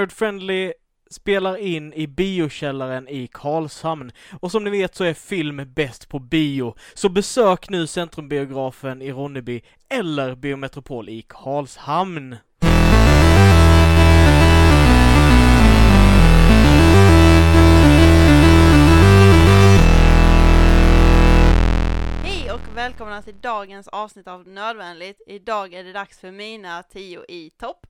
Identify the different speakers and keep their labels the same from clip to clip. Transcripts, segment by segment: Speaker 1: Nerdfriendly spelar in i biokällaren i Karlshamn. Och som ni vet så är film bäst på bio. Så besök nu Centrumbiografen i Ronneby eller Biometropol i Karlshamn.
Speaker 2: Hej och välkomna till dagens avsnitt av Nödvändigt. Idag är det dags för mina 10 i topp.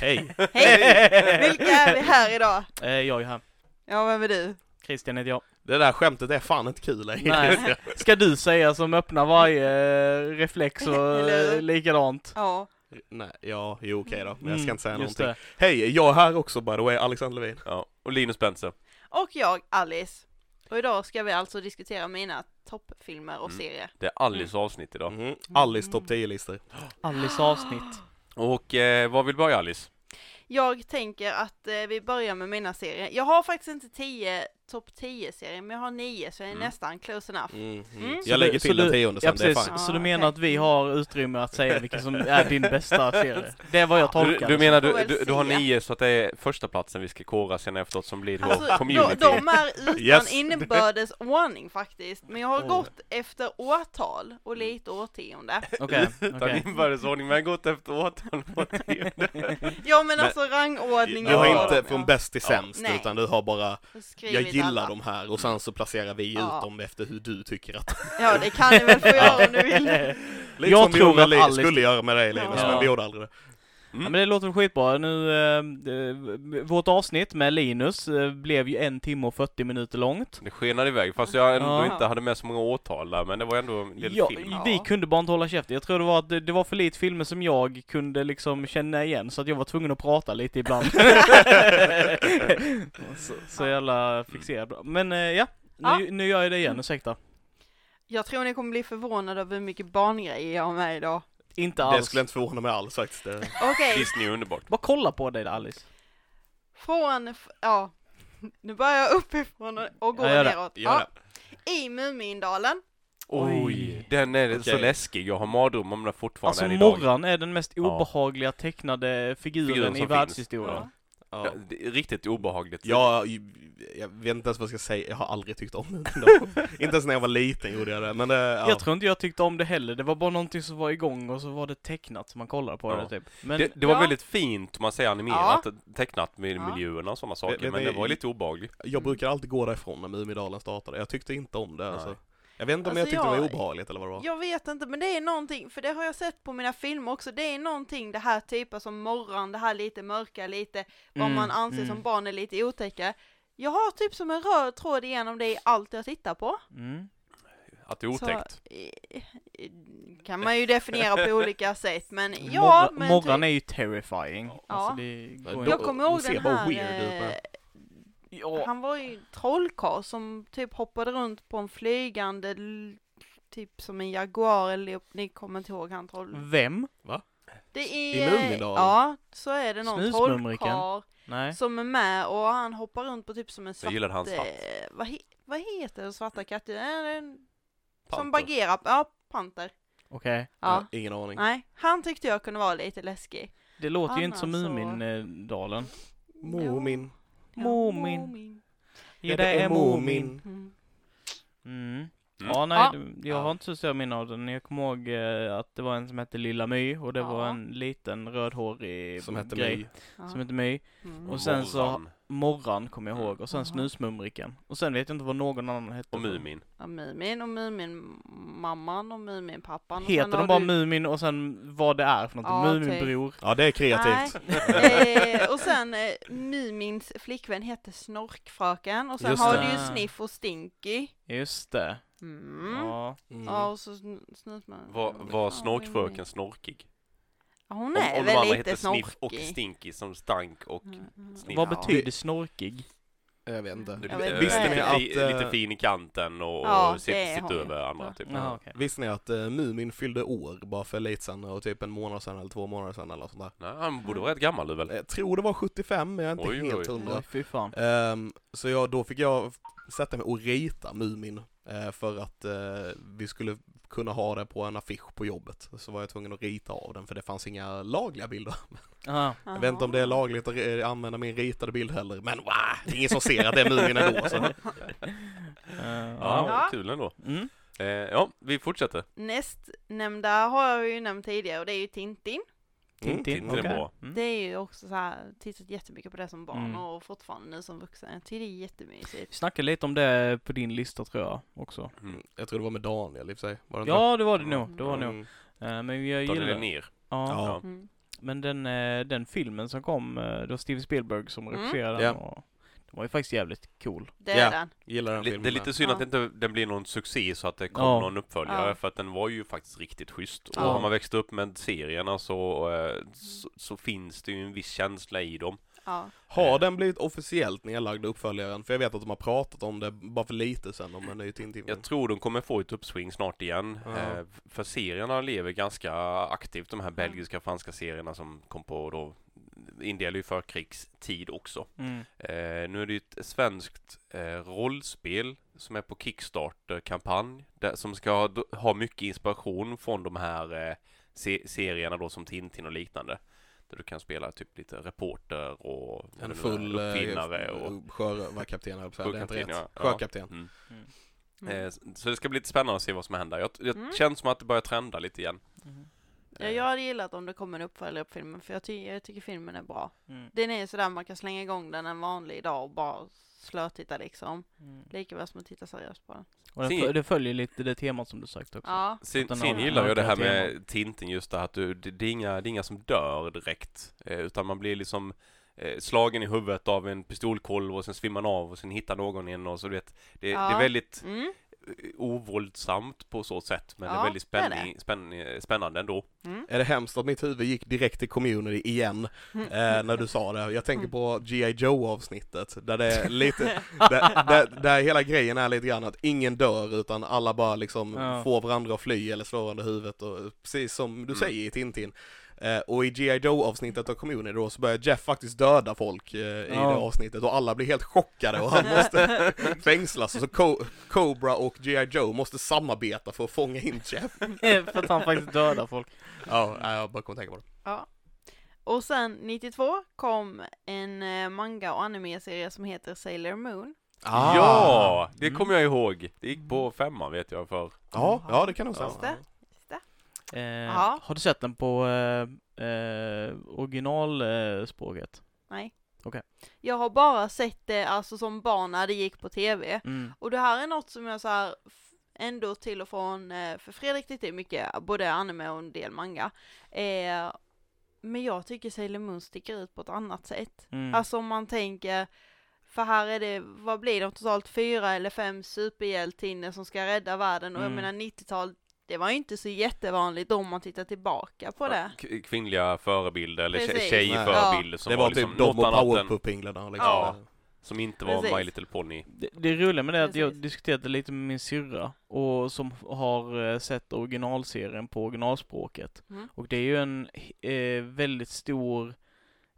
Speaker 3: Hej!
Speaker 2: Hej! Vilka är vi här idag?
Speaker 1: Eh, Jag är här.
Speaker 2: Ja, vem är du?
Speaker 1: Christian heter jag.
Speaker 3: Det där skämtet är fan inte kul längre.
Speaker 1: Nej. Ska du säga som öppnar varje eh, reflex och
Speaker 2: Eller
Speaker 1: eh,
Speaker 2: hur?
Speaker 1: likadant?
Speaker 2: Ja,
Speaker 3: Nej, ja, jo okej då, men jag ska inte säga
Speaker 1: Mm, just
Speaker 3: någonting. Hej, jag är här också by the way, Alexander Levin.
Speaker 4: Ja, och Linus Benser.
Speaker 2: och jag, Alice. Och idag ska vi alltså diskutera mina toppfilmer och
Speaker 4: Mm.
Speaker 2: serier.
Speaker 4: Det är Alice
Speaker 2: Mm.
Speaker 4: avsnitt idag.
Speaker 3: Mhm. Alice topp 10-listor.
Speaker 1: det. Alice avsnitt.
Speaker 4: Och eh, vad vill börja Alice?
Speaker 2: Jag tänker att eh, vi börjar med mina serier. Jag har faktiskt inte 10 topp 10 serier, men jag har 9 så jag är
Speaker 4: Mm.
Speaker 2: nästan close enough.
Speaker 3: Mhm.
Speaker 2: Mm. Så
Speaker 3: Jag lägger
Speaker 1: du- så
Speaker 3: till
Speaker 1: du-
Speaker 3: den tionde sen,
Speaker 1: Ja
Speaker 3: det är
Speaker 1: precis,
Speaker 3: fine.
Speaker 1: så du
Speaker 2: Ja,
Speaker 1: menar
Speaker 2: Ah, okej.
Speaker 1: att vi har utrymme att säga vilken som är din bästa serie? Det är vad jag
Speaker 4: Du,
Speaker 1: tolkar.
Speaker 4: du menar
Speaker 2: får
Speaker 4: du,
Speaker 2: väl
Speaker 4: du, du har
Speaker 2: se.
Speaker 4: nio så att det är första platsen vi ska kora sen efteråt som blir vår
Speaker 2: Alltså, de,
Speaker 4: community.
Speaker 2: de är utan
Speaker 3: Yes.
Speaker 2: inbördes ordning faktiskt, men jag har
Speaker 1: Oj.
Speaker 2: gått efter årtal och
Speaker 3: Mm.
Speaker 2: lite årtionde.
Speaker 1: Okej,
Speaker 4: Utan
Speaker 1: okej.
Speaker 4: inbördes ordning, men gått efter åtal på tionde.
Speaker 2: Ja men
Speaker 4: Men-
Speaker 2: alltså rangordningen
Speaker 3: Du
Speaker 2: på
Speaker 3: har
Speaker 2: dem,
Speaker 3: inte från bäst till sämst,
Speaker 2: Nej.
Speaker 3: utan du har bara
Speaker 2: Skrivit
Speaker 3: jag gillar
Speaker 2: alla.
Speaker 3: de här och sen så placerar vi ut
Speaker 2: Ja.
Speaker 3: dem efter hur du tycker att...
Speaker 2: Ja det kan ni väl få göra om ni vill.
Speaker 3: Liksom vi
Speaker 1: tror
Speaker 3: gjorde
Speaker 1: att
Speaker 3: Alice...
Speaker 1: Alice-
Speaker 3: skulle göra med dig Linus,
Speaker 2: Ja.
Speaker 3: men vi gjorde aldrig det.
Speaker 1: Ja, men det låter väl skitbra. Nu, eh, eh, vårt avsnitt med Linus eh, blev ju en timme och 40 minuter långt.
Speaker 4: Det skenade iväg, fast jag ändå
Speaker 1: Ja.
Speaker 4: inte hade med så många årtal där, men det var ändå en del
Speaker 1: Ja,
Speaker 4: film.
Speaker 1: vi
Speaker 2: Ja.
Speaker 1: kunde bara inte hålla käften. Jag tror det var att det, det var för lite filmer som jag kunde liksom känna igen, så att jag var tvungen att prata lite ibland. så, så jävla fixerad. Men eh, ja, nu, nu gör jag det
Speaker 2: Mm.
Speaker 1: igen, ursäkta.
Speaker 2: Jag tror ni kommer bli förvånade över hur mycket barngrejer jag har med idag.
Speaker 1: Inte
Speaker 3: Det
Speaker 1: alls.
Speaker 3: skulle inte förvåna mig alls faktiskt. Det-
Speaker 2: Okej,
Speaker 4: Disney är underbart.
Speaker 1: Bara kolla på dig där Alice.
Speaker 2: från, f- ja. Nu börjar jag uppifrån och- och går
Speaker 1: Ja, gör det.
Speaker 2: neråt.
Speaker 3: Gör det.
Speaker 2: Ja, I Mumindalen.
Speaker 1: Oj.
Speaker 4: Oj, den är så
Speaker 3: Okej.
Speaker 4: läskig. Jag har mardrömmar om den fortfarande
Speaker 1: Alltså
Speaker 4: än idag.
Speaker 1: Morran är den mest obehagliga tecknade figuren,
Speaker 4: Figuren
Speaker 1: i
Speaker 4: som
Speaker 1: världshistorien.
Speaker 4: finns.
Speaker 3: Ja.
Speaker 4: Ja, det är riktigt obehagligt.
Speaker 3: Jag, jag vet inte ens vad jag ska säga, jag har aldrig tyckt om den. inte ens när jag var liten gjorde jag det, men det, ja.
Speaker 1: Jag tror inte jag tyckte om det heller, det var bara någonting som var igång och så var det tecknat som man kollar på
Speaker 4: Ja.
Speaker 1: det typ. Men
Speaker 4: det, det var
Speaker 2: Ja.
Speaker 4: väldigt fint, om man säger animerat, tecknat med miljöerna och sådana saker,
Speaker 3: vet
Speaker 4: men
Speaker 3: ni-
Speaker 4: det var lite obehagligt.
Speaker 3: Jag brukar alltid gå därifrån när Mumidalen startade, jag tyckte inte om det
Speaker 4: Nej.
Speaker 3: alltså. Jag vet inte om
Speaker 2: Alltså,
Speaker 3: jag tyckte det var
Speaker 2: jag-
Speaker 3: obehagligt eller vad det var.
Speaker 2: Jag vet inte men det är någonting, för det har jag sett på mina filmer också, det är någonting det här typen som morgon, det här lite mörka, lite vad
Speaker 1: Mm,
Speaker 2: man anser
Speaker 1: mm.
Speaker 2: som barn är lite otäcka. Jag har typ som en röd tråd igenom det i allt jag tittar på.
Speaker 1: mm.
Speaker 4: Att det är otäckt.
Speaker 2: Så, eh, eh, kan man ju definiera på olika sätt, men ja,
Speaker 1: Morra,
Speaker 2: men
Speaker 1: Morran
Speaker 2: typ-
Speaker 1: är ju terrifying. Ja. Alltså det går
Speaker 3: Ja,
Speaker 2: jag
Speaker 1: inte.
Speaker 2: kommer
Speaker 3: hon
Speaker 2: ihåg
Speaker 3: ser
Speaker 2: den
Speaker 3: bara
Speaker 2: här,
Speaker 3: weird ut med.
Speaker 2: eh,
Speaker 1: Ja.
Speaker 2: han var ju trollkarl som typ hoppade runt på en flygande, l- typ som en jaguar eller leop- ni kommer inte ihåg han troll.
Speaker 1: Vem?
Speaker 2: Det
Speaker 3: I
Speaker 2: är,
Speaker 3: Mumindalen?
Speaker 2: ja, så är det någon
Speaker 1: Snusmumriken?
Speaker 2: trollkarl
Speaker 1: Nej.
Speaker 2: som är med och han hoppar runt på typ som en
Speaker 4: Jag
Speaker 2: svart,
Speaker 4: gillade hans
Speaker 2: eh,
Speaker 4: hatt.
Speaker 2: vad, he, vad heter den svarta katten? Är det en- Som
Speaker 4: Panter.
Speaker 2: bagerar, ja, panter.
Speaker 1: Okej.
Speaker 2: Ja.
Speaker 3: Nej, Ingen aning.
Speaker 2: Nej, han tyckte jag kunde vara lite läskig.
Speaker 1: Det låter ju inte som
Speaker 2: Annars så-
Speaker 1: Mumindalen.
Speaker 3: Mumin.
Speaker 2: Ja,
Speaker 1: Moomin.
Speaker 2: Moomin.
Speaker 1: Ja, det är Mumin.
Speaker 2: Mm.
Speaker 1: Mm.
Speaker 4: Mm.
Speaker 1: Ja, nej,
Speaker 2: Ja.
Speaker 1: det- jag har inte så stora minnen av den. Jag kommer ihåg eh, att det var en som hette Lilla My och det var
Speaker 2: Ja.
Speaker 1: en liten rödhårig
Speaker 3: Som hette
Speaker 1: grej
Speaker 3: My.
Speaker 2: Ja.
Speaker 1: som hette My.
Speaker 2: Mm.
Speaker 1: Och sen så-
Speaker 4: Morran
Speaker 1: Morran kommer jag
Speaker 3: Mm.
Speaker 1: ihåg och sen
Speaker 2: Jaha.
Speaker 1: Snusmumriken. Och sen vet jag inte vad någon annan hette.
Speaker 4: och Mumin.
Speaker 2: Ja, Mumin och Mumin-mamman och Mumin-pappan. Och sen
Speaker 1: Heter
Speaker 2: har
Speaker 1: de bara
Speaker 2: du-
Speaker 1: Mumin och sen vad det är för
Speaker 2: Ja, typ.
Speaker 1: någonting? Muminbror.
Speaker 3: Ja, det är kreativt.
Speaker 2: Nej. Eh, och sen eh, Mumins flickvän heter Snorkfröken och sen
Speaker 3: Just
Speaker 2: har
Speaker 1: det.
Speaker 2: du ju Sniff och Stinky.
Speaker 1: Just det.
Speaker 2: Mm. Ja.
Speaker 1: Ja.
Speaker 3: Mm.
Speaker 2: och så sn- snusman.
Speaker 4: Var, var
Speaker 2: Ja,
Speaker 4: snorkfröken
Speaker 2: Mumin.
Speaker 4: snorkig?
Speaker 2: Ja, Hon
Speaker 4: Om,
Speaker 2: är
Speaker 4: om de
Speaker 2: väl
Speaker 4: andra
Speaker 2: lite
Speaker 4: hette Sniff och
Speaker 2: snorkig.
Speaker 4: Stinky som stank och...
Speaker 2: Mm.
Speaker 4: Sniff.
Speaker 1: Vad
Speaker 2: Ja.
Speaker 1: betyder snorkig?
Speaker 3: Jag vet inte.
Speaker 2: Jag vet
Speaker 4: Eh,
Speaker 2: Visste ni
Speaker 4: lite,
Speaker 3: att,
Speaker 4: fi-
Speaker 3: eh,
Speaker 4: lite fin i kanten och,
Speaker 2: Ja,
Speaker 4: och sitt,
Speaker 2: det har
Speaker 4: sitt
Speaker 2: jag.
Speaker 4: över andra typ.
Speaker 1: Jaha, okej.
Speaker 3: Visste ni att eh, Mumin fyllde år bara för lite sen, och typ en månad sen eller två månader sen eller sånt där?
Speaker 4: Nej, han borde vara rätt gammal du väl?
Speaker 3: Jag tror det var 75, men jag är inte
Speaker 4: Oj,
Speaker 3: helt
Speaker 4: oj.
Speaker 3: hundra.
Speaker 1: Oj, fy fan.
Speaker 3: Ehm, så jag, då fick jag f- sätta mig och rita Mumin eh, för att eh, vi skulle kunna ha det på en affisch på jobbet. Så var jag tvungen att rita av den för det fanns inga lagliga bilder.
Speaker 1: Aha.
Speaker 3: Jag vet inte
Speaker 4: Ah.
Speaker 3: om det är lagligt att eh, använda min ritade bild heller, men wow, det är ingen som ser att det är Mumin ändå. alltså. Så. Mm,
Speaker 1: Eh,
Speaker 4: Ja,
Speaker 1: ja.
Speaker 2: Ja.
Speaker 4: kul ändå.
Speaker 1: Mm.
Speaker 4: Eh, ja, vi fortsätter.
Speaker 2: Nästnämnda har jag ju nämnt tidigare och det är ju Tintin.
Speaker 1: Tintin,
Speaker 4: Tintin är
Speaker 1: okej.
Speaker 4: bra.
Speaker 1: Mm.
Speaker 2: Det är ju också så här, tittat jättemycket på det som barn
Speaker 1: Mm.
Speaker 2: och fortfarande nu som vuxen. Jag tycker det är jättemysigt.
Speaker 1: Vi snackade lite om det på din lista tror jag också.
Speaker 4: Mm.
Speaker 3: Jag tror det var med Daniel i och för sig. Var det inte?
Speaker 1: Ja, det var det nog. Det var det nog.
Speaker 3: Mm.
Speaker 1: Eh, Men jag
Speaker 4: Daniel
Speaker 1: gillar...
Speaker 4: Linnér.
Speaker 1: Ja.
Speaker 3: Ja.
Speaker 2: Mm.
Speaker 1: Men den, eh, den filmen som kom, eh, det var Steven Spielberg som
Speaker 2: Mm.
Speaker 1: regisserade den.
Speaker 3: Ja.
Speaker 1: Och den var ju faktiskt jävligt cool.
Speaker 2: Det är
Speaker 3: Ja.
Speaker 2: den.
Speaker 3: Gillar den
Speaker 4: Li-
Speaker 3: filmen.
Speaker 4: Det är lite synd
Speaker 2: Ja.
Speaker 4: att det inte den blir någon succé så att det kom
Speaker 1: Ja.
Speaker 4: någon uppföljare
Speaker 2: Ja.
Speaker 4: för att den var ju faktiskt riktigt schysst. Och
Speaker 2: Ja.
Speaker 4: har man växt upp med serierna så, eh, så, så finns det ju en viss känsla i dem.
Speaker 2: Ja.
Speaker 3: Har den blivit officiellt nedlagd uppföljaren? För jag vet att de har pratat om det bara för lite sen om en ny Tintin.
Speaker 4: Jag tror de kommer få ett uppsving snart igen.
Speaker 3: Mm. Ja.
Speaker 4: Eh, för serierna lever ganska aktivt, de här belgiska och franska serierna som kom på då. Indelar ju förkrigstid också.
Speaker 1: Mm.
Speaker 4: Eh, nu är det ju ett svenskt eh, rollspel som är på Kickstarter-kampanj där, som ska ha, d- ha mycket inspiration från de här eh, se- serierna då som Tintin och liknande. Där du kan spela typ lite reporter och vad
Speaker 3: En
Speaker 4: det nu är,
Speaker 3: full eh,
Speaker 4: uppfinnare och...
Speaker 3: sjörövarkapten höll jag på att säga. Det är inte rätt.
Speaker 4: Sjökapten, ja. Ja.
Speaker 3: Sjökapten.
Speaker 4: Mm.
Speaker 1: Mm.
Speaker 4: Eh, s- så det ska bli lite spännande att se vad som händer. Jag, jag
Speaker 2: Mm.
Speaker 4: känns som att det börjar trenda lite igen.
Speaker 1: Mm.
Speaker 2: Ja,
Speaker 4: Eh,
Speaker 2: jag hade gillat om det kommer en uppföljare på filmen för jag, ty- jag tycker filmen är bra.
Speaker 1: Mm.
Speaker 2: Den är sådär man kan slänga igång den en vanlig dag och bara slötitta liksom.
Speaker 1: Mm.
Speaker 2: Likaväl som att titta seriöst på den.
Speaker 1: Och den,
Speaker 4: Se-
Speaker 1: fö- det följer lite det temat som du sökte också.
Speaker 2: Ja.
Speaker 4: Sen,
Speaker 1: Utan
Speaker 4: sen
Speaker 1: några
Speaker 4: gillar jag det här
Speaker 1: mörkare
Speaker 4: med Tintin just det här att du, det, det, är inga, det är inga som dör direkt. Eh, utan man blir liksom eh, slagen i huvudet av en pistolkolv och sen svimmar man av och sen hittar någon igen och så du vet. Det, det
Speaker 2: Ja.
Speaker 4: är väldigt
Speaker 2: Mm.
Speaker 4: eh, ovåldsamt på så sätt men det
Speaker 2: Ja,
Speaker 4: är väldigt
Speaker 2: det är
Speaker 4: spänning, spänn, eh, spännande ändå.
Speaker 2: Mm.
Speaker 3: Är det hemskt att mitt huvud gick direkt till community igen eh, när du sa det? Jag tänker på G.I. Joe-avsnittet där det är lite, där, där, där hela grejen är lite grann att ingen dör utan alla bara liksom
Speaker 1: Ja.
Speaker 3: får varandra att fly eller slår under huvudet och eh, precis som du
Speaker 4: Mm.
Speaker 3: säger i Tintin. Eh, och i G.I. Joe-avsnittet av community då så börjar Jeff faktiskt döda folk eh, i
Speaker 1: Ja.
Speaker 3: det avsnittet och alla blir helt chockade och han måste fängslas och så Co- Cobra och G.I. Joe måste samarbeta för att fånga in Jeff.
Speaker 1: Eh, För att han faktiskt dödar folk.
Speaker 3: Ja, nej, jag bara kom att tänka på det.
Speaker 2: Ja. Och sen 92 kom en eh, manga och anime-serie som heter Sailor Moon.
Speaker 3: Ah.
Speaker 2: Ah.
Speaker 4: Ja! Det
Speaker 1: Mm.
Speaker 4: kommer jag ihåg. Det gick
Speaker 2: Mm.
Speaker 4: på femman vet jag för.
Speaker 3: Ja, ja det kan nog
Speaker 2: Just
Speaker 3: stämma.
Speaker 2: det.
Speaker 1: Eh,
Speaker 2: Ja.
Speaker 1: Har du sett den på eh, eh, originalspråket?
Speaker 2: Nej.
Speaker 1: Okej.
Speaker 2: Jag har bara sett det alltså som barn när det gick på tv.
Speaker 1: Mm.
Speaker 2: Och det här är något som jag så här f- ändå till och från, eh, för Fredrik tittar ju mycket, både anime och en del manga. Eh, men jag tycker Sailor Moon sticker ut på ett annat sätt.
Speaker 1: Mm.
Speaker 2: Alltså om man tänker, för här är det, vad blir det, totalt fyra eller fem superhjältinnor som ska rädda världen och
Speaker 1: Mm.
Speaker 2: jag menar 90-tal, det var ju inte så jättevanligt då om man tittar tillbaka på det.
Speaker 4: K- kvinnliga förebilder eller tje-
Speaker 2: Precis.
Speaker 4: tjejförebilder som
Speaker 3: Det var typ
Speaker 4: liksom
Speaker 3: de och
Speaker 4: något annat än,
Speaker 3: powerpup-inglarna liksom.
Speaker 4: Ja. som inte var
Speaker 2: Precis.
Speaker 4: My Little Pony.
Speaker 1: Det, det roliga med det är att jag
Speaker 2: Precis.
Speaker 1: diskuterade lite med min syrra och som har eh, sett originalserien på originalspråket.
Speaker 2: Mm.
Speaker 1: Och det är ju en eh, väldigt stor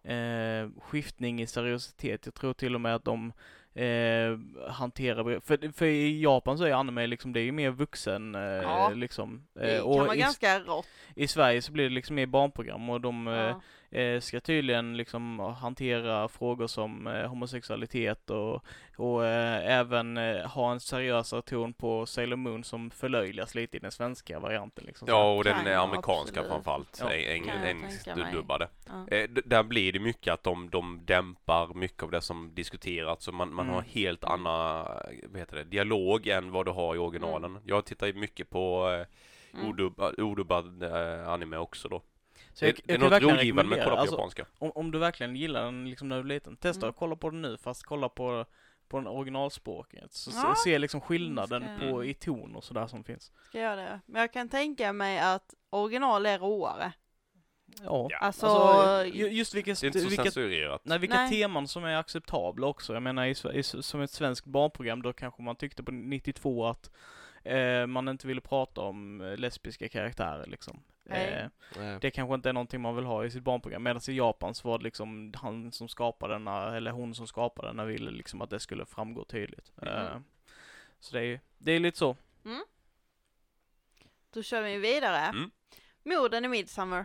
Speaker 1: eh, skiftning i seriositet. Jag tror till och med att de eh, hanterar, för, för i Japan så är anime liksom, det är ju mer vuxen eh,
Speaker 2: Ja.
Speaker 1: liksom.
Speaker 2: Det
Speaker 1: Eh,
Speaker 2: kan vara
Speaker 1: och i,
Speaker 2: ganska rått.
Speaker 1: i Sverige så blir det liksom mer barnprogram och de eh,
Speaker 2: Ja.
Speaker 1: eh, ska tydligen liksom hantera frågor som eh, homosexualitet och, och eh, även eh, ha en seriösare ton på Sailor Moon som förlöjligas lite i den svenska varianten liksom. Så
Speaker 4: Ja, och
Speaker 2: Kan
Speaker 4: den är
Speaker 2: jag
Speaker 4: amerikanska
Speaker 2: absolut.
Speaker 4: framförallt.
Speaker 1: Ja.
Speaker 4: Eng-
Speaker 2: Kan
Speaker 4: eng-
Speaker 2: jag
Speaker 4: Engelskt
Speaker 2: tänka mig.
Speaker 4: dubbade.
Speaker 2: Ja.
Speaker 4: Eh, d- där blir det mycket att de, de dämpar mycket av det som diskuterats så man, man har
Speaker 1: Mm.
Speaker 4: helt annan eh, vad heter det, dialog än vad du har i originalen. Jag tittar ju mycket på eh,
Speaker 2: Mm.
Speaker 4: odubbad, odubbad eh, anime också då.
Speaker 1: Så jag,
Speaker 4: det,
Speaker 1: jag,
Speaker 4: det är
Speaker 1: kan
Speaker 4: något
Speaker 1: verkligen
Speaker 4: rogivande med att
Speaker 1: rekommendera,
Speaker 4: kolla på
Speaker 1: alltså,
Speaker 4: japanska.
Speaker 1: om, om du verkligen gillar den liksom när du är liten, testa
Speaker 2: Mm.
Speaker 1: att kolla på den nu fast kolla på på den originalspråket, så
Speaker 2: Ja.
Speaker 1: se- se liksom skillnaden
Speaker 2: Ska
Speaker 1: på,
Speaker 4: jag-
Speaker 1: i ton och sådär som finns.
Speaker 2: Ska jag göra det? Men jag kan tänka mig att original är råare.
Speaker 1: Ja.
Speaker 4: Ja.
Speaker 2: Alltså,
Speaker 1: Alltså, ju- just vilka,
Speaker 4: Det är inte så
Speaker 1: vilka
Speaker 4: censurerat.
Speaker 1: Nej, vilka
Speaker 2: Nej.
Speaker 1: teman som är acceptabla också. Jag menar, i, Sve- i, s- som ett svenskt barnprogram, då kanske man tyckte på 92 att eh, man inte ville prata om eh, lesbiska karaktärer liksom.
Speaker 2: Nej.
Speaker 1: Eh,
Speaker 3: Nej.
Speaker 1: det kanske inte är någonting man vill ha i sitt barnprogram. Medan i Japan så var det liksom han som skapade den, här- eller hon som skapade den, här ville liksom att det skulle framgå tydligt. Eh,
Speaker 2: Mhm.
Speaker 1: så det är ju, det är lite så.
Speaker 2: Då kör vi vidare.
Speaker 4: Mm.
Speaker 2: Morden i Midsummer.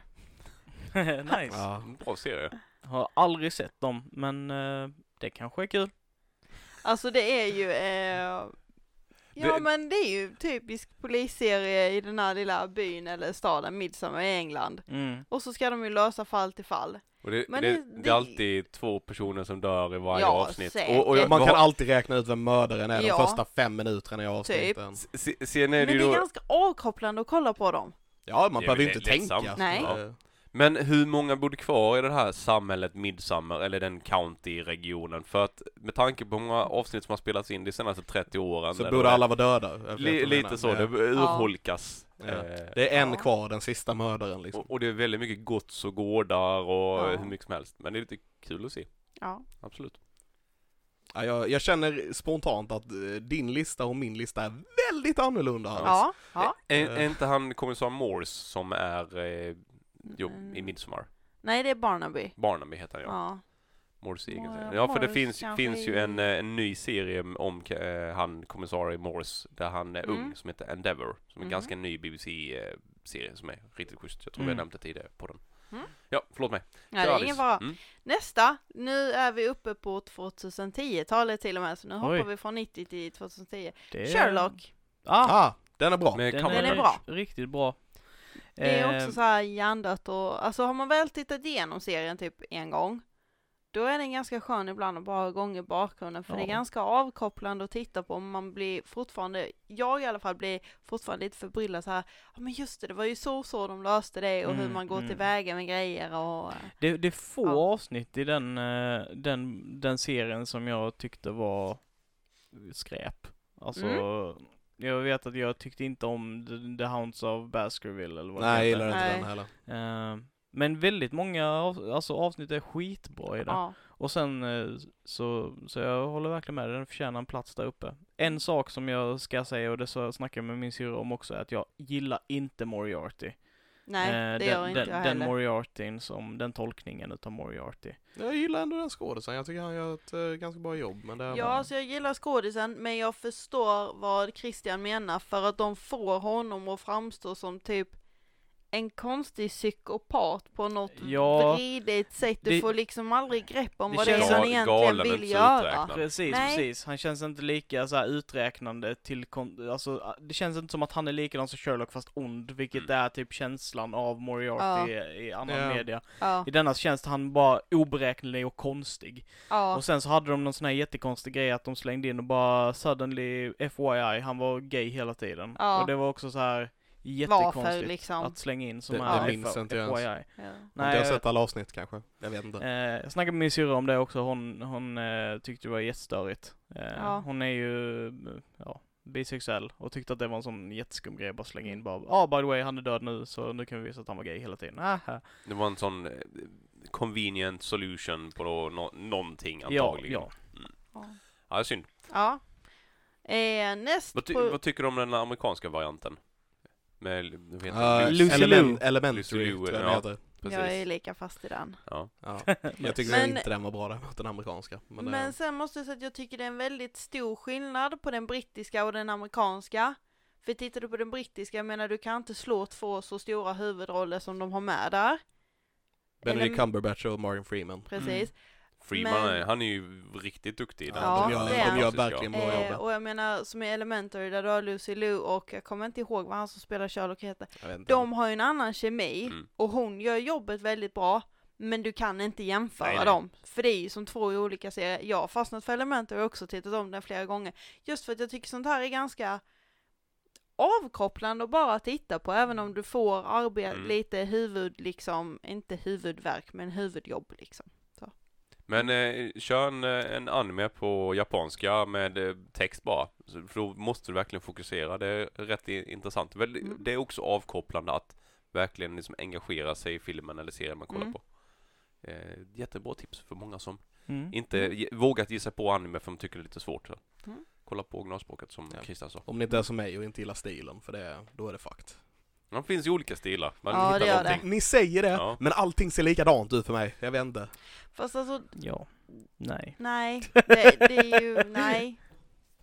Speaker 1: nice.
Speaker 3: Ja.
Speaker 4: Bra serie.
Speaker 1: Har aldrig sett dem, men eh, det kanske är kul.
Speaker 2: Alltså det är ju, eh, ja
Speaker 4: Det-
Speaker 2: men det är ju typisk polisserie i den här lilla byn eller staden Midsummer i England.
Speaker 1: Mm.
Speaker 2: Och så ska de ju lösa fall till fall.
Speaker 4: Och det,
Speaker 2: Men
Speaker 4: det,
Speaker 2: det-
Speaker 4: det,
Speaker 2: det-
Speaker 4: är alltid två personer som dör i varje
Speaker 2: Ja,
Speaker 4: avsnitt.
Speaker 2: säkert.
Speaker 4: Och, och jag,
Speaker 3: Man kan
Speaker 4: vad-
Speaker 3: alltid räkna ut vem mördaren är
Speaker 2: Ja. Typ.
Speaker 3: de första fem minuterna i avsnitten.
Speaker 4: se- Sen är
Speaker 2: Men
Speaker 4: det
Speaker 2: det
Speaker 4: ju
Speaker 2: är
Speaker 4: då,
Speaker 2: ganska avkopplande att kolla på dem.
Speaker 3: Ja, man
Speaker 4: Det är
Speaker 3: behöver ju
Speaker 4: väl
Speaker 3: inte
Speaker 4: lättsamt.
Speaker 3: tänka.
Speaker 2: Nej.
Speaker 3: Ja.
Speaker 4: Men hur många bodde kvar i det här samhället Midsummer, eller den county-regionen? För att med tanke på hur många avsnitt som har spelats in de senaste 30 åren
Speaker 3: Så
Speaker 4: eller
Speaker 3: borde
Speaker 4: vad det är,
Speaker 3: alla vara döda. jag vet vad
Speaker 4: Li,
Speaker 3: du
Speaker 4: lite
Speaker 3: menar.
Speaker 4: så,
Speaker 3: Ja.
Speaker 4: det urholkas.
Speaker 3: Ja.
Speaker 4: Eh,
Speaker 3: Det är en
Speaker 2: Ja.
Speaker 3: kvar, den sista mördaren liksom.
Speaker 4: och, och det är väldigt mycket gods och gårdar och
Speaker 2: Ja.
Speaker 4: hur mycket som helst. Men det är lite kul att se,
Speaker 2: Ja.
Speaker 4: absolut.
Speaker 3: Ja, jag, jag känner spontant att eh, din lista och min lista är väldigt annorlunda. Hans.
Speaker 2: Ja. ja.
Speaker 4: Är,
Speaker 3: Eh.
Speaker 4: är inte han kommissar Morse som är eh, jo, i
Speaker 2: Mm.
Speaker 4: Midsommar?
Speaker 2: Nej det är Barnaby.
Speaker 4: Barnaby heter han ja.
Speaker 2: Ja.
Speaker 4: Morse egen
Speaker 2: Mor-
Speaker 4: serie. Ja, för det
Speaker 2: Morse
Speaker 4: finns,
Speaker 2: kanske
Speaker 4: finns ju
Speaker 2: i-
Speaker 4: en, eh, en ny serie om eh, han kommissarie Morse där han är
Speaker 2: Mm.
Speaker 4: ung som heter Endeavour. Som är en
Speaker 2: Mhm.
Speaker 4: ganska ny BBC-serie som är riktigt schysst. Jag tror vi
Speaker 1: Mm.
Speaker 4: har nämnt det tidigare på den.
Speaker 2: Mm.
Speaker 4: Ja, förlåt mig.
Speaker 2: Nej det
Speaker 4: Kör,
Speaker 2: är
Speaker 4: Alice.
Speaker 2: ingen fara.
Speaker 4: Mm.
Speaker 2: Nästa, nu är vi uppe på 2010-talet till och med, så nu
Speaker 1: Oj.
Speaker 2: hoppar vi från 90 till 2010.
Speaker 1: Det...
Speaker 2: Sherlock,
Speaker 1: Ah,
Speaker 3: Ah, den är bra.
Speaker 4: Med
Speaker 1: den,
Speaker 4: Cumberbatch.
Speaker 1: är
Speaker 2: Eh, Den är bra.
Speaker 1: riktigt bra.
Speaker 2: det är
Speaker 1: Eh,
Speaker 2: också så här hjärndött och, alltså har man väl tittat igenom serien typ en gång, då är den ganska skön ibland att bara ha igång i bakgrunden, för det är
Speaker 1: Ja.
Speaker 2: ganska avkopplande att titta på, man blir fortfarande, jag i alla fall blir fortfarande lite förbryllad så här, ja men just det, det var ju så och så de löste det och hur
Speaker 1: Mm,
Speaker 2: man går
Speaker 1: mm.
Speaker 2: tillväga med grejer och,
Speaker 1: Det, det är få
Speaker 2: Ja.
Speaker 1: avsnitt i den, eh, den, den serien som jag tyckte var skräp. Alltså,
Speaker 2: Mm.
Speaker 1: jag vet att jag tyckte inte om The, The Hounds of Baskerville eller vad
Speaker 3: Nej, jag
Speaker 1: det
Speaker 3: gillar
Speaker 1: heter.
Speaker 3: inte
Speaker 2: Nej.
Speaker 3: den heller.
Speaker 1: Eh, men väldigt många av, alltså avsnitt är skitbra i det.
Speaker 2: ja.
Speaker 1: Och sen eh, så, så jag håller verkligen med dig, den förtjänar en plats där uppe. En sak som jag ska säga, och det så jag snackade med min syrra om också, är att jag gillar inte Moriarty.
Speaker 2: Nej,
Speaker 1: Eh,
Speaker 2: det
Speaker 1: den,
Speaker 2: gör inte
Speaker 1: den,
Speaker 2: jag
Speaker 1: Den
Speaker 2: heller.
Speaker 1: Moriartyn som, den tolkningen utav Moriarty.
Speaker 3: Jag gillar ändå den skådisen, jag tycker han gör ett eh, ganska bra jobb. Men det är
Speaker 2: Ja, alltså jag gillar skådisen, men jag förstår vad Christian menar för att de får honom att framstå som typ en konstig psykopat på något
Speaker 1: Ja,
Speaker 2: vridet sätt. Du
Speaker 1: det-
Speaker 2: får liksom aldrig grepp om
Speaker 1: det
Speaker 2: vad det är
Speaker 1: känns-
Speaker 2: han
Speaker 4: Gal-
Speaker 2: egentligen
Speaker 4: galen, men
Speaker 2: vill
Speaker 4: så
Speaker 2: göra.
Speaker 4: uträknad.
Speaker 1: Precis,
Speaker 2: Nej.
Speaker 1: precis. Han känns inte lika så här uträknande till, kon- alltså det känns inte som att han är likadan som Sherlock fast ond, vilket
Speaker 4: Mm.
Speaker 1: är typ känslan av Moriarty i, i annan
Speaker 3: Ja.
Speaker 1: media.
Speaker 2: Ja,
Speaker 1: I denna känns han bara oberäknelig och konstig.
Speaker 2: ja,
Speaker 1: Och sen så hade de någon sån här jättekonstig grej att de slängde in och bara suddenly FYI, han var gay hela tiden.
Speaker 2: Ja.
Speaker 1: Och det var också så här
Speaker 2: varför
Speaker 1: jättekonstigt
Speaker 2: liksom.
Speaker 1: att slänga in som
Speaker 3: Det-
Speaker 1: här
Speaker 2: det
Speaker 3: minns jag inte
Speaker 1: FYI.
Speaker 3: ens.
Speaker 2: Ja.
Speaker 3: Nej, jag
Speaker 1: Nej,
Speaker 3: har sett alla avsnitt kanske. Jag vet inte.
Speaker 1: Eh, jag snackade med min syrra om det också, hon, hon eh, tyckte det var jättestörigt. Eh,
Speaker 2: Ja.
Speaker 1: Hon är ju, eh, ja, bisexuell och tyckte att det var en sån jätteskum grej att bara slänga
Speaker 2: Mm.
Speaker 1: in bara, ah by the way han är död nu så nu kan vi visa att han var gay hela tiden. Aha.
Speaker 4: Det var en sån eh, convenient solution på nå- nå- någonting
Speaker 1: Ja,
Speaker 4: antagligen.
Speaker 1: ja.
Speaker 2: Ja.
Speaker 4: ja synd.
Speaker 2: ja. Eh, näst
Speaker 4: Vad, ty-
Speaker 2: på...
Speaker 4: vad tycker du om den amerikanska varianten? Med, vad heter
Speaker 3: Eh,
Speaker 4: det?
Speaker 1: Lucy
Speaker 3: Element,
Speaker 1: Liu.
Speaker 3: Elementary,
Speaker 4: Lucy Liu,
Speaker 3: tror jag den
Speaker 4: ja.
Speaker 3: heter.
Speaker 4: Precis.
Speaker 2: Jag är lika fast i den.
Speaker 4: Ja.
Speaker 3: Ja.
Speaker 1: Nice.
Speaker 3: Jag tycker
Speaker 2: Men-
Speaker 3: inte den var bra däremot, den amerikanska. Men, eh,
Speaker 2: Men,
Speaker 3: det-
Speaker 2: sen måste jag säga att jag tycker det är en väldigt stor skillnad på den brittiska och den amerikanska. För tittar du på den brittiska, jag menar du kan inte slå två så stora huvudroller som de har med där.
Speaker 3: Benedict
Speaker 2: Elem-
Speaker 3: Cumberbatch och Morgan Freeman.
Speaker 1: Mm.
Speaker 2: Precis.
Speaker 4: Freeman,
Speaker 2: Men-
Speaker 4: är- han är ju riktigt duktig i den.
Speaker 2: Ja,
Speaker 3: de gör,
Speaker 2: det är
Speaker 3: de
Speaker 2: han.
Speaker 3: gör
Speaker 4: Fantastiskt, ja.
Speaker 3: verkligen Mm, bra
Speaker 2: Eh,
Speaker 3: jobb.
Speaker 2: och jag menar som i Elementary där du har Lucy Liu och jag kommer inte ihåg vad han som spelar Sherlock heter.
Speaker 3: Jag vet inte.
Speaker 2: De har ju en annan kemi
Speaker 4: Mm.
Speaker 2: och hon gör jobbet väldigt bra. Men du kan inte jämföra
Speaker 4: Nej, nej.
Speaker 2: dem. För det är ju som två olika serier. Jag har fastnat för Elementary och också tittat om den flera gånger. Just för att jag tycker sånt här är ganska avkopplande att bara titta på. Även om du får arbeta
Speaker 4: Mm.
Speaker 2: lite huvud, liksom, inte huvudvärk, men huvudjobb liksom.
Speaker 4: Men eh, kör en, eh, en anime på japanska med eh, text bara. Så- För då måste du verkligen fokusera. Det är rätt i- intressant. Väl,
Speaker 2: Mm.
Speaker 4: Det är också avkopplande att verkligen liksom engagera sig i filmen eller serien man kollar
Speaker 2: Mm.
Speaker 4: på. Eh, jättebra tips för många som
Speaker 1: Mm.
Speaker 4: inte ge, vågat ge sig på anime för de tycker det är lite svårt. Så.
Speaker 2: Mm.
Speaker 4: Kolla på originalspråket som
Speaker 3: Ja.
Speaker 4: Christian sa.
Speaker 3: Om ni inte är som mig och inte gillar stilen, för det, då är det fakt.
Speaker 4: Det finns ju olika stilar. Man
Speaker 2: Ja, det
Speaker 4: hittar
Speaker 2: gör
Speaker 4: någonting.
Speaker 3: Ni säger det,
Speaker 4: Ja.
Speaker 3: men allting ser likadant ut för mig. Jag vet inte.
Speaker 2: Fast alltså,
Speaker 1: Ja. Nej.
Speaker 2: nej, det, det är ju, nej.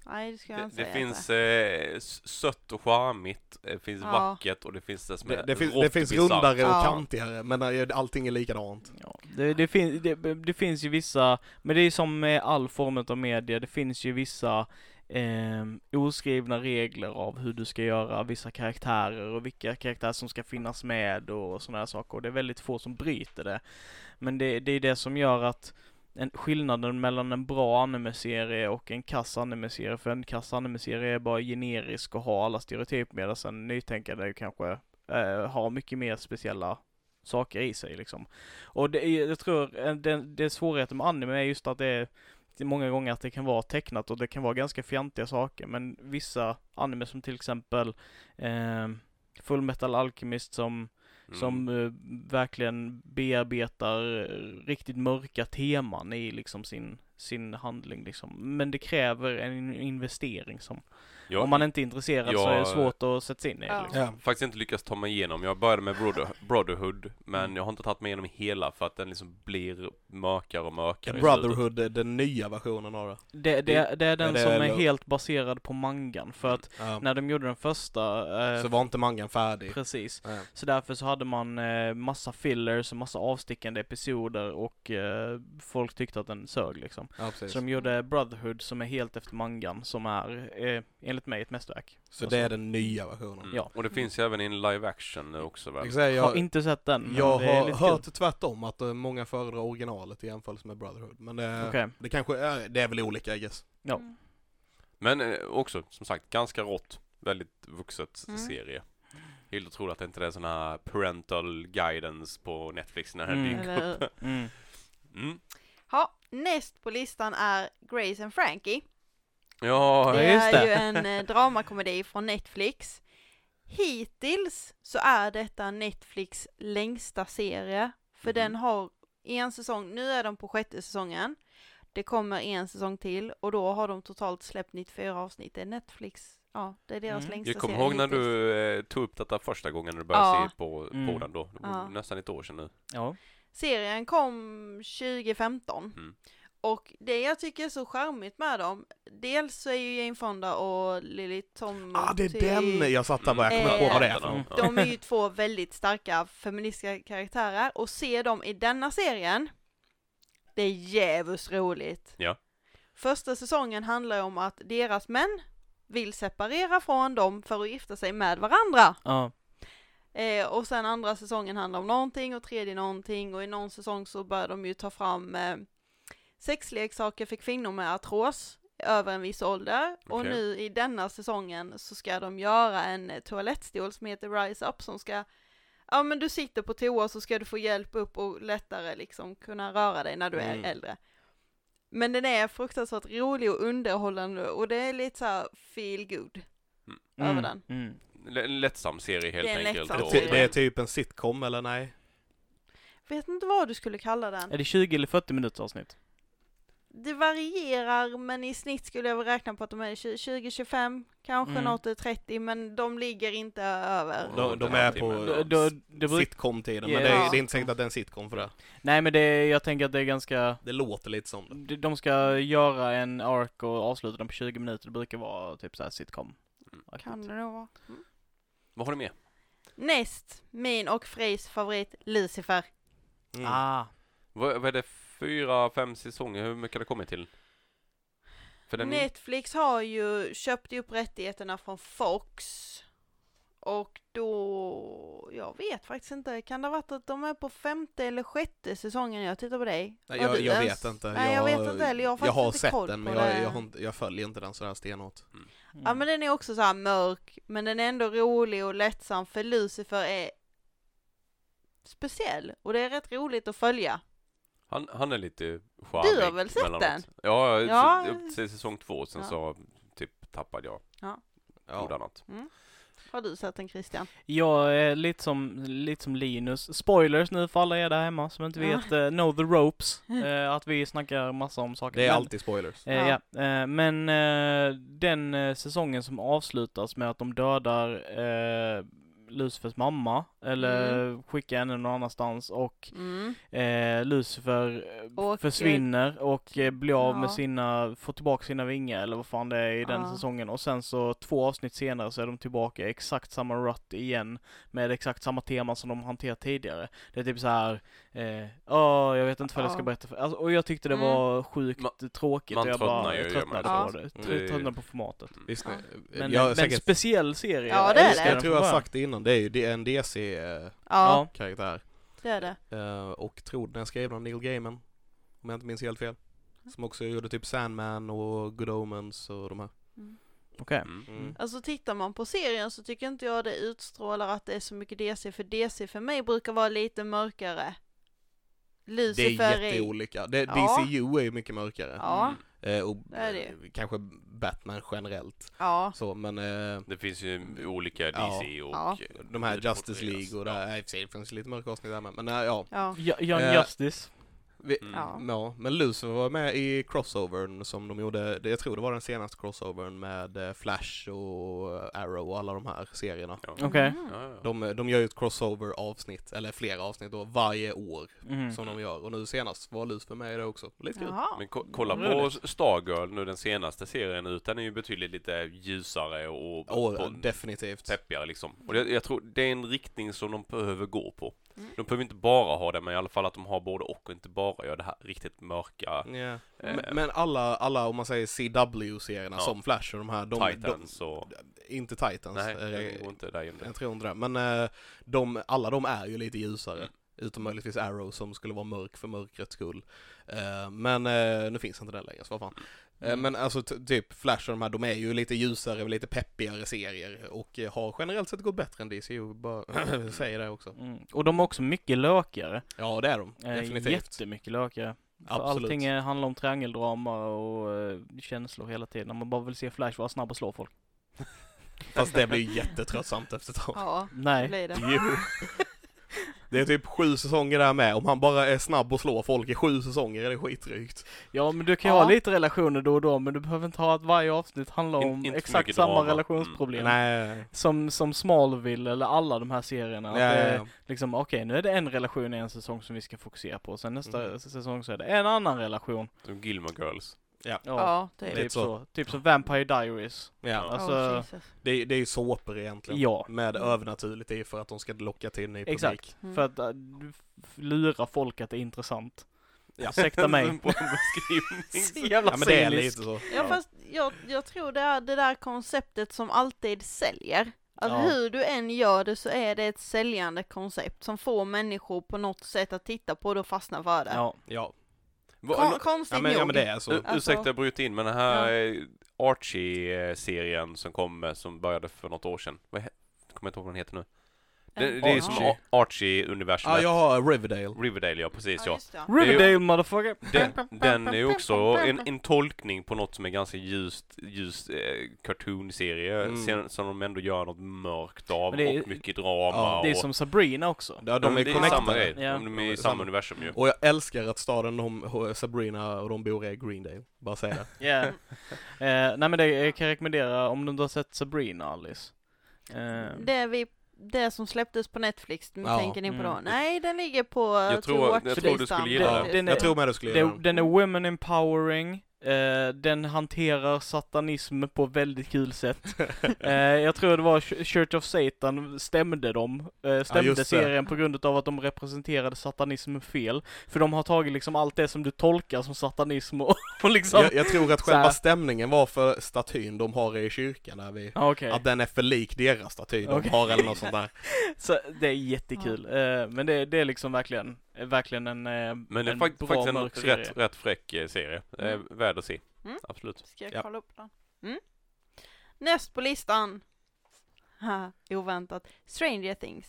Speaker 2: Nej, det ska jag
Speaker 4: Det,
Speaker 2: inte
Speaker 4: det
Speaker 2: säga. att
Speaker 4: finns eh, s- sött och charmigt, det finns
Speaker 2: Ja.
Speaker 4: vackert och det finns det som
Speaker 3: Det,
Speaker 4: är
Speaker 3: det, finns,
Speaker 4: rått
Speaker 3: det finns
Speaker 4: bisarrt.
Speaker 3: rundare
Speaker 2: Ja.
Speaker 3: och kantigare, men eh, allting är likadant.
Speaker 1: Ja, det, det, fin, det, det finns ju vissa, men det är som med all form av media, det finns ju vissa eh, oskrivna regler av hur du ska göra vissa karaktärer och vilka karaktärer som ska finnas med och sådana här saker. Och det är väldigt få som bryter det. Men det, det är det som gör att en, skillnaden mellan en bra anime-serie och en kass anime-serie, för en kass anime-serie är bara generisk och har alla stereotyper medan en nytänkande kanske eh, har mycket mer speciella saker i sig liksom. Och det är, jag tror eh, det, det svårigheten med anime är just att det är det är många gånger att det kan vara tecknat och det kan vara ganska fjantiga saker men vissa anime som till exempel eh, Full Metal Alchemist som,
Speaker 4: Mm.
Speaker 1: som eh, verkligen bearbetar eh, riktigt mörka teman i liksom sin, sin handling liksom. Men det kräver en investering som
Speaker 4: Jag
Speaker 1: om man inte är intresserad så är det
Speaker 4: jag-
Speaker 1: svårt att sätta sig in i det
Speaker 2: Ja.
Speaker 1: liksom.
Speaker 3: Ja.
Speaker 4: har faktiskt inte lyckats ta mig igenom. Jag började med Brother- Brotherhood, men jag har inte tagit mig igenom hela för att den liksom blir mörkare och mörkare. i slutet.
Speaker 3: Brotherhood, den nya versionen av det.
Speaker 1: Det, det, det är den
Speaker 3: det
Speaker 1: som
Speaker 3: är
Speaker 1: är
Speaker 3: lo-
Speaker 1: helt baserad på mangan för att
Speaker 3: Ja.
Speaker 1: när de gjorde den första eh,
Speaker 3: Så var inte mangan färdig.
Speaker 1: Precis.
Speaker 3: Ja.
Speaker 1: Så därför så hade man eh, massa fillers och massa avstickande episoder och eh, folk tyckte att den sög liksom.
Speaker 3: Ja, precis.
Speaker 1: Så de gjorde Brotherhood som är helt efter mangan som är eh, enligt mig ett mästerverk.
Speaker 3: Så det är
Speaker 1: alltså
Speaker 3: den nya versionen.
Speaker 4: Mm.
Speaker 1: Ja.
Speaker 4: Och det finns ju även i en live action nu också väl?
Speaker 3: Jag, säga,
Speaker 1: Jag har
Speaker 3: jag,
Speaker 1: inte sett den men
Speaker 3: jag
Speaker 1: det är
Speaker 3: har
Speaker 1: lite
Speaker 3: hört
Speaker 1: kul.
Speaker 3: tvärtom, att eh, många föredrar originalet i jämförelse med Brotherhood. Men det,
Speaker 1: Okej.
Speaker 3: det kanske är, det är väl olika I guess.
Speaker 1: Ja.
Speaker 2: Mm.
Speaker 4: Men eh, också, som sagt, ganska rått. Väldigt vuxet
Speaker 2: Mm.
Speaker 4: serie. Helt otroligt att det inte är sån här parental guidance på Netflix när den
Speaker 1: Mm.
Speaker 4: dyker
Speaker 2: Eller hur?
Speaker 4: upp.
Speaker 1: Mm.
Speaker 4: Mm.
Speaker 2: Ja, näst på listan är Grace and Frankie.
Speaker 4: Ja,
Speaker 2: Det
Speaker 1: just
Speaker 2: är
Speaker 1: det.
Speaker 2: ju en eh, dramakomedi från Netflix. Hittills så är detta Netflix längsta serie, för
Speaker 4: Mhm.
Speaker 2: den har en säsong, nu är de på sjätte säsongen. Det kommer en säsong till och då har de totalt släppt 94 avsnitt. Det är Netflix, ja det är deras
Speaker 1: Mm.
Speaker 2: längsta
Speaker 4: jag kommer
Speaker 2: serie
Speaker 4: ihåg när
Speaker 2: hittills.
Speaker 4: du eh, tog upp detta första gången när du började
Speaker 2: Ja.
Speaker 4: se på, på
Speaker 1: Mm.
Speaker 4: den då. Det var
Speaker 2: Ja.
Speaker 4: nästan ett år sedan nu.
Speaker 1: Ja.
Speaker 2: Serien kom 2015.
Speaker 4: Mm.
Speaker 2: Och det jag tycker är så charmigt med dem, dels så är ju Jane Fonda och Lily Tomty
Speaker 3: Ah, det är den! Jag satt där bara, jag kommer
Speaker 2: Eh,
Speaker 3: inte på vad det är för
Speaker 4: Mm.
Speaker 3: någon.
Speaker 4: Ja.
Speaker 2: De är ju två väldigt starka feministiska karaktärer och se dem i denna serien, det är jävligt roligt.
Speaker 4: Ja.
Speaker 2: Första säsongen handlar ju om att deras män vill separera från dem för att gifta sig med varandra.
Speaker 1: Ja.
Speaker 2: Eh, och sen andra säsongen handlar om någonting och tredje någonting och i någon säsong så börjar de ju ta fram eh, sexleksaker för kvinnor med artros över en viss ålder och
Speaker 4: Okej.
Speaker 2: nu i denna säsongen så ska de göra en eh, toalettstol som heter Rise Up som ska ja men du sitter på toa så ska du få hjälp upp och lättare liksom kunna röra dig när du är
Speaker 3: Mm.
Speaker 2: äldre. Men den är fruktansvärt rolig och underhållande och det är lite så här feel good över den.
Speaker 1: Mm.
Speaker 4: L- En lättsam serie helt
Speaker 2: Det är en
Speaker 4: enkelt.
Speaker 2: lättsam
Speaker 4: Och-
Speaker 3: Ty-
Speaker 2: serie.
Speaker 3: Det är typ en sitcom eller nej?
Speaker 2: Vet inte vad du skulle kalla den.
Speaker 1: Är det 20 eller 40 minuters avsnitt?
Speaker 2: Det varierar, men i snitt skulle jag väl räkna på att de är 20-25, kanske
Speaker 1: Mm.
Speaker 2: något är 30, men de ligger inte över.
Speaker 4: Ja, typ
Speaker 3: De, de
Speaker 4: den här
Speaker 3: är
Speaker 4: timmen.
Speaker 1: Då,
Speaker 3: på
Speaker 1: då, det bruk-
Speaker 3: sitcom-tiden, men
Speaker 1: Ja.
Speaker 3: det är, det är inte säkert att det är en sitcom för det.
Speaker 1: Nej men det, jag tänker att det är ganska
Speaker 3: Det låter lite som det.
Speaker 1: de- de ska göra en ark och avsluta den på 20 minuter, det brukar vara typ såhär sitcom.
Speaker 4: Mm.
Speaker 2: Kan det nog vara. Mm.
Speaker 4: Vad har du med?
Speaker 2: Näst, min och Frejs favorit, Lucifer.
Speaker 3: Mm.
Speaker 1: Ah,
Speaker 4: Vad, vad är det? Fyra, fem säsonger? Hur mycket har det kommit till? För den är
Speaker 2: Netflix har ju köpt upp rättigheterna från Fox. Och då, jag vet faktiskt inte, kan det ha varit att de är på femte eller sjätte säsongen? Jag tittar på dig.
Speaker 3: Nej,
Speaker 2: Har
Speaker 3: jag,
Speaker 2: du
Speaker 3: jag
Speaker 2: ens-
Speaker 3: vet inte.
Speaker 2: Nej, jag, vet inte heller. Jag har
Speaker 3: jag
Speaker 2: faktiskt
Speaker 3: har
Speaker 2: inte
Speaker 3: sett
Speaker 2: koll
Speaker 3: den,
Speaker 2: på
Speaker 3: men jag,
Speaker 2: det.
Speaker 3: jag, har inte- jag följer inte den sådär stenhårt.
Speaker 1: mm.
Speaker 2: Ja men den är också så här mörk, men den är ändå rolig och lättsam för Lucifer är speciell och det är rätt roligt att följa.
Speaker 4: Han, han är lite charmig.
Speaker 2: Du har väl sett
Speaker 4: emellanåt.
Speaker 2: den?
Speaker 4: Ja, jag
Speaker 2: Ja.
Speaker 4: ja. upp till säsong två, sen
Speaker 2: Ja.
Speaker 4: så typ tappade jag. Gjorde
Speaker 3: Ja.
Speaker 4: annat.
Speaker 2: Har du sett den Christian?
Speaker 1: Jag är lite som, lite som Linus. Spoilers nu för alla er där hemma som inte
Speaker 2: Ja.
Speaker 1: vet, eh, know the ropes. eh, att vi snackar massa om saker.
Speaker 3: Det är
Speaker 1: Men,
Speaker 3: alltid spoilers.
Speaker 1: Eh, ja. eh, men eh, den eh, säsongen som avslutas med att de dödar eh, Lucifers mamma, eller skicka henne någon annanstans och
Speaker 2: Mm.
Speaker 1: eh, Lucifer eh,
Speaker 2: Och,
Speaker 1: försvinner och eh, blir av
Speaker 2: ja.
Speaker 1: med sina, får tillbaka sina vingar eller vad fan det är i den
Speaker 2: Ja.
Speaker 1: säsongen och sen så två avsnitt senare så är de tillbaka i exakt samma rutt igen med exakt samma tema som de hanterat tidigare. Det är typ så här, eh, "Åh, jag vet inte vad jag ska
Speaker 2: Ja.
Speaker 1: berätta för, alltså, och jag tyckte det
Speaker 2: Mm.
Speaker 1: var sjukt tråkigt
Speaker 4: man
Speaker 1: och jag
Speaker 4: tröttnar
Speaker 1: bara
Speaker 4: ju, gör
Speaker 1: jag
Speaker 4: man
Speaker 1: tröttnade
Speaker 2: så.
Speaker 1: på det,
Speaker 4: Ja.
Speaker 1: Tr-
Speaker 4: Det-
Speaker 1: tröttnade på formatet.
Speaker 3: Visst,
Speaker 2: Ja.
Speaker 3: men,
Speaker 1: Men,
Speaker 3: jag har
Speaker 1: men
Speaker 3: säkert,
Speaker 1: speciell serie,
Speaker 2: Ja,
Speaker 1: jag
Speaker 2: det är
Speaker 1: älskar
Speaker 2: det.
Speaker 1: den
Speaker 3: jag tror jag
Speaker 1: från
Speaker 3: har
Speaker 1: början.
Speaker 3: sagt det innan, det är ju det är en DC-karaktär.
Speaker 2: Ja, det är det.
Speaker 3: eh, och tror den är skriven av Neil Gaiman, om jag inte minns helt
Speaker 2: Mm.
Speaker 3: fel. Som också gjorde typ Sandman och Good Omens och de här.
Speaker 1: Okej.
Speaker 4: Mm.
Speaker 3: Mm.
Speaker 2: Alltså tittar man på serien så tycker inte jag det utstrålar att det är så mycket DC, för DC för mig brukar vara lite mörkare.
Speaker 3: Det
Speaker 2: Lucifer
Speaker 3: är jätteolika. Det,
Speaker 2: Ja.
Speaker 3: DCU är ju mycket mörkare.
Speaker 4: Mm.
Speaker 2: Ja,
Speaker 3: Eh, och
Speaker 2: Det är det.
Speaker 3: eh, kanske Batman generellt.
Speaker 2: ja.
Speaker 3: Så, men eh,
Speaker 4: Det finns ju olika
Speaker 3: Ja.
Speaker 4: DC och...
Speaker 2: Ja.
Speaker 3: de här Justice League och det här, i och för sig, det finns lite mörka avsnitt där med, men eh, ja.
Speaker 2: Ja,
Speaker 1: Ja, Young
Speaker 3: Eh,
Speaker 1: Justice.
Speaker 3: Vi,
Speaker 4: Mm.
Speaker 2: ja.
Speaker 3: Ja, men Lucifer var med i crossovern som de gjorde, det- jag tror det var den senaste crossovern med eh, Flash och Arrow och alla de här serierna.
Speaker 4: Ja.
Speaker 1: Okej.
Speaker 2: Mhm.
Speaker 4: Ja, ja.
Speaker 3: De, de gör ju ett crossover-avsnitt, eller flera avsnitt då, varje år
Speaker 1: Mm.
Speaker 3: som de gör. Och nu senast var Lucifer med i det också. Lite kul.
Speaker 2: Jaha.
Speaker 4: Men ko- kolla på Stargirl nu, den senaste serien ut, den är ju betydligt lite ljusare och,
Speaker 3: Åh,
Speaker 4: och
Speaker 3: definitivt.
Speaker 4: peppigare liksom. Och jag, jag tror det är en riktning som de behöver gå på.
Speaker 2: Mm.
Speaker 4: De behöver inte bara ha det, men i alla fall att de har både och och inte bara gör det här riktigt mörka
Speaker 3: Ja.
Speaker 4: Eh.
Speaker 3: Men, men alla, alla, om man säger CW-serierna
Speaker 4: Ja.
Speaker 3: som Flash och de här, de, de,
Speaker 4: Titans och...
Speaker 3: inte Titans.
Speaker 4: Nej,
Speaker 3: eh,
Speaker 4: det går inte där igen.
Speaker 3: Jag tror inte det. Men eh, de, alla de är ju lite ljusare.
Speaker 4: Mm.
Speaker 3: Utom möjligtvis Arrow som skulle vara mörk för mörkrets skull. Eh, men eh, nu finns inte den längre, så vad fan. Eh,
Speaker 1: Mm.
Speaker 3: Men alltså t- typ Flash och de här, de är ju lite ljusare och lite peppigare serier och eh, har generellt sett gått bättre än DCU, bara säger det också.
Speaker 1: Mm. Och de är också mycket lökigare.
Speaker 3: Ja, det är de.
Speaker 1: Eh,
Speaker 3: Definitivt.
Speaker 1: Jättemycket lökigare. För
Speaker 3: Absolut.
Speaker 1: allting eh, handlar om triangeldrama och eh, känslor hela tiden. Man bara vill se Flash vara snabb och slå folk.
Speaker 3: Fast det blir ju jättetröttsamt efter ett tag.
Speaker 2: Ja, det
Speaker 1: Nej.
Speaker 2: blir det.
Speaker 3: Jo. Det är typ sju säsonger där med, om han bara är snabb och slår folk i sju säsonger är det skitdrygt.
Speaker 1: Ja men du kan ju
Speaker 2: Ja.
Speaker 1: ha lite relationer då och då men du behöver inte ha att varje avsnitt handlar
Speaker 4: In-
Speaker 1: om
Speaker 4: inte för
Speaker 1: exakt
Speaker 4: mycket
Speaker 1: samma
Speaker 4: drama.
Speaker 1: relationsproblem.
Speaker 3: Mm. Nej.
Speaker 1: Som, som Smallville eller alla de här serierna. Att
Speaker 3: Ja,
Speaker 1: det
Speaker 3: ja,
Speaker 1: är
Speaker 3: ja.
Speaker 1: Liksom okej nu är det en relation i en säsong som vi ska fokusera på. Sen nästa
Speaker 3: Mm.
Speaker 1: säsong så är det en annan relation.
Speaker 4: Som Gilmore Girls.
Speaker 2: Ja,
Speaker 1: Typ,
Speaker 2: typ.
Speaker 3: Lite
Speaker 1: så.
Speaker 3: så.
Speaker 1: Typ som Vampire Diaries.
Speaker 3: Ja.
Speaker 1: Alltså,
Speaker 2: Åh, Jesus.
Speaker 3: Det, är- det är ju såpor egentligen.
Speaker 1: ja.
Speaker 3: Med övernaturligt är ju för att de ska locka till ny publik.
Speaker 1: Exakt.
Speaker 2: Mm.
Speaker 1: För att äh, du f- lura folk att det är intressant.
Speaker 3: Ja.
Speaker 1: Ursäkta mig.
Speaker 4: På en beskrivning.
Speaker 1: Så jävla
Speaker 3: Ja men det är
Speaker 1: cynisk.
Speaker 3: lite så.
Speaker 2: Ja fast jag, jag tror det är det där konceptet som alltid säljer. Att
Speaker 1: Ja.
Speaker 2: hur du än gör det så är det ett säljande koncept som får människor på något sätt att titta på det och fastna för det.
Speaker 1: Ja.
Speaker 3: Ja.
Speaker 4: Va-
Speaker 2: Kon- konstigt
Speaker 3: Ja men,
Speaker 2: nog.
Speaker 3: ja men det är så.
Speaker 4: U- Ursäkta jag bryter in, men den här
Speaker 2: Ja.
Speaker 4: eh, Archie-serien som kom, eh, som började för något år sedan. Vad he- kommer jag inte ihåg vad den heter nu. Det, det är som
Speaker 1: Archie.
Speaker 4: Ar- Archie-universumet.
Speaker 3: Ja jag har Riverdale.
Speaker 4: Riverdale, ja precis ja.
Speaker 2: just det.
Speaker 1: Riverdale motherfucker!
Speaker 4: Den, den är ju också en, en tolkning på något som är ganska ljust, ljust eh, cartoon-serie
Speaker 3: Mm.
Speaker 4: sen, som de ändå gör något mörkt av
Speaker 1: Men det är-
Speaker 4: och mycket drama
Speaker 3: Ja,
Speaker 4: och...
Speaker 1: Det är som Sabrina också.
Speaker 3: Ja
Speaker 4: de,
Speaker 3: de är
Speaker 4: Mm, det är samma
Speaker 3: connectade.
Speaker 4: grej,
Speaker 1: Ja.
Speaker 4: de
Speaker 3: De
Speaker 4: är
Speaker 3: är
Speaker 4: i samma
Speaker 3: samma.
Speaker 4: universum ju.
Speaker 3: Och jag älskar att staden de, Sabrina och de bor i är Greendale. Bara säga det.
Speaker 1: Yeah. eh, nej men det jag kan rekommendera om du inte har sett Sabrina Alice. Eh,
Speaker 2: Det, vi, det som släpptes på Netflix, nu
Speaker 3: Ja.
Speaker 2: tänker ni på då?
Speaker 1: Mm.
Speaker 2: Nej, den ligger på eh,
Speaker 4: Jag tror-
Speaker 2: to
Speaker 4: jag
Speaker 2: watch-listan
Speaker 4: tror du skulle gilla
Speaker 1: den.
Speaker 2: faktiskt.
Speaker 1: Den är-
Speaker 3: Jag tror med du skulle göra
Speaker 1: det,
Speaker 3: det.
Speaker 1: den är women empowering. Eh, den hanterar satanism på väldigt kul sätt. Eh, jag tror det var Ch- Church of Satan stämde dem. Eh, stämde
Speaker 3: just det.
Speaker 1: serien på grund av att de representerade satanism fel. För de har tagit liksom allt det som du tolkar som satanism och, och liksom...
Speaker 3: Jag, jag tror att
Speaker 1: Så här.
Speaker 3: själva stämningen var för statyn de har i kyrkan där vi
Speaker 1: Ja, Okej.
Speaker 3: Att den är för lik deras staty de
Speaker 1: Okej.
Speaker 3: har eller något sånt där.
Speaker 1: Så det är jättekul. Eh, men det, det är liksom verkligen, eh, verkligen en, eh,
Speaker 4: Men det är
Speaker 1: en
Speaker 4: fakt-
Speaker 1: bra
Speaker 4: faktiskt en
Speaker 1: mörk serie.
Speaker 4: rätt, rätt fräck eh, serie. Eh,
Speaker 2: Mm.
Speaker 4: värd att se.
Speaker 2: Mm.
Speaker 4: Absolut.
Speaker 2: Ska jag
Speaker 3: Ja.
Speaker 2: kolla upp den? Mm. Näst på listan. Ha, oväntat. Stranger Things.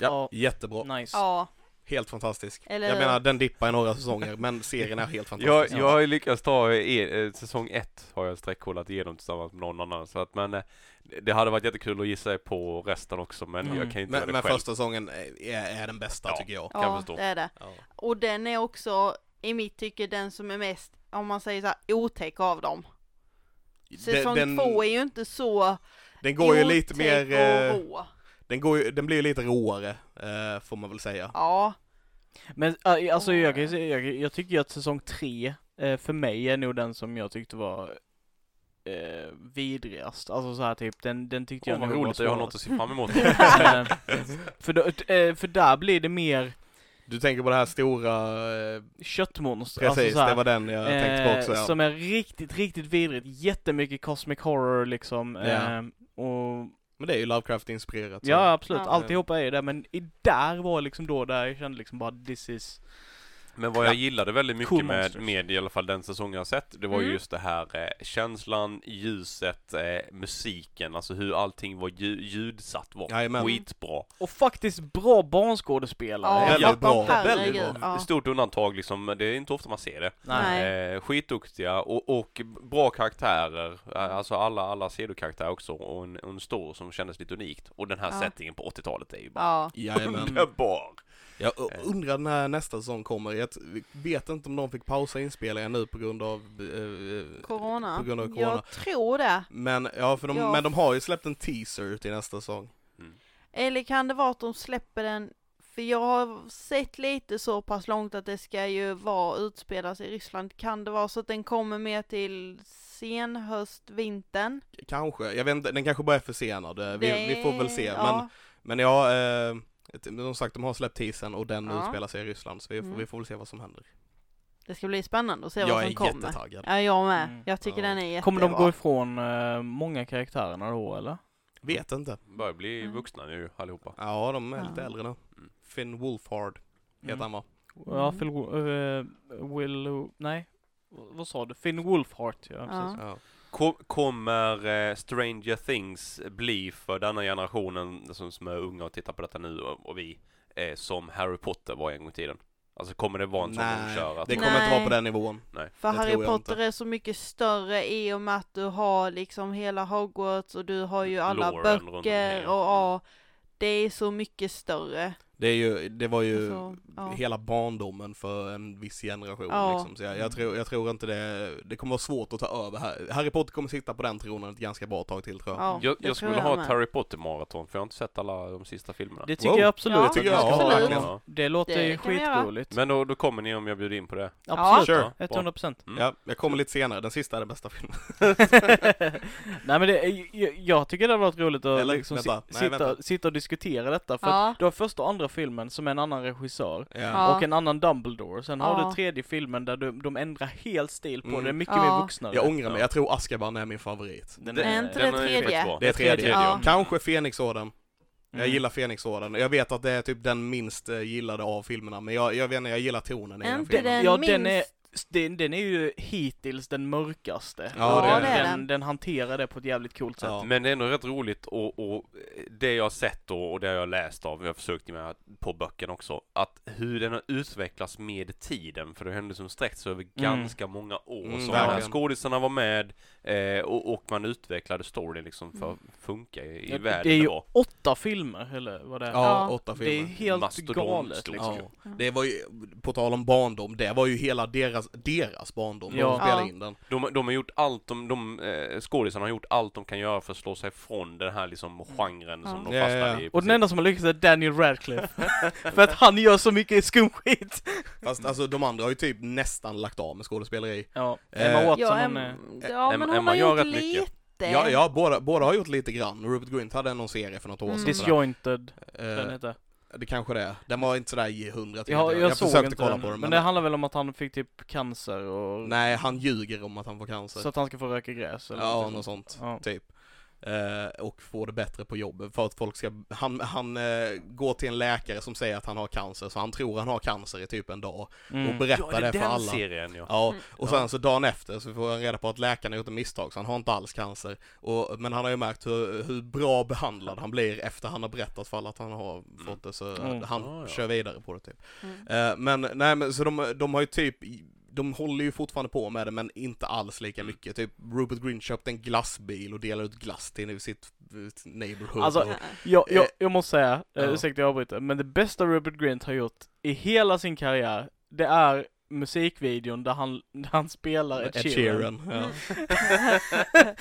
Speaker 3: Ja, jättebra.
Speaker 1: Nice.
Speaker 2: Ja,
Speaker 3: Helt fantastisk.
Speaker 2: Eller
Speaker 3: Jag
Speaker 2: hur?
Speaker 3: menar, den dippar i några säsonger, men serien är helt
Speaker 4: Jag,
Speaker 3: fantastisk.
Speaker 4: jag har ju lyckats ta eh, eh, säsong ett har jag streckkollat igenom tillsammans med någon annan så att men eh, det hade varit jättekul att gissa på resten också men
Speaker 1: Mm.
Speaker 4: jag kan ju inte
Speaker 3: Men,
Speaker 4: göra
Speaker 3: men
Speaker 4: det själv.
Speaker 3: första säsongen är, är den bästa
Speaker 4: Ja.
Speaker 3: tycker jag.
Speaker 4: Kan
Speaker 2: ja
Speaker 4: förstå.
Speaker 2: det är det.
Speaker 3: Ja.
Speaker 2: Och den är också i mitt tycke den som är mest, om man säger så här, otäck av dem. Säsong
Speaker 3: Den, den,
Speaker 2: två är ju inte så
Speaker 3: den går ju
Speaker 2: otäck
Speaker 3: lite mer,
Speaker 2: och
Speaker 3: eh,
Speaker 2: rå.
Speaker 3: Den, går ju, den blir ju lite råare, eh, får man väl säga.
Speaker 2: Ja,
Speaker 1: Men äh, alltså
Speaker 2: Åh.
Speaker 1: jag, kan ju säga- jag, jag tycker ju att säsong tre eh, för mig är nog den som jag tyckte var eh, vidrigast. Alltså så här typ, den, den tyckte
Speaker 4: Åh
Speaker 1: jag
Speaker 4: vad
Speaker 1: nog var
Speaker 4: roligt, jag har något
Speaker 1: svårast.
Speaker 4: att se fram emot.
Speaker 1: Eh, för, då, eh, för där blir det mer
Speaker 3: Du tänker på det här stora, eh,
Speaker 1: köttmonster.
Speaker 3: precis,
Speaker 1: alltså så här,
Speaker 3: det var den jag tänkte på också.
Speaker 1: eh,
Speaker 3: Ja.
Speaker 1: Som är riktigt, riktigt vidrigt. Jättemycket cosmic horror liksom.
Speaker 3: Ja.
Speaker 1: Eh, och
Speaker 3: Men det är ju Lovecraft-inspirerat. så-
Speaker 1: ja, absolut.
Speaker 2: Ja.
Speaker 1: Alltihopa är ju det. Men i där var liksom då där jag kände liksom bara this is...
Speaker 4: Men vad jag gillade väldigt mycket
Speaker 1: Cool
Speaker 4: med,
Speaker 1: Monsters.
Speaker 4: med i alla fall den säsong jag har sett, det var ju
Speaker 2: Mm.
Speaker 4: just det här eh, känslan, ljuset, eh, musiken, alltså hur allting var ljud, ljudsatt var
Speaker 3: Jajamän.
Speaker 4: skitbra.
Speaker 1: Och faktiskt bra barnskådespelare.
Speaker 2: ja,
Speaker 3: väldigt
Speaker 2: Japan,
Speaker 3: bra,
Speaker 2: herregud,
Speaker 3: väldigt bra.
Speaker 2: Ja.
Speaker 4: Stort undantag liksom, det är inte ofta man ser det.
Speaker 2: Nej.
Speaker 4: Eh, skitduktiga och, och bra karaktärer, Eh, alltså alla, alla sidokaraktärer också och en, och en stor som kändes lite unikt. Och den här
Speaker 2: Ja.
Speaker 4: settingen på 80-talet är ju bara
Speaker 2: Ja.
Speaker 4: Mm.
Speaker 3: Jajamän.
Speaker 4: underbar!
Speaker 3: Jag undrar när nästa säsong kommer. Jag vet inte om de fick pausa inspelningen nu på grund av... eh,
Speaker 2: Corona.
Speaker 3: På grund av corona.
Speaker 2: Jag tror det.
Speaker 3: Men, ja, för de,
Speaker 2: Ja.
Speaker 3: men de har ju släppt en teaser till nästa säsong.
Speaker 4: Mm.
Speaker 2: Eller kan det vara att de släpper den, för jag har sett lite så pass långt att det ska ju vara utspelas i Ryssland. Kan det vara så att den kommer med till sen höst, vintern?
Speaker 3: K- Kanske, jag vet inte, den kanske bara är försenad. Eh, Vi,
Speaker 2: Det-
Speaker 3: vi får väl se. Men,
Speaker 2: Ja,
Speaker 3: men ja, eh, ett- som sagt de har släppt teasern och den
Speaker 2: Ja.
Speaker 3: utspelar sig i Ryssland. Så vi, får
Speaker 2: Mm.
Speaker 3: vi får väl se vad som händer.
Speaker 2: det ska bli spännande att se vad
Speaker 3: jag är
Speaker 2: som kommer.
Speaker 3: jättetaggad.
Speaker 2: Ja, jag med.
Speaker 1: Mm.
Speaker 2: Jag tycker
Speaker 3: Ja.
Speaker 2: den är jättebra.
Speaker 1: Kommer de gå ifrån eh, många karaktärerna då eller?
Speaker 3: Vet inte.
Speaker 4: Börjar bli
Speaker 2: Mm.
Speaker 4: vuxna nu allihopa.
Speaker 3: Ja, de är lite
Speaker 2: Ja.
Speaker 3: äldre nu.
Speaker 4: Mm.
Speaker 3: Finn Wolfhard heter han va?
Speaker 1: Mm. Ja, Phil, eh, Will, nej. V- Vad sa du? Finn Wolfhart, ja,
Speaker 2: Ja.
Speaker 1: precis.
Speaker 3: Ja.
Speaker 4: Kom, kommer eh, Stranger Things bli för denna generationen som, som är unga och tittar på detta nu och, och vi eh, som Harry Potter var en gång i tiden? Alltså kommer det vara en sån
Speaker 3: Nej,
Speaker 4: kör att
Speaker 3: det
Speaker 4: man-
Speaker 3: kommer inte vara på
Speaker 2: Nej.
Speaker 3: den nivån.
Speaker 2: För
Speaker 3: Det tror
Speaker 2: Harry
Speaker 3: jag
Speaker 2: Potter är så mycket större i och med att du har liksom hela Hogwarts och du har ju alla
Speaker 4: Loren runt
Speaker 2: böcker
Speaker 4: omkring.
Speaker 2: och ja, det är så mycket större.
Speaker 3: Det, är ju, det var ju
Speaker 2: Alltså, ja.
Speaker 3: hela barndomen för en viss generation
Speaker 2: Ja.
Speaker 3: liksom. Så jag, jag, tror, jag tror inte det, det kommer vara svårt att ta över här. Harry Potter kommer sitta på den tronen ett ganska bra tag till tror jag.
Speaker 2: Ja,
Speaker 4: Jag,
Speaker 2: det
Speaker 4: jag
Speaker 2: tror
Speaker 4: skulle ha
Speaker 2: med.
Speaker 4: ett Harry Potter-maraton för jag har inte sett alla de sista filmerna.
Speaker 1: Det tycker
Speaker 3: Wow.
Speaker 1: jag absolut
Speaker 2: Ja,
Speaker 1: att
Speaker 3: tycker
Speaker 1: man
Speaker 3: jag.
Speaker 1: ska ha.
Speaker 2: Absolut.
Speaker 1: Liksom. Det låter
Speaker 2: Det
Speaker 1: ju
Speaker 2: kan vi göra.
Speaker 1: skitroligt.
Speaker 4: Men då, då kommer ni om jag bjuder in på det.
Speaker 1: Absolut.
Speaker 3: Sure.
Speaker 4: Ja, bra.
Speaker 1: 100 procent.
Speaker 4: Mm.
Speaker 3: Ja, jag kommer lite senare, den sista är den bästa filmen.
Speaker 1: Nej men det, är- jag, jag tycker det hade varit roligt att
Speaker 3: Eller,
Speaker 1: liksom si,
Speaker 3: vänta. Nej,
Speaker 1: sitta,
Speaker 3: vänta.
Speaker 1: sitta och diskutera detta för
Speaker 2: Ja.
Speaker 1: att du har första och andra filmen som är en annan regissör
Speaker 2: Ja.
Speaker 1: och en annan Dumbledore. Sen
Speaker 2: Ja.
Speaker 1: har du tredje filmen där du, de ändrar helt stil på
Speaker 3: Mm.
Speaker 1: det, mycket
Speaker 2: Ja.
Speaker 1: mer vuxnare.
Speaker 3: Jag ångrar mig, jag tror Azkaban är min favorit.
Speaker 1: Den
Speaker 2: Är inte det
Speaker 4: Den är ju
Speaker 2: tredje?
Speaker 4: skitbra.
Speaker 3: Det är tredje.
Speaker 2: Ja.
Speaker 3: Kanske Fenixorden. Jag
Speaker 1: Mm.
Speaker 3: gillar Fenixorden. Jag vet att det är typ den minst eh, gillade av filmerna, men jag, jag vet inte, jag gillar tonen i
Speaker 2: Är
Speaker 3: den
Speaker 2: inte
Speaker 3: filmen.
Speaker 2: den
Speaker 1: Ja,
Speaker 2: minst?
Speaker 1: den är- Den, den är ju hittills den mörkaste.
Speaker 3: Ja,
Speaker 1: Och
Speaker 3: det är
Speaker 1: den,
Speaker 3: den.
Speaker 1: den. Den hanterar det på ett jävligt coolt sätt.
Speaker 3: Ja.
Speaker 4: Men det är ändå rätt roligt och, och det jag har sett och, och det jag har läst av, jag har försökt med på böckerna också, att hur den har utvecklats med tiden, för det har ändå liksom sträckt sig över ganska många år.
Speaker 3: Mm,
Speaker 4: så de här
Speaker 3: verkligen.
Speaker 4: skådisarna var med eh, och, och man utvecklade storyn liksom för att funka i, i
Speaker 1: Ja,
Speaker 4: världen.
Speaker 1: det är ju
Speaker 4: var.
Speaker 1: Åtta filmer, eller vad det är.
Speaker 3: Ja,
Speaker 2: Ja.
Speaker 3: åtta
Speaker 1: det är
Speaker 3: filmer.
Speaker 1: helt
Speaker 4: Mastodont
Speaker 1: galet
Speaker 4: stort.
Speaker 1: liksom.
Speaker 3: Ja. Det var ju, på tal om barndom, det var ju hela deras, deras barndom när
Speaker 1: Ja.
Speaker 3: de spelade
Speaker 2: Ja.
Speaker 3: in den.
Speaker 4: De, de har gjort allt de, de eh, skådisarna har gjort allt de kan göra för att slå sig från den här liksom genren som de
Speaker 3: Ja, ja, ja.
Speaker 4: fastnade i.
Speaker 1: Och den
Speaker 4: precis.
Speaker 1: enda som har lyckats är Daniel Radcliffe. För att han gör så mycket skumskit.
Speaker 3: Fast alltså de andra har ju typ nästan lagt av med skådespeleri.
Speaker 1: Ja,
Speaker 3: Eh,
Speaker 1: Emma Watson
Speaker 2: Ja,
Speaker 1: hon
Speaker 2: Em-
Speaker 1: är...
Speaker 2: ja
Speaker 4: Em-
Speaker 2: men hon
Speaker 4: Emma
Speaker 2: har
Speaker 4: gör
Speaker 2: gjort
Speaker 4: rätt mycket.
Speaker 2: lite.
Speaker 3: Ja, ja båda, båda har gjort lite grann. Rupert Grint hade någon serie för något år
Speaker 2: Mm.
Speaker 3: sedan. sådär.
Speaker 1: Disjointed, den
Speaker 3: Eh,
Speaker 1: heter.
Speaker 3: det kanske det är. Den var inte sådär i hundra till.
Speaker 1: Ja, jag, såg
Speaker 3: försökte
Speaker 1: inte
Speaker 3: kolla
Speaker 1: den.
Speaker 3: på den
Speaker 1: men det handlar väl om att han fick typ cancer och...
Speaker 3: Nej, han ljuger om att han får cancer.
Speaker 1: Så att han ska få röka gräs eller
Speaker 3: ja,
Speaker 1: någonting
Speaker 3: något
Speaker 1: sånt.
Speaker 3: sånt.
Speaker 1: Ja.
Speaker 3: Typ. Eh, och får det bättre på jobbet för att folk ska, han, han eh, går till en läkare som säger att han har cancer så han tror han har cancer i typ en dag och
Speaker 1: Mm.
Speaker 3: berättar det,
Speaker 4: ja, det är
Speaker 3: för
Speaker 4: den
Speaker 3: alla.
Speaker 4: serien ja.
Speaker 3: Ja,
Speaker 2: Mm.
Speaker 3: och sen så dagen efter så får han reda på att läkaren har gjort ett misstag så han har inte alls cancer. Och, men han har ju märkt hur, hur bra behandlad han blir efter han har berättat för alla att han har fått det så
Speaker 1: Mm.
Speaker 3: han
Speaker 4: Ja, ja.
Speaker 3: kör vidare på det typ.
Speaker 2: Mm.
Speaker 3: Eh, men nej men så de, de har ju typ de håller ju fortfarande på med det men inte alls lika
Speaker 4: Mm.
Speaker 3: mycket. Typ Rupert Grint köpte en glassbil och delade ut glass till sitt eh, neighborhood.
Speaker 1: Alltså,
Speaker 3: och,
Speaker 1: Jag, jag,
Speaker 3: Eh,
Speaker 1: jag måste säga,
Speaker 3: ja.
Speaker 1: ja. ursäkta jag avbryter, men det bästa Rupert Grint har gjort i hela sin karriär, det är musikvideon där han, där han spelar Ed Sheeran.
Speaker 3: Ja.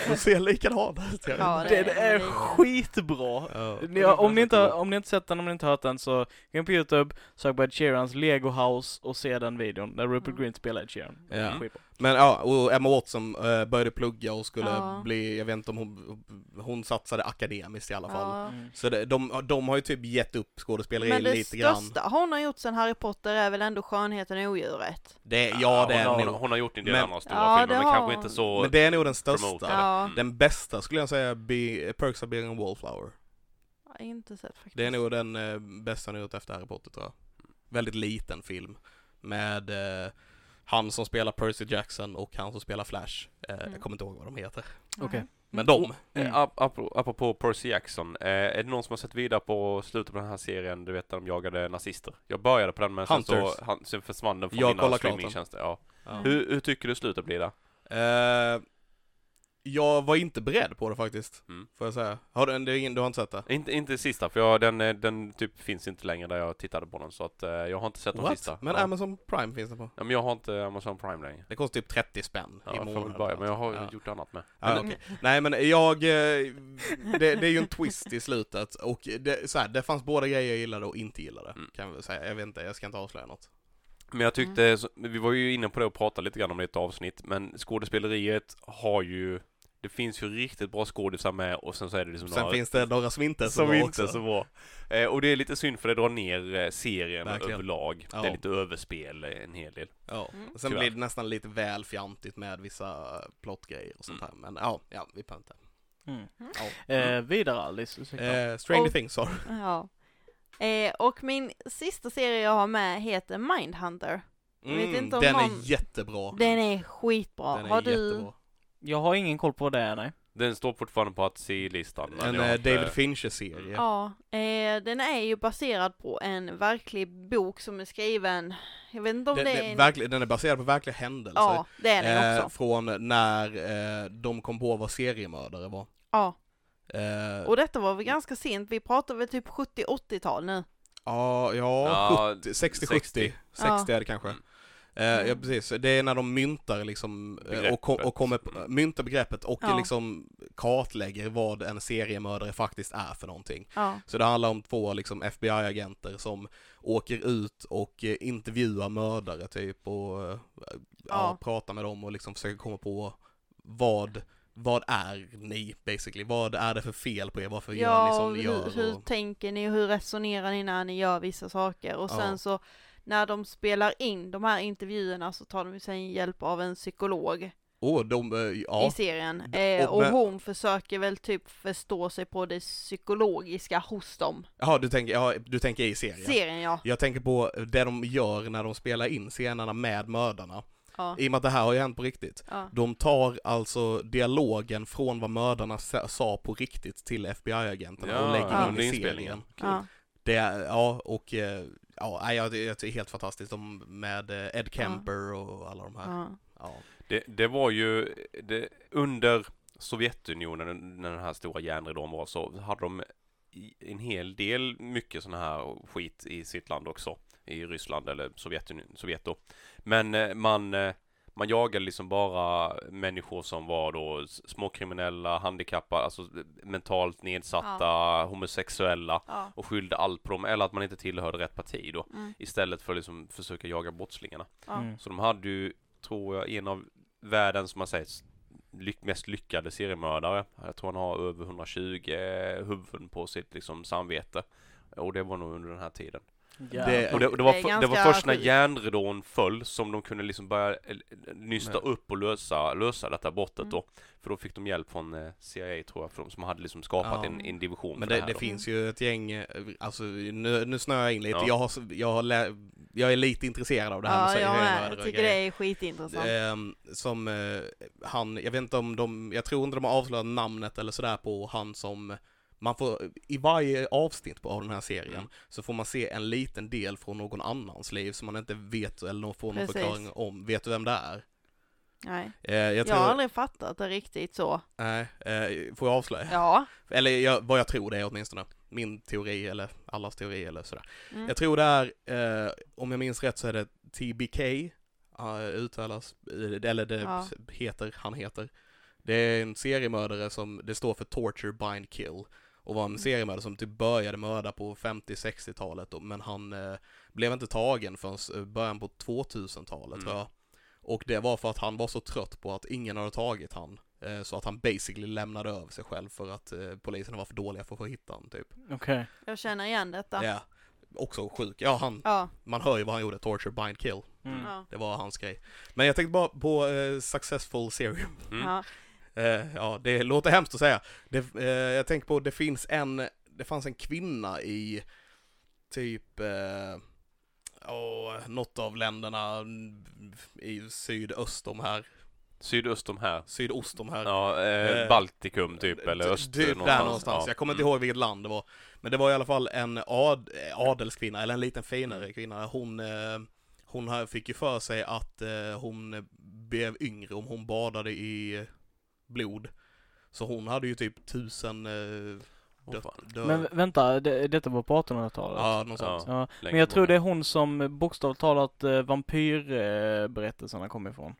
Speaker 3: De ser likadana ut. jag vet
Speaker 2: Ja,
Speaker 3: inte.
Speaker 1: Den är
Speaker 2: det-
Speaker 1: skitbra!
Speaker 3: Ja.
Speaker 1: Ni, om, ni inte, har- om ni inte sett den, om ni inte hört den så gå in på youtube, sök på Ed Sheerans Lego House och se den videon där Rupert
Speaker 2: Mm.
Speaker 1: Grint spelar Ed Sheeran.
Speaker 3: Ja.
Speaker 1: Skitbra.
Speaker 3: Men ja, och Emma Watson eh, började plugga och skulle
Speaker 2: Ja.
Speaker 3: bli, jag vet inte om hon, hon satsade akademiskt i alla fall.
Speaker 2: Ja.
Speaker 1: Mm.
Speaker 3: Så det, de, de har ju typ gett upp skådespeleri
Speaker 2: Men det
Speaker 3: lite grann.
Speaker 2: största hon har gjort sen Harry Potter är väl ändå Skönheten och odjuret?
Speaker 3: Det, ja, det
Speaker 4: hon,
Speaker 3: är
Speaker 4: har,
Speaker 3: nog.
Speaker 4: hon har gjort en del
Speaker 3: Men-
Speaker 4: andra stora
Speaker 2: Ja,
Speaker 4: filmer,
Speaker 2: det
Speaker 4: men
Speaker 2: har
Speaker 4: kanske
Speaker 2: hon.
Speaker 4: inte så...
Speaker 3: Men det är nog den största.
Speaker 4: promotade.
Speaker 2: Ja.
Speaker 3: Den bästa skulle jag säga, be, Perks of being a wallflower.
Speaker 2: Jag har inte sett faktiskt.
Speaker 3: Det är nog den eh, bästa han gjort efter Harry Potter tror jag. Väldigt liten film. Med eh, han som spelar Percy Jackson och han som spelar Flash. Eh,
Speaker 2: Mm.
Speaker 3: Jag kommer inte ihåg vad de heter.
Speaker 2: Nej.
Speaker 1: Okej.
Speaker 3: Men de.
Speaker 1: Mm.
Speaker 4: Eh, ap- ap- apropå Percy Jackson, eh, är det någon som har sett vidare på slutet på den här serien, du vet när de jagade nazister? Jag började på den men sen, så,
Speaker 3: Hunters.
Speaker 4: han, sen försvann den från
Speaker 3: Jag kollar
Speaker 4: mina
Speaker 3: klart den.
Speaker 4: streamingtjänster. Ja.
Speaker 3: Ja.
Speaker 4: Hur, hur tycker du slutet blir där?
Speaker 3: Eh, jag var inte beredd på det faktiskt.
Speaker 4: Mm.
Speaker 3: Får jag säga. Har du, det är ingen, du har inte sett det?
Speaker 4: Inte, inte sista, för jag, den, eh, den typ finns inte längre där jag tittade på den, så att eh, jag har inte sett den sista.
Speaker 3: Men
Speaker 4: ja.
Speaker 3: Amazon Prime finns det på.
Speaker 4: Ja, men jag har inte Amazon Prime längre.
Speaker 3: Det kostar typ 30 spänn
Speaker 4: Ja,
Speaker 3: i
Speaker 4: jag får väl
Speaker 3: månaden.
Speaker 4: börja, men jag har
Speaker 3: Ja.
Speaker 4: gjort annat med.
Speaker 3: Ja,
Speaker 2: Mm.
Speaker 3: okej. Nej men jag, eh, det, det är ju en twist i slutet och det, så här, det fanns båda grejer jag gillade och inte gillade
Speaker 4: Mm.
Speaker 3: kan jag väl säga. Jag vet inte, jag ska inte avslöja något.
Speaker 4: Men jag tyckte, så- vi var ju inne på det och pratade lite grann om det i ett avsnitt, men skådespeleriet har ju, det finns ju riktigt bra skådisar med och sen så är det liksom
Speaker 3: Sen
Speaker 4: några
Speaker 3: finns det några som inte är så
Speaker 4: som
Speaker 3: bra
Speaker 4: inte
Speaker 3: också.
Speaker 4: är så bra. Eh, och det är lite synd för det drar ner eh, serien
Speaker 3: Verkligen.
Speaker 4: överlag.
Speaker 3: Ja.
Speaker 4: Det är lite överspel eh, en hel del.
Speaker 3: Ja.
Speaker 2: Mm.
Speaker 3: Sen
Speaker 4: Tyvärr.
Speaker 3: blir det nästan lite väl fjantigt med vissa plottgrejer och sånt
Speaker 4: Mm.
Speaker 3: här. Men ja, ja vi behöver inte.
Speaker 1: Mm.
Speaker 3: Ja.
Speaker 1: Eh, vidare Alice, ursäkta.
Speaker 3: Eh, Stranger
Speaker 2: Och-
Speaker 3: Things har
Speaker 2: Ja. Eh, och min sista serie jag har med heter Mindhunter. Jag vet inte om
Speaker 3: Mm, Den
Speaker 2: någon-
Speaker 3: är jättebra.
Speaker 2: Den är skitbra.
Speaker 3: Den är
Speaker 2: har du...
Speaker 3: jättebra.
Speaker 1: Jag har ingen koll på vad det är, nej.
Speaker 4: Den står fortfarande på att se-listan. men
Speaker 3: En
Speaker 4: jag har
Speaker 3: eh,
Speaker 4: inte-
Speaker 3: David Fincher-serie.
Speaker 2: Ja, eh, den är ju baserad på en verklig bok som är skriven, jag vet inte om
Speaker 3: Den,
Speaker 2: det är
Speaker 3: den,
Speaker 2: en...
Speaker 3: verkligen, den är baserad på verkliga händelser.
Speaker 2: ja, det är den
Speaker 3: eh,
Speaker 2: också.
Speaker 3: från när eh, de kom på vad seriemördare var.
Speaker 2: Ja,
Speaker 3: Eh,
Speaker 2: och detta var väl ganska sent, vi pratar väl typ 70-80-tal nu.
Speaker 3: Ja, ja,
Speaker 4: Ja,
Speaker 3: 70, 60, 70,
Speaker 4: 60.
Speaker 3: 60
Speaker 2: Ja.
Speaker 3: är det kanske.
Speaker 4: Mm.
Speaker 3: Eh, ja precis, det är när de myntar liksom, eh, och, kom,
Speaker 4: Begreppet.
Speaker 3: och kommer, på- myntar begreppet och
Speaker 2: Ja.
Speaker 3: liksom kartlägger vad en seriemördare faktiskt är för någonting.
Speaker 2: Ja,
Speaker 3: Så det handlar om två liksom FBI-agenter som åker ut och eh, intervjuar mördare typ och eh, ja.
Speaker 2: Ja.
Speaker 3: pratar med dem och liksom försöker komma på vad, vad är ni basically? Vad är det för fel på er? Varför gör ni
Speaker 2: ja
Speaker 3: som
Speaker 2: och
Speaker 3: ni
Speaker 2: hur,
Speaker 3: gör?
Speaker 2: hur
Speaker 3: Och,
Speaker 2: tänker ni och hur resonerar ni när ni gör vissa saker? Och
Speaker 3: Ja.
Speaker 2: sen så när de spelar in de här intervjuerna så tar de ju sen hjälp av en psykolog
Speaker 3: och de, eh, ja.
Speaker 2: i serien.
Speaker 3: D-
Speaker 2: Eh,
Speaker 3: och
Speaker 2: och
Speaker 3: men-
Speaker 2: hon försöker väl typ förstå sig på det psykologiska hos dem.
Speaker 3: Jaha, du tänker, ja, du tänker i serien?
Speaker 2: Serien ja.
Speaker 3: Jag tänker på det de gör när de spelar in scenerna med mördarna.
Speaker 2: ja.
Speaker 3: I och med att det här har ju hänt på riktigt.
Speaker 2: ja.
Speaker 3: De tar alltså dialogen från vad mördarna sa sa på riktigt till FBI-agenterna
Speaker 4: Ja,
Speaker 3: och lägger
Speaker 2: ja.
Speaker 3: in
Speaker 4: under
Speaker 3: i serien.
Speaker 4: inspelningen.
Speaker 2: Ja.
Speaker 3: Det är, ja, och eh, ja, nej, jag, jag tycker det är helt fantastiskt. De med eh, Ed Kemper och alla de här.
Speaker 2: Ja.
Speaker 3: Ja.
Speaker 4: Det, det var ju det, under Sovjetunionen, när den här stora järnridån var, så hade de i- en hel del mycket sån här skit i sitt land också. I Ryssland eller Sovjetunion, Sovjet då. Men eh, man, eh, man jagade liksom bara människor som var då s- småkriminella, handikappade, alltså eh, mentalt nedsatta, homosexuella
Speaker 2: Ja.
Speaker 4: och skyllde allt på dem, eller att man inte tillhörde rätt parti då.
Speaker 2: Mm.
Speaker 4: Istället för att liksom försöka jaga brottslingarna.
Speaker 2: Ja.
Speaker 1: Mm.
Speaker 4: Så de hade ju, tror jag, en av världens, man säger, lyck, mest lyckade seriemördare. Jag tror han har över 120 huvuden på sitt liksom, samvete. Och det var nog under den här tiden.
Speaker 1: Ja.
Speaker 3: Det-
Speaker 4: Och det, och det, var,
Speaker 2: Det är
Speaker 4: för, det var
Speaker 2: ganska
Speaker 4: först när
Speaker 2: sjukt.
Speaker 4: järnridån föll som de kunde liksom börja eh, nysta upp och lösa, lösa detta brottet
Speaker 2: Mm.
Speaker 4: då. För då fick de hjälp från eh, CIA tror jag, för de som hade liksom skapat
Speaker 3: Ja.
Speaker 4: en, en division
Speaker 3: Men
Speaker 4: för
Speaker 3: det,
Speaker 4: här
Speaker 3: det
Speaker 4: då.
Speaker 3: finns ju ett gäng, eh, alltså nu, nu snöar jag in lite.
Speaker 4: Ja.
Speaker 3: Jag, har, s- jag, har lä- jag är lite intresserad av det här
Speaker 2: ja,
Speaker 3: med
Speaker 2: jag
Speaker 3: seriemördare
Speaker 2: med.
Speaker 3: och
Speaker 2: Jag tycker
Speaker 3: grejer.
Speaker 2: det är skitintressant.
Speaker 3: Ehm, som eh, han, jag vet inte om de, jag tror inte de har avslöjat namnet eller sådär på han som man får, i varje avsnitt på- av den här serien
Speaker 4: Mm.
Speaker 3: så får man se en liten del från någon annans liv som man inte vet eller någon får någon
Speaker 2: Precis.
Speaker 3: förklaring om. Vet du vem det är?
Speaker 2: Nej.
Speaker 3: Eh, jag
Speaker 2: Jag,
Speaker 3: tror,
Speaker 2: har aldrig fattat det riktigt så.
Speaker 3: nej, eh, får jag avslöja?
Speaker 2: Ja.
Speaker 3: Eller jag, vad jag tror det är åtminstone. Min teori eller allas teori eller sådär.
Speaker 2: Mm.
Speaker 3: Jag tror det är, eh, om jag minns rätt så är det TBK eh, uttalas, eh, eller det
Speaker 2: Ja.
Speaker 3: heter, han heter. Det är en seriemördare som, det står för Torture, Bind, Kill. Och
Speaker 2: Mm.
Speaker 3: var en seriemördare som typ började mörda på 50-60-talet då, men han eh, blev inte tagen förrän eh, början på 2000-talet
Speaker 4: Mm.
Speaker 3: tror jag. Och det var för att han var så trött på att ingen hade tagit han. eh, Så att han basically lämnade över sig själv för att eh, polisen var för dåliga för att få hitta han typ.
Speaker 1: Okej.
Speaker 2: Jag känner igen detta.
Speaker 3: Ja. Också sjuk. Ja, han,
Speaker 2: Ja,
Speaker 3: man hör ju vad han gjorde, torture, bind, kill.
Speaker 1: Mm.
Speaker 2: ja,
Speaker 3: Det var hans grej. Men jag tänkte bara på eh, successful serium.
Speaker 4: Mm.
Speaker 2: ja.
Speaker 3: Eh, ja, det låter hemskt att säga. Det, eh, jag tänker på, det finns en, det fanns en kvinna i typ, eh, åh, något av länderna mm, i sydöst om här,
Speaker 4: Sydöst om här.
Speaker 3: sydost om här.
Speaker 4: Ja, eh,
Speaker 3: Eh,
Speaker 4: Baltikum typ, eller
Speaker 3: Ty-
Speaker 4: öst
Speaker 3: typ Där någonstans.
Speaker 4: Ja. Mm.
Speaker 3: Jag kommer inte ihåg vilket land det var. Men det var i alla fall en ad, eh, adelskvinna, eller en liten
Speaker 4: Mm.
Speaker 3: finare kvinna. Hon, eh, hon här fick ju för sig att eh, hon blev yngre om hon badade i blod. Så hon hade ju typ tusen eh,
Speaker 4: Åh,
Speaker 3: dö-
Speaker 4: fan.
Speaker 3: dö-
Speaker 1: Men vänta, det, detta var på 1800-talet?
Speaker 3: Ja, något sånt.
Speaker 4: Ja,
Speaker 1: Ja,
Speaker 4: längre
Speaker 1: men jag tror
Speaker 4: bort.
Speaker 1: det är hon som bokstavligt talat eh, vampyrberättelserna kommer ifrån.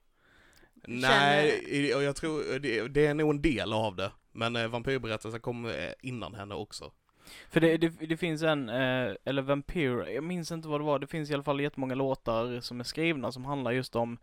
Speaker 3: Nej, i- och jag tror det, det är nog en del av det. Men eh, vampyrberättelsen kom eh, innan henne också.
Speaker 1: För det, det, det finns en, eh, eller Vampire, jag minns inte vad det var, det finns i alla fall jättemånga låtar som är skrivna som handlar just om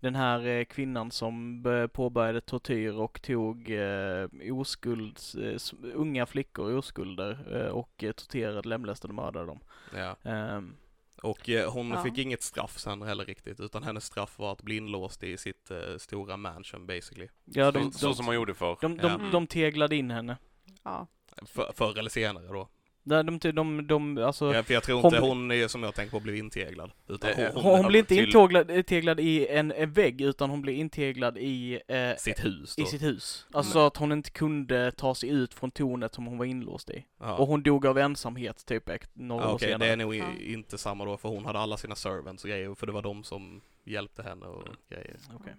Speaker 1: den här eh, kvinnan som b- påbörjade tortyr och tog eh, oskulds, eh, s- unga flickor i oskulder eh, och eh, torterade, lemlästade, mördade dem.
Speaker 3: Ja.
Speaker 1: Ehm,
Speaker 3: Och eh, hon
Speaker 2: Ja.
Speaker 3: fick inget straff sen heller riktigt, utan hennes straff var att bli inlåst i sitt eh, stora mansion basically.
Speaker 1: ja, de,
Speaker 4: så,
Speaker 1: de,
Speaker 4: så som man gjorde förr.
Speaker 1: de, de,
Speaker 4: ja.
Speaker 1: de, de teglade in henne.
Speaker 2: ja.
Speaker 3: För, förr eller senare då.
Speaker 1: De, de, de, de, de alltså,
Speaker 3: Ja, för jag tror
Speaker 1: hon-
Speaker 3: inte hon är som jag tänker på blev integlad. Utan
Speaker 4: Nej,
Speaker 3: hon,
Speaker 1: hon, hon
Speaker 4: hon-
Speaker 1: blir inte
Speaker 4: till-
Speaker 1: integlad, integlad i en, en vägg utan hon blir integlad i eh,
Speaker 3: sitt hus då.
Speaker 1: I sitt hus. Alltså att hon inte kunde ta sig ut från tornet som hon var inlåst i.
Speaker 3: Ja.
Speaker 1: Och hon dog av ensamhet typ ett- några
Speaker 3: Ja,
Speaker 1: år
Speaker 3: Okej,
Speaker 1: senare.
Speaker 3: det är nog i-
Speaker 2: Ja.
Speaker 3: inte samma då, för hon hade alla sina servants och grejer, för det var de som hjälpte henne och
Speaker 4: Mm.
Speaker 3: grejer.
Speaker 1: Okej.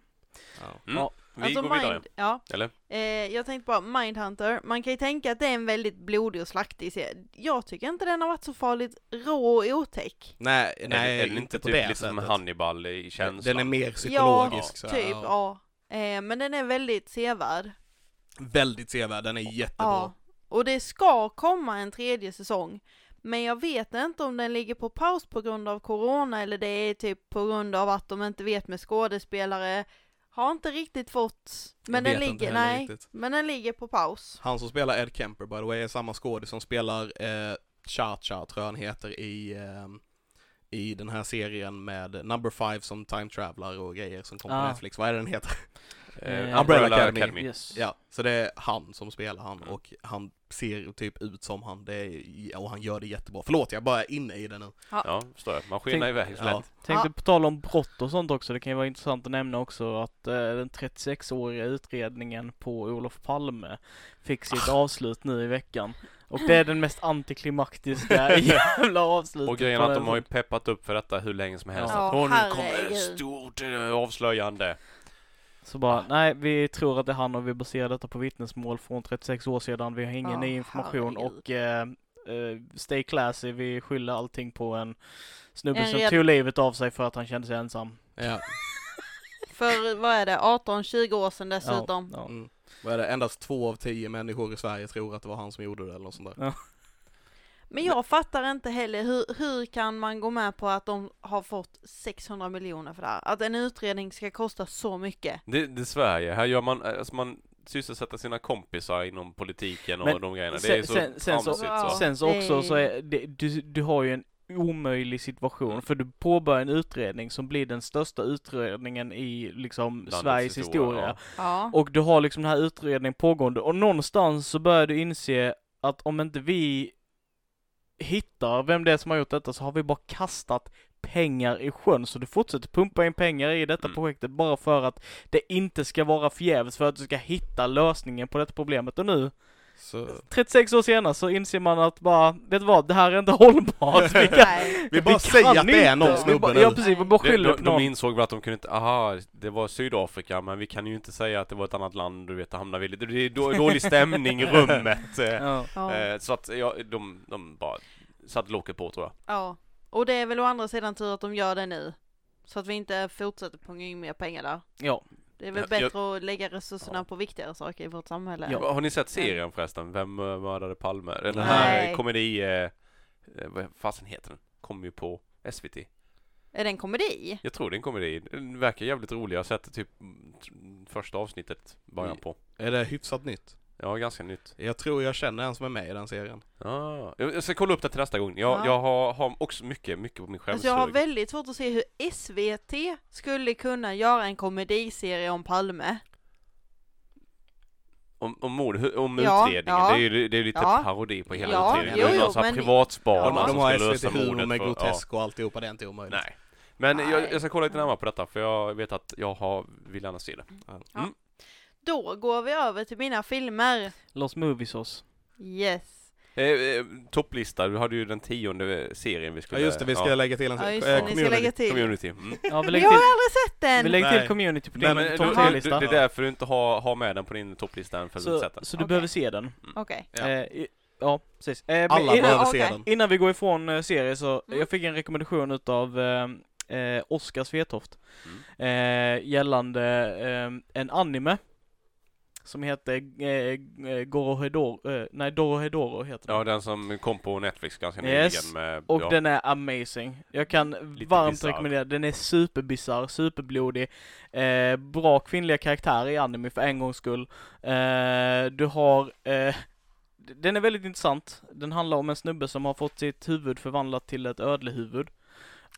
Speaker 3: Ja.
Speaker 4: Mm.
Speaker 1: Ja.
Speaker 4: Vi går vidare.
Speaker 2: Alltså, Mind, ja.
Speaker 4: Eller?
Speaker 2: Eh, jag tänkte bara, Mindhunter, man kan ju tänka att det är en väldigt blodig och slaktig serie. Jag tycker inte den har varit så farligt rå och otäck.
Speaker 3: Nej, nej,
Speaker 4: är, är den
Speaker 3: inte,
Speaker 4: inte
Speaker 3: på
Speaker 4: typ
Speaker 3: det
Speaker 4: lite som
Speaker 3: sättet.
Speaker 4: Hannibal i känslan?
Speaker 3: Den är mer psykologisk. så
Speaker 2: ja,
Speaker 3: här,
Speaker 2: typ, ja. Eh, men den är väldigt sevärd.
Speaker 3: Väldigt sevärd, den är jättebra.
Speaker 2: Ja. Och det ska komma en tredje säsong. Men jag vet inte om den ligger på paus på grund av corona eller det är typ på grund av att de inte vet med skådespelare. Har inte riktigt fått, men
Speaker 3: Jag
Speaker 2: den
Speaker 3: vet inte
Speaker 2: ligger,
Speaker 3: heller
Speaker 2: nej,
Speaker 3: riktigt.
Speaker 2: men den ligger på paus.
Speaker 3: Han som spelar Ed Kemper by the way är samma skådis som spelar eh, Cha-Cha tror jag han heter i, ehm, i den här serien med Number Five som time traveler och grejer som kom på
Speaker 1: Ah.
Speaker 3: Netflix. Vad är den heter?
Speaker 4: Eh,
Speaker 1: Eh,
Speaker 3: Mm. Umbrella Academy.
Speaker 1: Yes.
Speaker 3: ja, så det är han som spelar han
Speaker 4: Mm.
Speaker 3: och han ser typ ut som han det är, och han gör det jättebra. Förlåt, jag bara är inne i det nu.
Speaker 4: Ja, förstår jag. Man skenar
Speaker 1: Tänk-
Speaker 4: iväg så
Speaker 3: Ja.
Speaker 4: lätt.
Speaker 1: Tänkte
Speaker 2: Ja.
Speaker 1: på tal om brott och sånt också, det kan ju vara intressant att nämna också att eh, den 36-åriga utredningen på Olof Palme fick sitt avslut nu i veckan. Och det är den mest antiklimaktiska jävla avslutet.
Speaker 4: Och grejen
Speaker 1: på
Speaker 4: är att
Speaker 1: den.
Speaker 4: de har ju peppat upp för detta hur länge som helst.
Speaker 2: Ja.
Speaker 4: Att, "Åh, nu kommer
Speaker 2: herregud."
Speaker 4: ett stort eh, avslöjande.
Speaker 1: Så bara, nej vi tror att det är han och vi baserar detta på vittnesmål från 36 år sedan. Vi har ingen
Speaker 2: Ja,
Speaker 1: ny information
Speaker 2: herregud.
Speaker 1: och eh, eh, stay classy, vi skyller allting på en snubbe
Speaker 2: En
Speaker 1: som
Speaker 2: red-
Speaker 1: tog livet av sig för att han kände sig ensam.
Speaker 3: Ja.
Speaker 2: För vad är det, 18-20 år sedan dessutom.
Speaker 1: Ja,
Speaker 3: Mm. Vad är det? Endast två av tio människor i Sverige tror att det var han som gjorde det eller något sånt där.
Speaker 2: Men jag fattar inte heller, hur, hur kan man gå med på att de har fått 600 miljoner för det här? Att en utredning ska kosta så mycket.
Speaker 4: Det, det är Sverige. Här gör man, alltså man sysselsätter sina kompisar inom politiken och
Speaker 1: Men
Speaker 4: de grejerna. Det
Speaker 1: sen-
Speaker 4: är så
Speaker 1: sen- sen så-
Speaker 4: tramsigt
Speaker 2: Ja.
Speaker 1: ja.
Speaker 4: så.
Speaker 1: Sen så
Speaker 2: det-
Speaker 1: också så är det, du, du har ju en omöjlig situation för du påbörjar en utredning som blir den största utredningen i liksom
Speaker 4: Landets
Speaker 1: Sveriges
Speaker 4: historia,
Speaker 1: historia.
Speaker 4: ja.
Speaker 2: Ja.
Speaker 1: Och du har liksom den här utredningen pågående och någonstans så börjar du inse att om inte vi hittar vem det är som har gjort detta så har vi bara kastat pengar i sjön så du fortsätter pumpa in pengar i detta
Speaker 4: Mm.
Speaker 1: projektet bara för att det inte ska vara förgäves för att du ska hitta lösningen på detta problemet och nu
Speaker 3: Så...
Speaker 1: 36 år senare så inser man att bara vet du vad det här är inte hållbart. Vi kan,
Speaker 2: Nej.
Speaker 3: Vi bara
Speaker 1: kan
Speaker 3: säger att det är
Speaker 1: inte.
Speaker 3: någon
Speaker 1: Vi bara-
Speaker 3: snubbe nu.
Speaker 1: Ja precis, vi bara
Speaker 4: De,
Speaker 1: skyller
Speaker 4: de,
Speaker 1: på
Speaker 4: de
Speaker 1: någon.
Speaker 4: insåg väl att de kunde inte, aha, det var Sydafrika, men vi kan ju inte säga att det var ett annat land, du vet, det hamnar vi lite, det är då- dålig stämning i rummet. eh.
Speaker 1: Ja.
Speaker 2: Ja.
Speaker 4: Eh, Så att, ja, de, de bara satt locket på tror jag.
Speaker 2: ja. Och det är väl å andra sidan tur att de gör det nu. Så att vi inte fortsätter punga in mer pengar där.
Speaker 1: Ja.
Speaker 2: Det är väl
Speaker 4: Ja,
Speaker 2: bättre
Speaker 4: jag-
Speaker 2: att lägga resurserna på viktigare saker i vårt samhälle.
Speaker 1: Ja.
Speaker 4: Har ni sett serien förresten? Vem eh, mördade Palme? Den här
Speaker 2: Nej.
Speaker 4: eh, komedi... eh, eh, Vad fasen heter den? Kommer ju på SVT.
Speaker 2: Är det en komedi?
Speaker 4: Jag tror det är en komedi. Den verkar jävligt rolig. Jag har sett typ mm, t- första avsnittet början
Speaker 3: Mm.
Speaker 4: på.
Speaker 3: Är det hyfsat nytt?
Speaker 4: Ja, ganska nytt.
Speaker 3: Jag tror jag känner en som är med i den serien.
Speaker 4: Ah, jag jag ska kolla upp det till nästa gång. Jag,
Speaker 2: Ja.
Speaker 4: jag har, har också mycket, mycket på min
Speaker 2: Alltså
Speaker 4: skärmsug.
Speaker 2: jag har väldigt svårt att se hur SVT skulle kunna göra en komediserie om Palme.
Speaker 4: Om, om mord, hu- om
Speaker 2: Ja,
Speaker 4: utredningen.
Speaker 2: ja.
Speaker 4: Det är ju det är ju lite
Speaker 2: Ja.
Speaker 4: parodi på hela
Speaker 2: Ja,
Speaker 4: utredningen. det är
Speaker 2: jo,
Speaker 4: ju
Speaker 2: jo,
Speaker 4: någon sån här
Speaker 2: men-
Speaker 4: privatspanare
Speaker 2: Ja, men
Speaker 3: Ja,
Speaker 4: som
Speaker 3: de
Speaker 4: ska
Speaker 3: har
Speaker 4: lösa
Speaker 3: SVT-humor
Speaker 4: mordet.
Speaker 3: med
Speaker 4: för-
Speaker 3: grotesk och alltihopa, det är inte omöjligt.
Speaker 4: Nej. Men jag,
Speaker 2: Nej.
Speaker 4: jag ska kolla lite närmare på detta för jag vet att jag har, vill gärna se det.
Speaker 2: Då går vi över till mina filmer.
Speaker 1: Los Moviesås.
Speaker 2: Yes.
Speaker 4: Eh, eh, topplista, du hade ju den tionde eh, serien vi
Speaker 3: Ja
Speaker 4: skulle...
Speaker 3: just det, vi ska lägga till en
Speaker 2: Ja just
Speaker 3: eh,
Speaker 2: det, ni ska
Speaker 3: community.
Speaker 2: lägga till.
Speaker 4: Community. Mm.
Speaker 1: Ja, vi
Speaker 2: Vi
Speaker 1: lägger
Speaker 2: har
Speaker 1: till,
Speaker 2: aldrig sett
Speaker 1: vi
Speaker 2: den!
Speaker 1: lägger till
Speaker 3: Nej.
Speaker 1: community på
Speaker 4: Nej,
Speaker 1: din
Speaker 4: men
Speaker 1: topp
Speaker 4: du,
Speaker 1: tre
Speaker 4: du,
Speaker 1: lista
Speaker 4: det är därför du inte har, har med den på din topplista än för att du inte
Speaker 1: Så,
Speaker 4: sett den.
Speaker 1: så du
Speaker 2: Okej.
Speaker 1: behöver se den.
Speaker 2: Okej.
Speaker 3: Ja.
Speaker 1: Ja, eh, i- ja precis. Eh, men
Speaker 3: Alla
Speaker 1: innan,
Speaker 3: behöver se
Speaker 2: okej.
Speaker 3: den.
Speaker 1: innan vi går ifrån eh, serie så,
Speaker 2: Mm.
Speaker 1: jag fick en rekommendation utav eh, eh, Oskar Svetoft
Speaker 4: Mm.
Speaker 1: eh, gällande eh, en anime som heter eh, Gorohedoro, eh, nej Dorohedoro heter den.
Speaker 4: Ja, den som kom på Netflix ganska
Speaker 1: Yes.
Speaker 4: nyligen med...
Speaker 1: Och
Speaker 4: Eh, ja.
Speaker 1: den är amazing. Jag kan
Speaker 4: Lite
Speaker 1: varmt
Speaker 4: bisarr.
Speaker 1: rekommendera den. är superbisarr, superblodig. Eh, bra kvinnliga karaktärer i anime för en gångs skull. Eh, du har... Eh, d- den är väldigt intressant. Den handlar om en snubbe som har fått sitt huvud förvandlat till ett ödlehuvud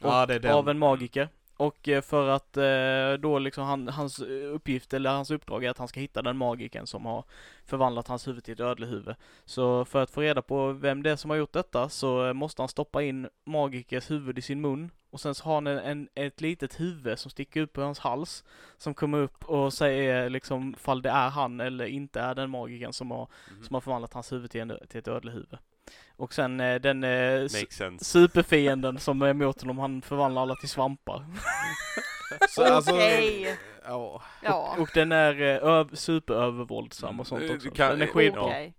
Speaker 3: Ja, det är den.
Speaker 1: av en magiker. Och eh, för att eh, då liksom han, hans uppgift eller hans uppdrag är att han ska hitta den magiken som har förvandlat hans huvud till ett ödlehuvud. Så för att få reda på vem det är som har gjort detta så eh, måste han stoppa in magikers huvud i sin mun och sen så har han en, en, ett litet huvud som sticker upp på hans hals som kommer upp och säger liksom fall det är han eller inte är den magiken som har,
Speaker 4: Mhm.
Speaker 1: som har förvandlat hans huvud till, en, till ett ödlehuvud. Och sen eh, den eh, s-
Speaker 4: Makes sense.
Speaker 1: superfienden som är emot honom, han förvandlar alla till svampar.
Speaker 3: Så, alltså,
Speaker 2: Okej.
Speaker 3: ja.
Speaker 2: Ja.
Speaker 1: Och den är eh, öv- superövervåldsam och sånt
Speaker 4: Mm,
Speaker 1: också.
Speaker 4: du kan-
Speaker 1: den är
Speaker 4: Okej.
Speaker 1: skitbra.
Speaker 2: Okej.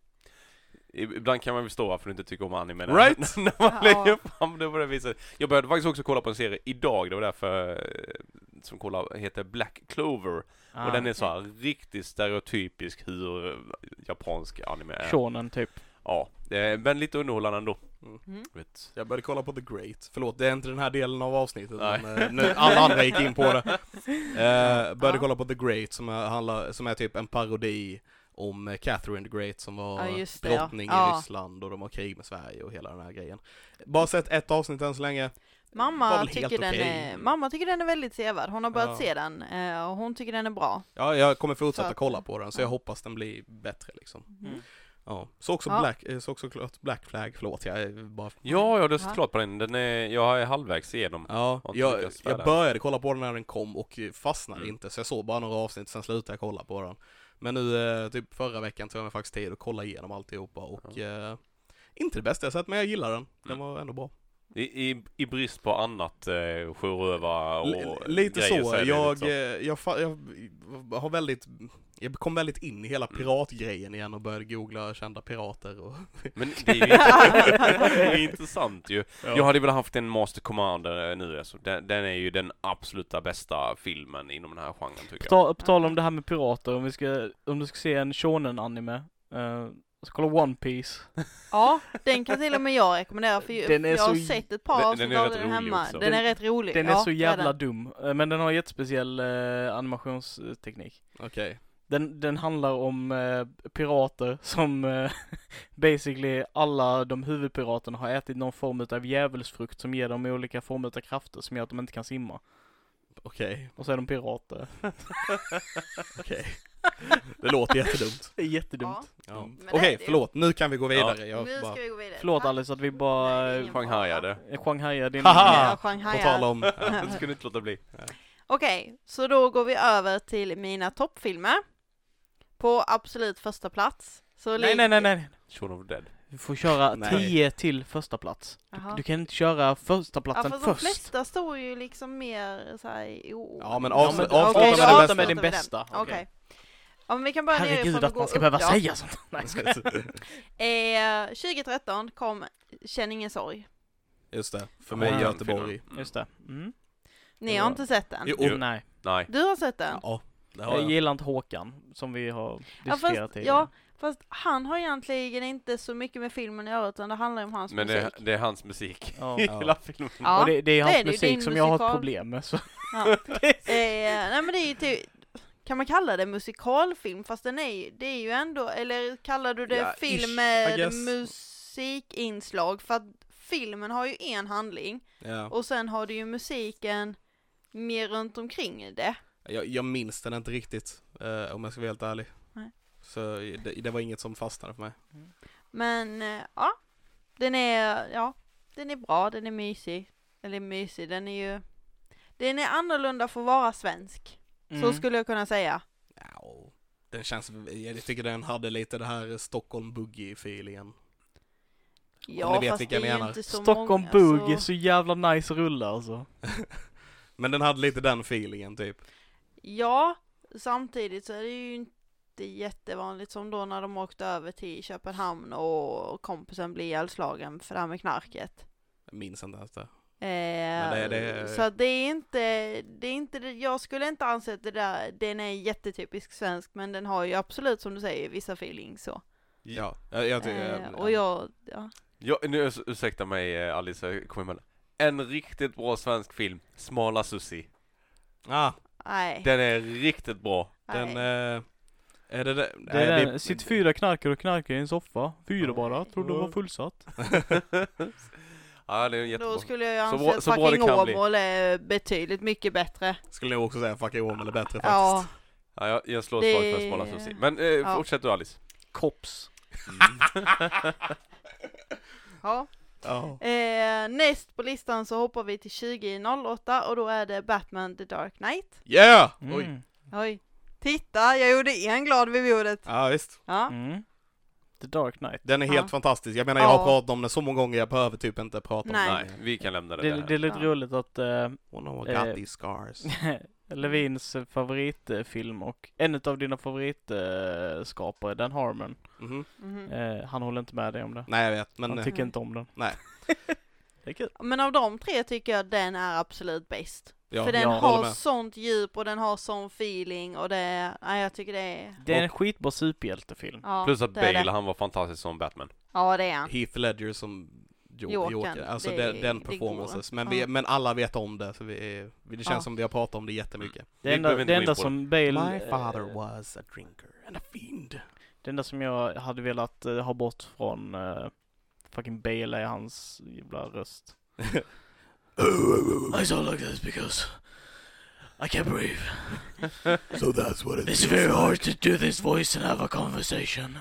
Speaker 4: Ibland kan man förstå varför du inte tycker om anime. när-
Speaker 3: Right?
Speaker 4: när man lägger
Speaker 2: Ja.
Speaker 4: fram det på det viset. Jag började faktiskt också kolla på en serie idag, det var därför eh, som kollar, heter Black Clover.
Speaker 1: Ah,
Speaker 4: Och den är så här riktigt stereotypisk hur eh, japansk anime är.
Speaker 1: Shonen typ.
Speaker 4: Ja, eh, men lite underhållande ändå.
Speaker 2: Mm.
Speaker 4: Vet.
Speaker 3: Jag började kolla på The Great. Förlåt, det är inte den här delen av avsnittet.
Speaker 4: Nej.
Speaker 3: Men, eh, nu, alla andra gick in på det. Eh, började kolla på The Great som är, handlar, som är typ en parodi om eh, Catherine the Great som var
Speaker 2: Ja, just det, ja.
Speaker 3: drottning i
Speaker 2: Ja.
Speaker 3: Ryssland och de har krig med Sverige och hela den här grejen. Bara sett ett avsnitt än så länge. Var
Speaker 2: Mamma
Speaker 3: väl helt
Speaker 2: tycker, den
Speaker 3: okej.
Speaker 2: är, mamma tycker den är väldigt sevärd. Hon har börjat
Speaker 3: Ja.
Speaker 2: se den eh, och hon tycker den är bra.
Speaker 3: Ja, jag kommer fortsätta
Speaker 2: Så att-
Speaker 3: kolla på den så jag
Speaker 2: ja.
Speaker 3: hoppas den blir bättre liksom.
Speaker 1: Mm.
Speaker 3: Ja, så också
Speaker 2: Ja.
Speaker 3: Black, eh, så också klart Black Flag, förlåt jag är bara
Speaker 4: Ja, jag har sett
Speaker 2: Ja.
Speaker 4: klart på den. den är, jag är halvvägs igenom.
Speaker 3: Ja,
Speaker 4: Har inte
Speaker 3: jag,
Speaker 4: lyckats med
Speaker 3: jag
Speaker 4: det.
Speaker 3: började kolla på den när den kom och eh, fastnade
Speaker 4: Mm.
Speaker 3: inte, så jag såg bara några avsnitt, sen slutade jag kolla på den. Men nu, eh, typ förra veckan tog jag mig faktiskt tid att kolla igenom alltihopa och eh, inte det bästa jag sett, men jag gillar den. Den
Speaker 4: Mm.
Speaker 3: var ändå bra.
Speaker 4: I, i, i brist på annat eh, sjörövar och eh,
Speaker 3: L- lite
Speaker 4: grejer
Speaker 3: så,
Speaker 4: är det
Speaker 3: jag,
Speaker 4: liksom-
Speaker 3: eh, jag, fa- jag har väldigt, jag kom väldigt in i hela
Speaker 4: Mm.
Speaker 3: piratgrejen igen och började googla kända pirater och...
Speaker 4: Men det är ju det är ju intressant ju. Jag hade velat haft en Master Commander eh, nu alltså. den, den är ju den absoluta bästa filmen inom den här genren
Speaker 1: På,
Speaker 4: tycker jag.
Speaker 1: tal, på tal om det här med pirater, om, vi ska, om du ska se en shonen-anime, eh, så kolla One Piece.
Speaker 2: Ja, den kan till och med jag rekommendera för ju-
Speaker 1: Den är
Speaker 2: jag har
Speaker 1: så-
Speaker 2: sett ett
Speaker 4: den-
Speaker 2: par
Speaker 4: den
Speaker 2: avsnitt
Speaker 4: är
Speaker 2: av
Speaker 4: rätt
Speaker 2: den
Speaker 4: rolig
Speaker 2: hemma.
Speaker 4: också.
Speaker 2: Den är rätt rolig.
Speaker 1: Den
Speaker 2: ja,
Speaker 1: är så
Speaker 2: det
Speaker 1: jävla
Speaker 2: den.
Speaker 1: dum, eh, men den har jättespeciell eh, animationsteknik.
Speaker 3: Okej.
Speaker 1: Den, den handlar om eh, pirater som eh, basically alla de huvudpiraterna har ätit någon form utav djävulsfrukt som ger dem olika former utav krafter som gör att de inte kan simma.
Speaker 3: Okej,
Speaker 1: Och så är de pirater.
Speaker 3: okej. Det låter jättedumt.
Speaker 1: Det är jättedumt.
Speaker 2: Ja.
Speaker 3: Ja.
Speaker 2: Men det
Speaker 3: Okej,
Speaker 2: är det ju.
Speaker 3: förlåt, nu kan vi gå vidare. Jag
Speaker 2: Nu
Speaker 3: bara...
Speaker 2: ska vi gå vidare.
Speaker 1: Förlåt
Speaker 2: Tack.
Speaker 1: Alice att vi bara
Speaker 2: Nej, det
Speaker 1: eh,
Speaker 2: är
Speaker 4: Shanghaiade.
Speaker 1: Shanghaiar din...
Speaker 3: Haha!
Speaker 2: Ja,
Speaker 3: På
Speaker 2: Shanghai.
Speaker 3: tal om...
Speaker 4: Jag skulle inte låta bli.
Speaker 2: Okej, så då går vi över till mina toppfilmer. På absolut första plats. Så
Speaker 1: Nej, nej, nej, nej.
Speaker 4: Shaun of the Dead.
Speaker 1: Du får köra
Speaker 3: Nej.
Speaker 1: 10 till första plats. Du kan inte köra första platsen
Speaker 2: ja, för
Speaker 1: först.
Speaker 2: De flesta står ju liksom mer såhär i o-
Speaker 3: Ja, men
Speaker 1: Ja,
Speaker 3: avsluta
Speaker 1: men
Speaker 2: Okej,
Speaker 3: avsluta
Speaker 2: då
Speaker 3: med det
Speaker 1: avsluta
Speaker 3: bästa.
Speaker 1: med din
Speaker 2: avslutar vi den.
Speaker 1: bästa.
Speaker 2: Okej. Ja, men vi kan börja
Speaker 1: Herregud
Speaker 2: nerifrån
Speaker 1: att
Speaker 2: och
Speaker 1: man
Speaker 2: gå
Speaker 1: ska
Speaker 2: upp,
Speaker 1: behöva
Speaker 2: ja.
Speaker 1: säga sånt. Nej, jag skojar.
Speaker 2: Eh, 2013 kom Känn ingen sorg.
Speaker 3: Just det, för
Speaker 4: Ja,
Speaker 3: mig
Speaker 1: den
Speaker 3: Göteborg.
Speaker 4: filmen. Mm.
Speaker 1: Just det. Mm.
Speaker 2: Ni har inte sett den?
Speaker 3: Jo.
Speaker 4: Jo.
Speaker 1: Nej.
Speaker 4: Nej.
Speaker 2: Du har sett den?
Speaker 3: Ja, det har
Speaker 1: Jag
Speaker 3: jag.
Speaker 1: gillar inte Håkan, som vi har
Speaker 2: Ja
Speaker 1: diskuterat
Speaker 2: fast,
Speaker 1: tidigare.
Speaker 2: ja, fast han har egentligen inte så mycket med filmen att göra utan det handlar om hans
Speaker 4: Men det,
Speaker 2: musik.
Speaker 4: är- det är hans musik
Speaker 1: Ja.
Speaker 4: i hela filmen.
Speaker 2: Ja,
Speaker 1: Och det, det är hans
Speaker 2: det är det ju,
Speaker 1: musik
Speaker 2: din
Speaker 1: som jag har ett
Speaker 2: musikal.
Speaker 1: problem med. Så.
Speaker 2: eh, nej men det är ju typ, kan man kalla det musikalfilm? Fast den är ju, det är ju ändå, eller kallar du det
Speaker 3: Ja, ish,
Speaker 2: film
Speaker 3: I
Speaker 2: med
Speaker 3: guess.
Speaker 2: musikinslag? För att filmen har ju en handling
Speaker 3: Ja.
Speaker 2: och sen har du ju musiken mer runt omkring det.
Speaker 3: Jag, jag minns den inte riktigt, eh, om jag ska vara helt ärlig.
Speaker 2: Nej.
Speaker 3: Så det, det var inget som fastnade för mig.
Speaker 2: Men eh, ja, den är, ja, den är bra, den är mysig. Eller mysig, den är ju, den är annorlunda för att vara svensk.
Speaker 3: Mm.
Speaker 2: Så skulle jag kunna säga.
Speaker 3: Ja, och den känns, jag tycker den hade lite det här Stockholm Boogie-feelingen.
Speaker 2: Ja,
Speaker 3: vet
Speaker 2: fast
Speaker 3: vilka
Speaker 2: det
Speaker 3: jag
Speaker 2: är ju
Speaker 3: menar.
Speaker 2: inte så
Speaker 1: Stockholm
Speaker 2: många.
Speaker 1: Boogie,
Speaker 2: Så...
Speaker 1: så jävla nice rulle alltså.
Speaker 3: Men den hade lite den feelingen typ.
Speaker 2: Ja, samtidigt så är det ju inte jättevanligt som då när de åkte över till Köpenhamn och kompisen blev ihjälslagen för det här med knarket.
Speaker 3: Jag minns inte ens det.
Speaker 2: Eh,
Speaker 3: det- det-
Speaker 2: Så att det är inte, det är inte, det- jag skulle inte anse att det där, den är jättetypisk svensk men den har ju absolut som du säger vissa feelings så.
Speaker 3: Ja, jag, jag tycker...
Speaker 2: Eh, och jag, ja.
Speaker 4: Ja, nu, urs- ursäkta mig eh, Alice, jag kommer med En riktigt bra svensk film, Smala Sussi.
Speaker 3: Ah,
Speaker 2: Nej.
Speaker 4: Den är riktigt bra.
Speaker 3: den...
Speaker 2: nej.
Speaker 3: Eh, är det det?
Speaker 1: Det är
Speaker 3: Nej,
Speaker 1: den, sitt fyra knarkare och knarkar i en soffa. Fyra bara, trodde de var fullsatt.
Speaker 4: ja, den är jättebra.
Speaker 2: Då skulle jag ju
Speaker 4: Så
Speaker 2: anse
Speaker 4: bra-
Speaker 2: att
Speaker 4: så bra det
Speaker 2: fucking
Speaker 4: kan bli.
Speaker 2: Åmål är betydligt mycket bättre.
Speaker 3: Skulle nog också säga Fuck It Woman är bättre faktiskt.
Speaker 2: Ja.
Speaker 4: Ja, jag, jag slår ett slag för
Speaker 2: Det-
Speaker 4: Smala Sussi. Men eh,
Speaker 2: Ja.
Speaker 4: fortsätt du Alice.
Speaker 1: Kops.
Speaker 2: ja.
Speaker 3: Ja.
Speaker 2: Eh, näst på listan så hoppar vi till 2008 och då är det Batman The Dark Knight.
Speaker 3: Yeah! Oj.
Speaker 1: Mm.
Speaker 2: Oj. Titta, jag gjorde en glad vid bordet.
Speaker 3: Ja visst.
Speaker 2: Ja.
Speaker 1: Mm. The Dark Knight.
Speaker 3: Den är
Speaker 2: Ja.
Speaker 3: helt fantastisk. Jag menar jag har
Speaker 2: Ja.
Speaker 3: pratat om den så många gånger jag behöver typ inte prata om
Speaker 4: Nej,
Speaker 2: Nej.
Speaker 4: vi kan lämna det,
Speaker 1: Det,
Speaker 4: där.
Speaker 1: det är lite
Speaker 2: Ja.
Speaker 1: roligt att eh,
Speaker 3: den. One of
Speaker 1: Eh.
Speaker 3: got these scars.
Speaker 1: Levins favoritfilm och en av dina favoritskapare, Dan Harmon,
Speaker 3: Mhm.
Speaker 2: Mhm.
Speaker 1: eh, han håller inte med dig om det.
Speaker 3: Nej jag vet, men...
Speaker 1: Han
Speaker 3: eh,
Speaker 1: tycker inte om den.
Speaker 3: Nej.
Speaker 1: det är kul.
Speaker 2: Men av de tre tycker jag den är absolut bäst.
Speaker 3: ja,
Speaker 2: För den
Speaker 3: jag håller
Speaker 2: har
Speaker 3: med.
Speaker 2: sånt djup och den har sån feeling och det, nej jag tycker det är,
Speaker 1: Det är en skitbra superhjältefilm.
Speaker 2: ja.
Speaker 4: Plus att
Speaker 2: det är
Speaker 4: Bale,
Speaker 2: det.
Speaker 4: han var fantastisk som Batman.
Speaker 2: Ja det är han.
Speaker 3: Heath Ledger som jo-
Speaker 2: Jokern,
Speaker 3: Joker, alltså
Speaker 2: det-
Speaker 3: den, den
Speaker 2: det
Speaker 3: performances.
Speaker 2: går.
Speaker 3: Men, vi,
Speaker 2: Ja.
Speaker 3: men alla vet om det, så vi, är- vi- det känns
Speaker 2: Ja.
Speaker 3: som vi har pratat om det jättemycket.
Speaker 1: Det
Speaker 4: Vi
Speaker 1: enda,
Speaker 4: behöver inte
Speaker 1: det
Speaker 4: gå in
Speaker 1: enda
Speaker 4: på
Speaker 1: som Bale...
Speaker 3: My father
Speaker 1: eh,
Speaker 3: was a drinker and a fiend.
Speaker 1: Det enda som jag hade velat eh, ha bort från eh, fucking Bale är hans jävla röst.
Speaker 5: I sound like this because I can't breathe.
Speaker 3: so that's what
Speaker 5: It's very hard to do this voice and have a conversation.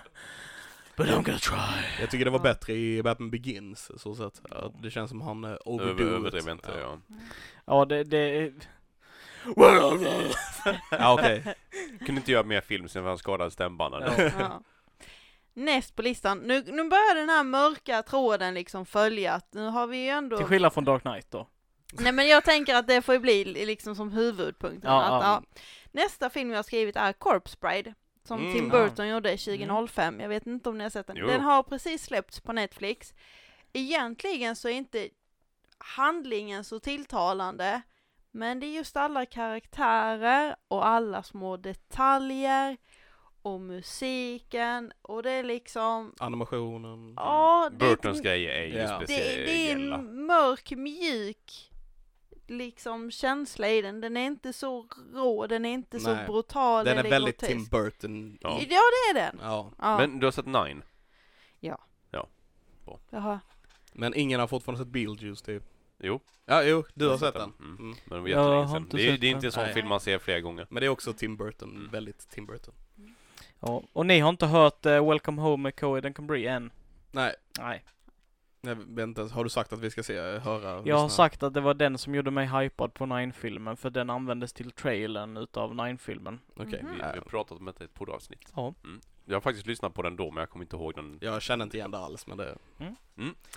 Speaker 5: But I'm gonna try.
Speaker 3: Jag tycker det var bättre i Batman Begins, så sätt. Ja, Det känns som han eh,
Speaker 4: Över-
Speaker 3: overdo it.
Speaker 4: Överdriv inte. Ja.
Speaker 1: Ja, det, det,
Speaker 3: Ja, okej.
Speaker 4: Kunde inte göra mer film sen han skadade stämbanden.
Speaker 2: Ja. Näst på listan, nu, nu börjar den här mörka tråden liksom följa, att nu har vi ju ändå
Speaker 1: till skillnad från Dark Knight då.
Speaker 2: Nej men jag tänker att det får ju bli liksom som huvudpunkten.
Speaker 1: Ja, ja.
Speaker 2: att, ja. Nästa film jag har skrivit är Corpse Bride. Som
Speaker 3: Mm,
Speaker 2: Tim
Speaker 1: ja.
Speaker 2: Burton gjorde 2005. Jag vet inte om ni har sett den.
Speaker 4: Jo.
Speaker 2: Den har precis släppts på Netflix. Egentligen så är inte handlingen så tilltalande. Men det är just alla karaktärer och alla små detaljer. Och musiken. Och det är liksom...
Speaker 3: Animationen.
Speaker 2: Ja, det är ett
Speaker 4: Burtons grejer är ju
Speaker 3: Ja.
Speaker 2: det,
Speaker 3: Det-
Speaker 2: det är
Speaker 4: speciella.
Speaker 2: en mörk, mjuk liksom känsla i den. Den är inte så rå, den är inte
Speaker 3: Nej.
Speaker 2: så brutal
Speaker 3: Den är
Speaker 2: eller
Speaker 3: väldigt Tim
Speaker 2: grotesk.
Speaker 3: Burton.
Speaker 4: Ja.
Speaker 2: Ja, det är den.
Speaker 3: Ja.
Speaker 2: Ja,
Speaker 4: Men du har sett Nine?
Speaker 2: jaha.
Speaker 3: Men ingen har fortfarande sett Beetlejuice typ.
Speaker 4: Jo.
Speaker 3: Ja, jo, du
Speaker 4: jag
Speaker 3: har sett den.
Speaker 4: Mm.
Speaker 3: Mm.
Speaker 4: Men det var
Speaker 1: Jag har
Speaker 4: jättelänge sedan.
Speaker 1: inte
Speaker 4: Det är,
Speaker 1: sett
Speaker 4: det är inte en
Speaker 1: den.
Speaker 4: sån
Speaker 3: Nej.
Speaker 4: film man ser flera gånger.
Speaker 3: Men det är också Tim Burton,
Speaker 4: Mm.
Speaker 3: väldigt Tim Burton.
Speaker 1: Ja. Och ni har inte hört eh, Welcome Home med Coed and Cambry än?
Speaker 3: Nej,
Speaker 1: Nej.
Speaker 3: nej vänta, har du sagt att vi ska se, eh, höra?
Speaker 1: Jag har
Speaker 3: lyssna?
Speaker 1: sagt att det var den som gjorde mig hypad på Nine-filmen, för den användes till trailern utav Nine-filmen.
Speaker 3: Okej.
Speaker 5: Mm.
Speaker 4: Vi, vi
Speaker 3: Ja.
Speaker 4: har pratat om detta i ett poddavsnitt.
Speaker 1: Ja.
Speaker 4: Mm. Jag har faktiskt lyssnat på den då, men jag kommer inte ihåg den.
Speaker 3: Jag känner inte igen det alls, men det...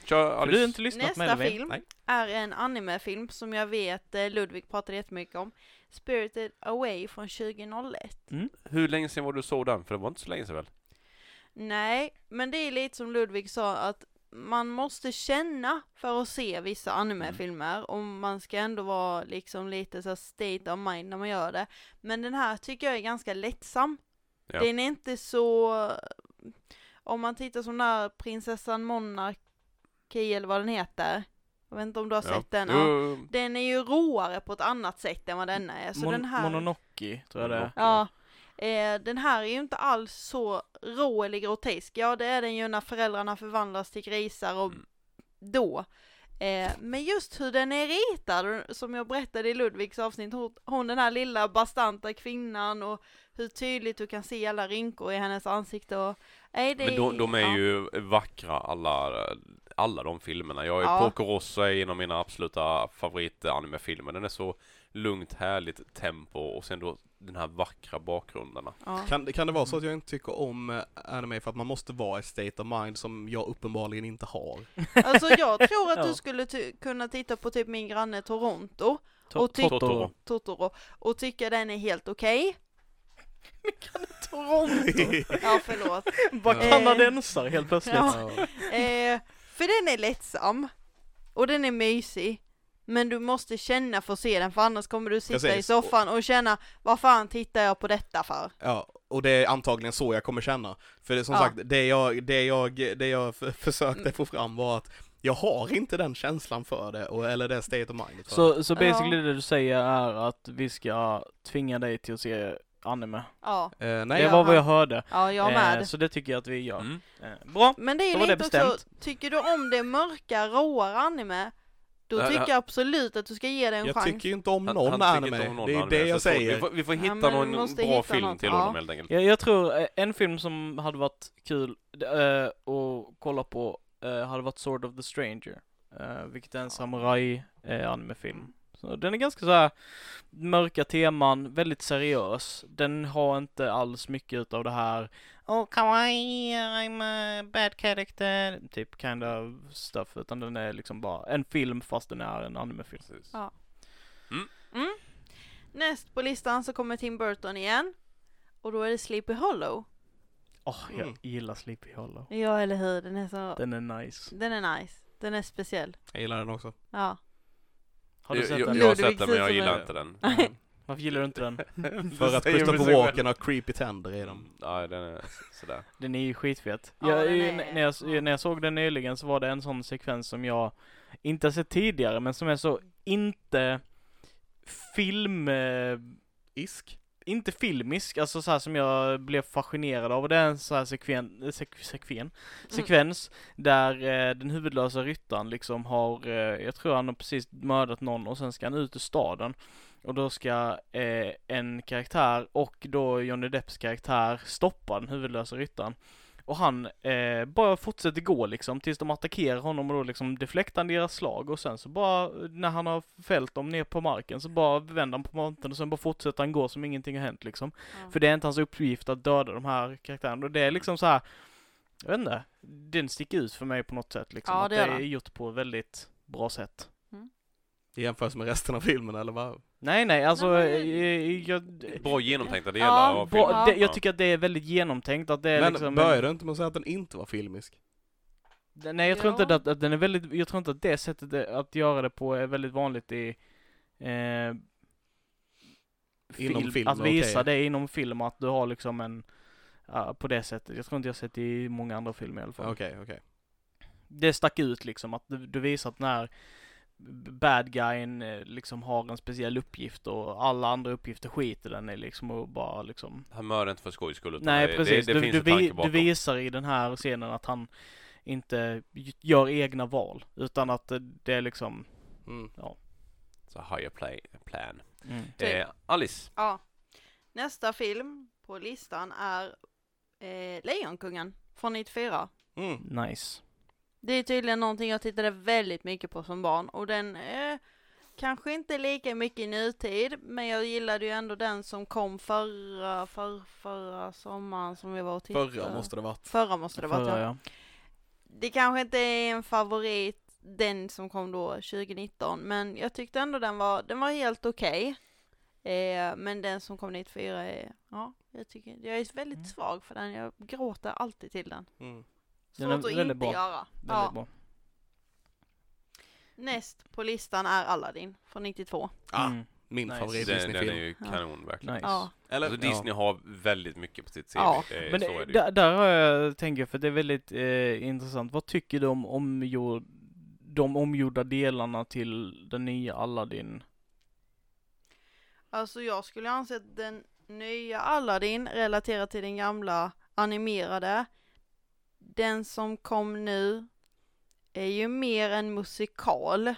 Speaker 4: Kör
Speaker 1: Har
Speaker 4: Alice.
Speaker 1: du har inte lyssnat med
Speaker 2: Nästa
Speaker 1: Elvin?
Speaker 2: film
Speaker 3: Nej.
Speaker 2: är en animefilm som jag vet eh, Ludvig pratade jättemycket om. Spirited Away från 2001.
Speaker 4: Hur länge sedan var du såg den? För det var inte så länge sedan väl?
Speaker 2: Nej, men det är lite som Ludvig sa att man måste känna för att se vissa animefilmer och man ska ändå vara liksom lite så här state of mind när man gör det. Men den här tycker jag är ganska lättsam.
Speaker 4: Ja.
Speaker 2: Den är inte så, om man tittar som den här prinsessan Monarki eller vad den heter. Jag vet inte om du har sett den? Ja.
Speaker 4: Jo,
Speaker 2: Den är ju råare på ett annat sätt än vad denna är. Så
Speaker 1: Mon-
Speaker 2: Alltså, den här...
Speaker 1: Mononoke tror jag det är.
Speaker 2: Ja. Eh, den här är ju inte alls så rå eller grotesk. Ja, det är den ju när föräldrarna förvandlas till grisar och
Speaker 4: Mm.
Speaker 2: då. Eh, men just hur den är ritad, och som jag berättade i Ludvigs avsnitt, hon- hon den här lilla bastanta kvinnan och hur tydligt du kan se alla rynkor i hennes ansikte och... Nej, det
Speaker 4: Men de, de
Speaker 2: ja.
Speaker 4: är ju vackra alla, alla de filmerna. Jag är
Speaker 2: Ja.
Speaker 4: Porco Rosso är en av mina absoluta favoritanimefilmer. Den är så lugnt, härligt tempo och sen då den här vackra bakgrunderna.
Speaker 2: Ja.
Speaker 3: Kan, det- kan det vara så att jag inte tycker om eh, anime för att man måste vara i state of mind som jag uppenbarligen inte har?
Speaker 2: Alltså jag tror att du
Speaker 1: Ja.
Speaker 2: skulle ty- kunna titta på typ min granne Toronto,
Speaker 1: To-
Speaker 2: Och tyck-
Speaker 4: Totoro.
Speaker 2: Totoro, och tycka den är helt okej.
Speaker 1: Toronto!
Speaker 2: Ja, förlåt.
Speaker 1: Bara
Speaker 2: Ja.
Speaker 1: kanadensare helt plötsligt.
Speaker 2: Eh. Ja. Eh, för den är lättsam och den är mysig. Men du måste känna för att se den för annars kommer du sitta i
Speaker 3: Precis.
Speaker 2: soffan och känna vad fan tittar jag på detta för?
Speaker 3: Ja, och det är antagligen så jag kommer känna. För det, är som
Speaker 2: Ja. Mm.
Speaker 3: sagt, det jag, det jag, det jag f- försökte få fram var att jag har inte den känslan för det, och, eller det state of mind. För. det.
Speaker 1: Så, så basically
Speaker 2: Ja.
Speaker 1: det du säger är att vi ska tvinga dig till att se anime.
Speaker 2: Ja,
Speaker 3: Eh,
Speaker 1: Nej,
Speaker 3: nej,
Speaker 1: det
Speaker 2: jag
Speaker 1: var vad
Speaker 2: med.
Speaker 1: jag hörde.
Speaker 2: ja jag
Speaker 1: Eh,
Speaker 2: med.
Speaker 1: Så det tycker jag att vi gör.
Speaker 4: Mm.
Speaker 1: Eh, Bra!
Speaker 2: men det är
Speaker 1: då
Speaker 2: ju
Speaker 1: var det
Speaker 2: lite också, tycker du om det mörka, råare anime, då
Speaker 4: Ja,
Speaker 2: tycker
Speaker 4: ja.
Speaker 2: jag absolut att du ska ge det en
Speaker 3: jag
Speaker 2: chans.
Speaker 3: tycker ju inte om
Speaker 4: Han-
Speaker 3: någon
Speaker 4: han tycker
Speaker 3: anime.
Speaker 4: inte om någon
Speaker 3: det är
Speaker 4: anime,
Speaker 3: det
Speaker 4: så
Speaker 3: jag
Speaker 4: tror-
Speaker 3: säger.
Speaker 4: Vi får, vi får hitta
Speaker 2: men
Speaker 4: någon
Speaker 2: vi måste
Speaker 4: bra
Speaker 2: hitta
Speaker 4: film
Speaker 2: något,
Speaker 4: till
Speaker 2: ja.
Speaker 4: honom helt enkelt.
Speaker 1: Jag, jag tror eh, en film som hade varit kul eh, att kolla på eh, hade varit Sword of the Stranger. eh, vilket är en samurai eh, animefilm. Så den är ganska så här mörka teman, väldigt seriös. Den har inte alls mycket utav det här Oh kawaii, I'm a bad character, typ kind of stuff. Utan den är liksom bara en film fast den är en animefilm.
Speaker 4: Precis.
Speaker 2: Ja. Mm. Näst på listan så kommer Tim Burton igen. Och då är det Sleepy Hollow.
Speaker 1: Åh, jag
Speaker 3: Mm.
Speaker 1: gillar Sleepy Hollow.
Speaker 2: Ja, eller hur? Den är så...
Speaker 1: Den är nice.
Speaker 2: Den är nice. Den är speciell.
Speaker 3: Jag gillar den också.
Speaker 2: Ja.
Speaker 1: Har du
Speaker 4: Jag-
Speaker 1: sett
Speaker 4: jag,
Speaker 1: den?
Speaker 4: jag har
Speaker 2: Ludvig
Speaker 4: sett den men jag
Speaker 2: ser
Speaker 4: gillar
Speaker 3: som
Speaker 4: inte den.
Speaker 1: Varför gillar du inte den?
Speaker 3: För att Christopher Walken har creepy tänder i dem.
Speaker 4: Mm, Nej, den är sådär.
Speaker 1: Den är ju skitfet.
Speaker 2: Ja,
Speaker 1: jag,
Speaker 2: den
Speaker 1: ju-
Speaker 2: är-
Speaker 1: när, jag, när jag såg den nyligen så var det en sån sekvens som jag inte har sett tidigare men som är så inte film... eh,
Speaker 3: Isk?
Speaker 1: Inte filmisk, alltså så här som jag blev fascinerad av. Och det är en så här sekven, eh, sek, sekven,
Speaker 2: Mm.
Speaker 1: sekvens där eh, den huvudlösa ryttaren liksom har, eh, jag tror han har precis mördat någon och sen ska han ut ur staden. Och då ska eh, en karaktär och då Johnny Depps karaktär stoppa den huvudlösa ryttaren. Och han eh, bara fortsätter gå liksom tills de attackerar honom och då liksom deflektar han deras slag och sen så bara när han har fällt dem ner på marken så bara vänder han på monten och sen bara fortsätter han gå som ingenting har hänt liksom.
Speaker 2: Ja.
Speaker 1: För det är inte hans uppgift att döda de här karaktärerna och det är liksom så här. Jag vet inte. Den sticker ut för mig på något sätt liksom.
Speaker 2: Ja,
Speaker 1: att
Speaker 2: det
Speaker 1: det
Speaker 2: gör
Speaker 1: är
Speaker 2: den.
Speaker 1: gjort på ett väldigt bra sätt.
Speaker 3: I jämförelse med resten av filmen, eller vad?
Speaker 1: Nej, nej, alltså
Speaker 2: Nej,
Speaker 1: eh, jag...
Speaker 4: Bra genomtänkta delar
Speaker 2: Ja,
Speaker 4: av filmen.
Speaker 1: Bra, det, jag
Speaker 4: Ja.
Speaker 1: tycker att det är väldigt genomtänkt att det är
Speaker 3: Men
Speaker 1: liksom...
Speaker 3: började du inte med att säga att den inte var filmisk?
Speaker 1: Den- Nej jag tror
Speaker 2: Ja.
Speaker 1: inte att, att den är väldigt, jag tror inte att det sättet är- att göra det på är väldigt vanligt i eh,
Speaker 3: film,
Speaker 1: Att visa
Speaker 3: okej.
Speaker 1: det inom film, att du har liksom en, ja, på det sättet. Jag tror inte jag sett det i många andra filmer i alla fall.
Speaker 3: Okej, okej.
Speaker 1: Det stack ut liksom, att du, du visar att när bad guyen eh, liksom har en speciell uppgift och alla andra uppgifter skiter den i liksom och bara liksom
Speaker 4: Han mördar inte för skojs skull utan
Speaker 1: Nej
Speaker 4: det,
Speaker 1: precis,
Speaker 4: det, det
Speaker 1: du,
Speaker 4: finns
Speaker 1: du,
Speaker 4: en tanke
Speaker 1: vi, du
Speaker 4: bakom.
Speaker 1: visar i den här scenen att han inte j- gör egna val utan att eh, det är liksom
Speaker 3: Mm.
Speaker 4: Så higher play, plan.
Speaker 2: Typ.
Speaker 4: Eh, Alice.
Speaker 2: Ja. Nästa film på listan är eh, Lejonkungen från 94.
Speaker 3: Mm.
Speaker 1: nice.
Speaker 2: Det är tydligen någonting jag tittade väldigt mycket på som barn och den eh, kanske inte lika mycket i nutid men jag gillade ju ändå den som kom förra, för, förra sommaren som vi var och tittade.
Speaker 3: Förra måste det varit.
Speaker 2: Förra måste det vara.
Speaker 1: Förra,
Speaker 2: ja.
Speaker 1: ja.
Speaker 2: Det kanske inte är en favorit den som kom då 2019 men jag tyckte ändå den var, den var helt okej. Eh, men den som kom 94 är, ja, jag tycker, jag är väldigt
Speaker 1: Mm.
Speaker 2: svag för den, jag gråter alltid till den.
Speaker 3: Mm.
Speaker 1: Den är
Speaker 2: Svårt att
Speaker 1: väldigt
Speaker 2: inte
Speaker 1: bra.
Speaker 2: göra.
Speaker 1: Väldigt
Speaker 2: Ja.
Speaker 1: bra.
Speaker 2: Näst på listan är Aladdin från 92.
Speaker 3: Ah,
Speaker 1: Mm.
Speaker 3: Min
Speaker 1: Nice.
Speaker 3: favorit
Speaker 4: Den, den är
Speaker 3: Disney-film.
Speaker 4: ju kanon verkligen.
Speaker 1: Nice.
Speaker 2: Ja.
Speaker 3: Eller?
Speaker 4: Alltså Disney har väldigt mycket på sitt CV.
Speaker 2: Ja.
Speaker 4: Eh,
Speaker 1: Men
Speaker 4: så är det ju.
Speaker 1: där, där har jag, tänker jag, för det är väldigt eh, intressant. Vad tycker du om omgjord, de omgjorda delarna till den nya Aladdin?
Speaker 2: Alltså jag skulle anse att den nya Aladdin relaterat till den gamla animerade. Den som kom nu är ju mer en musikal.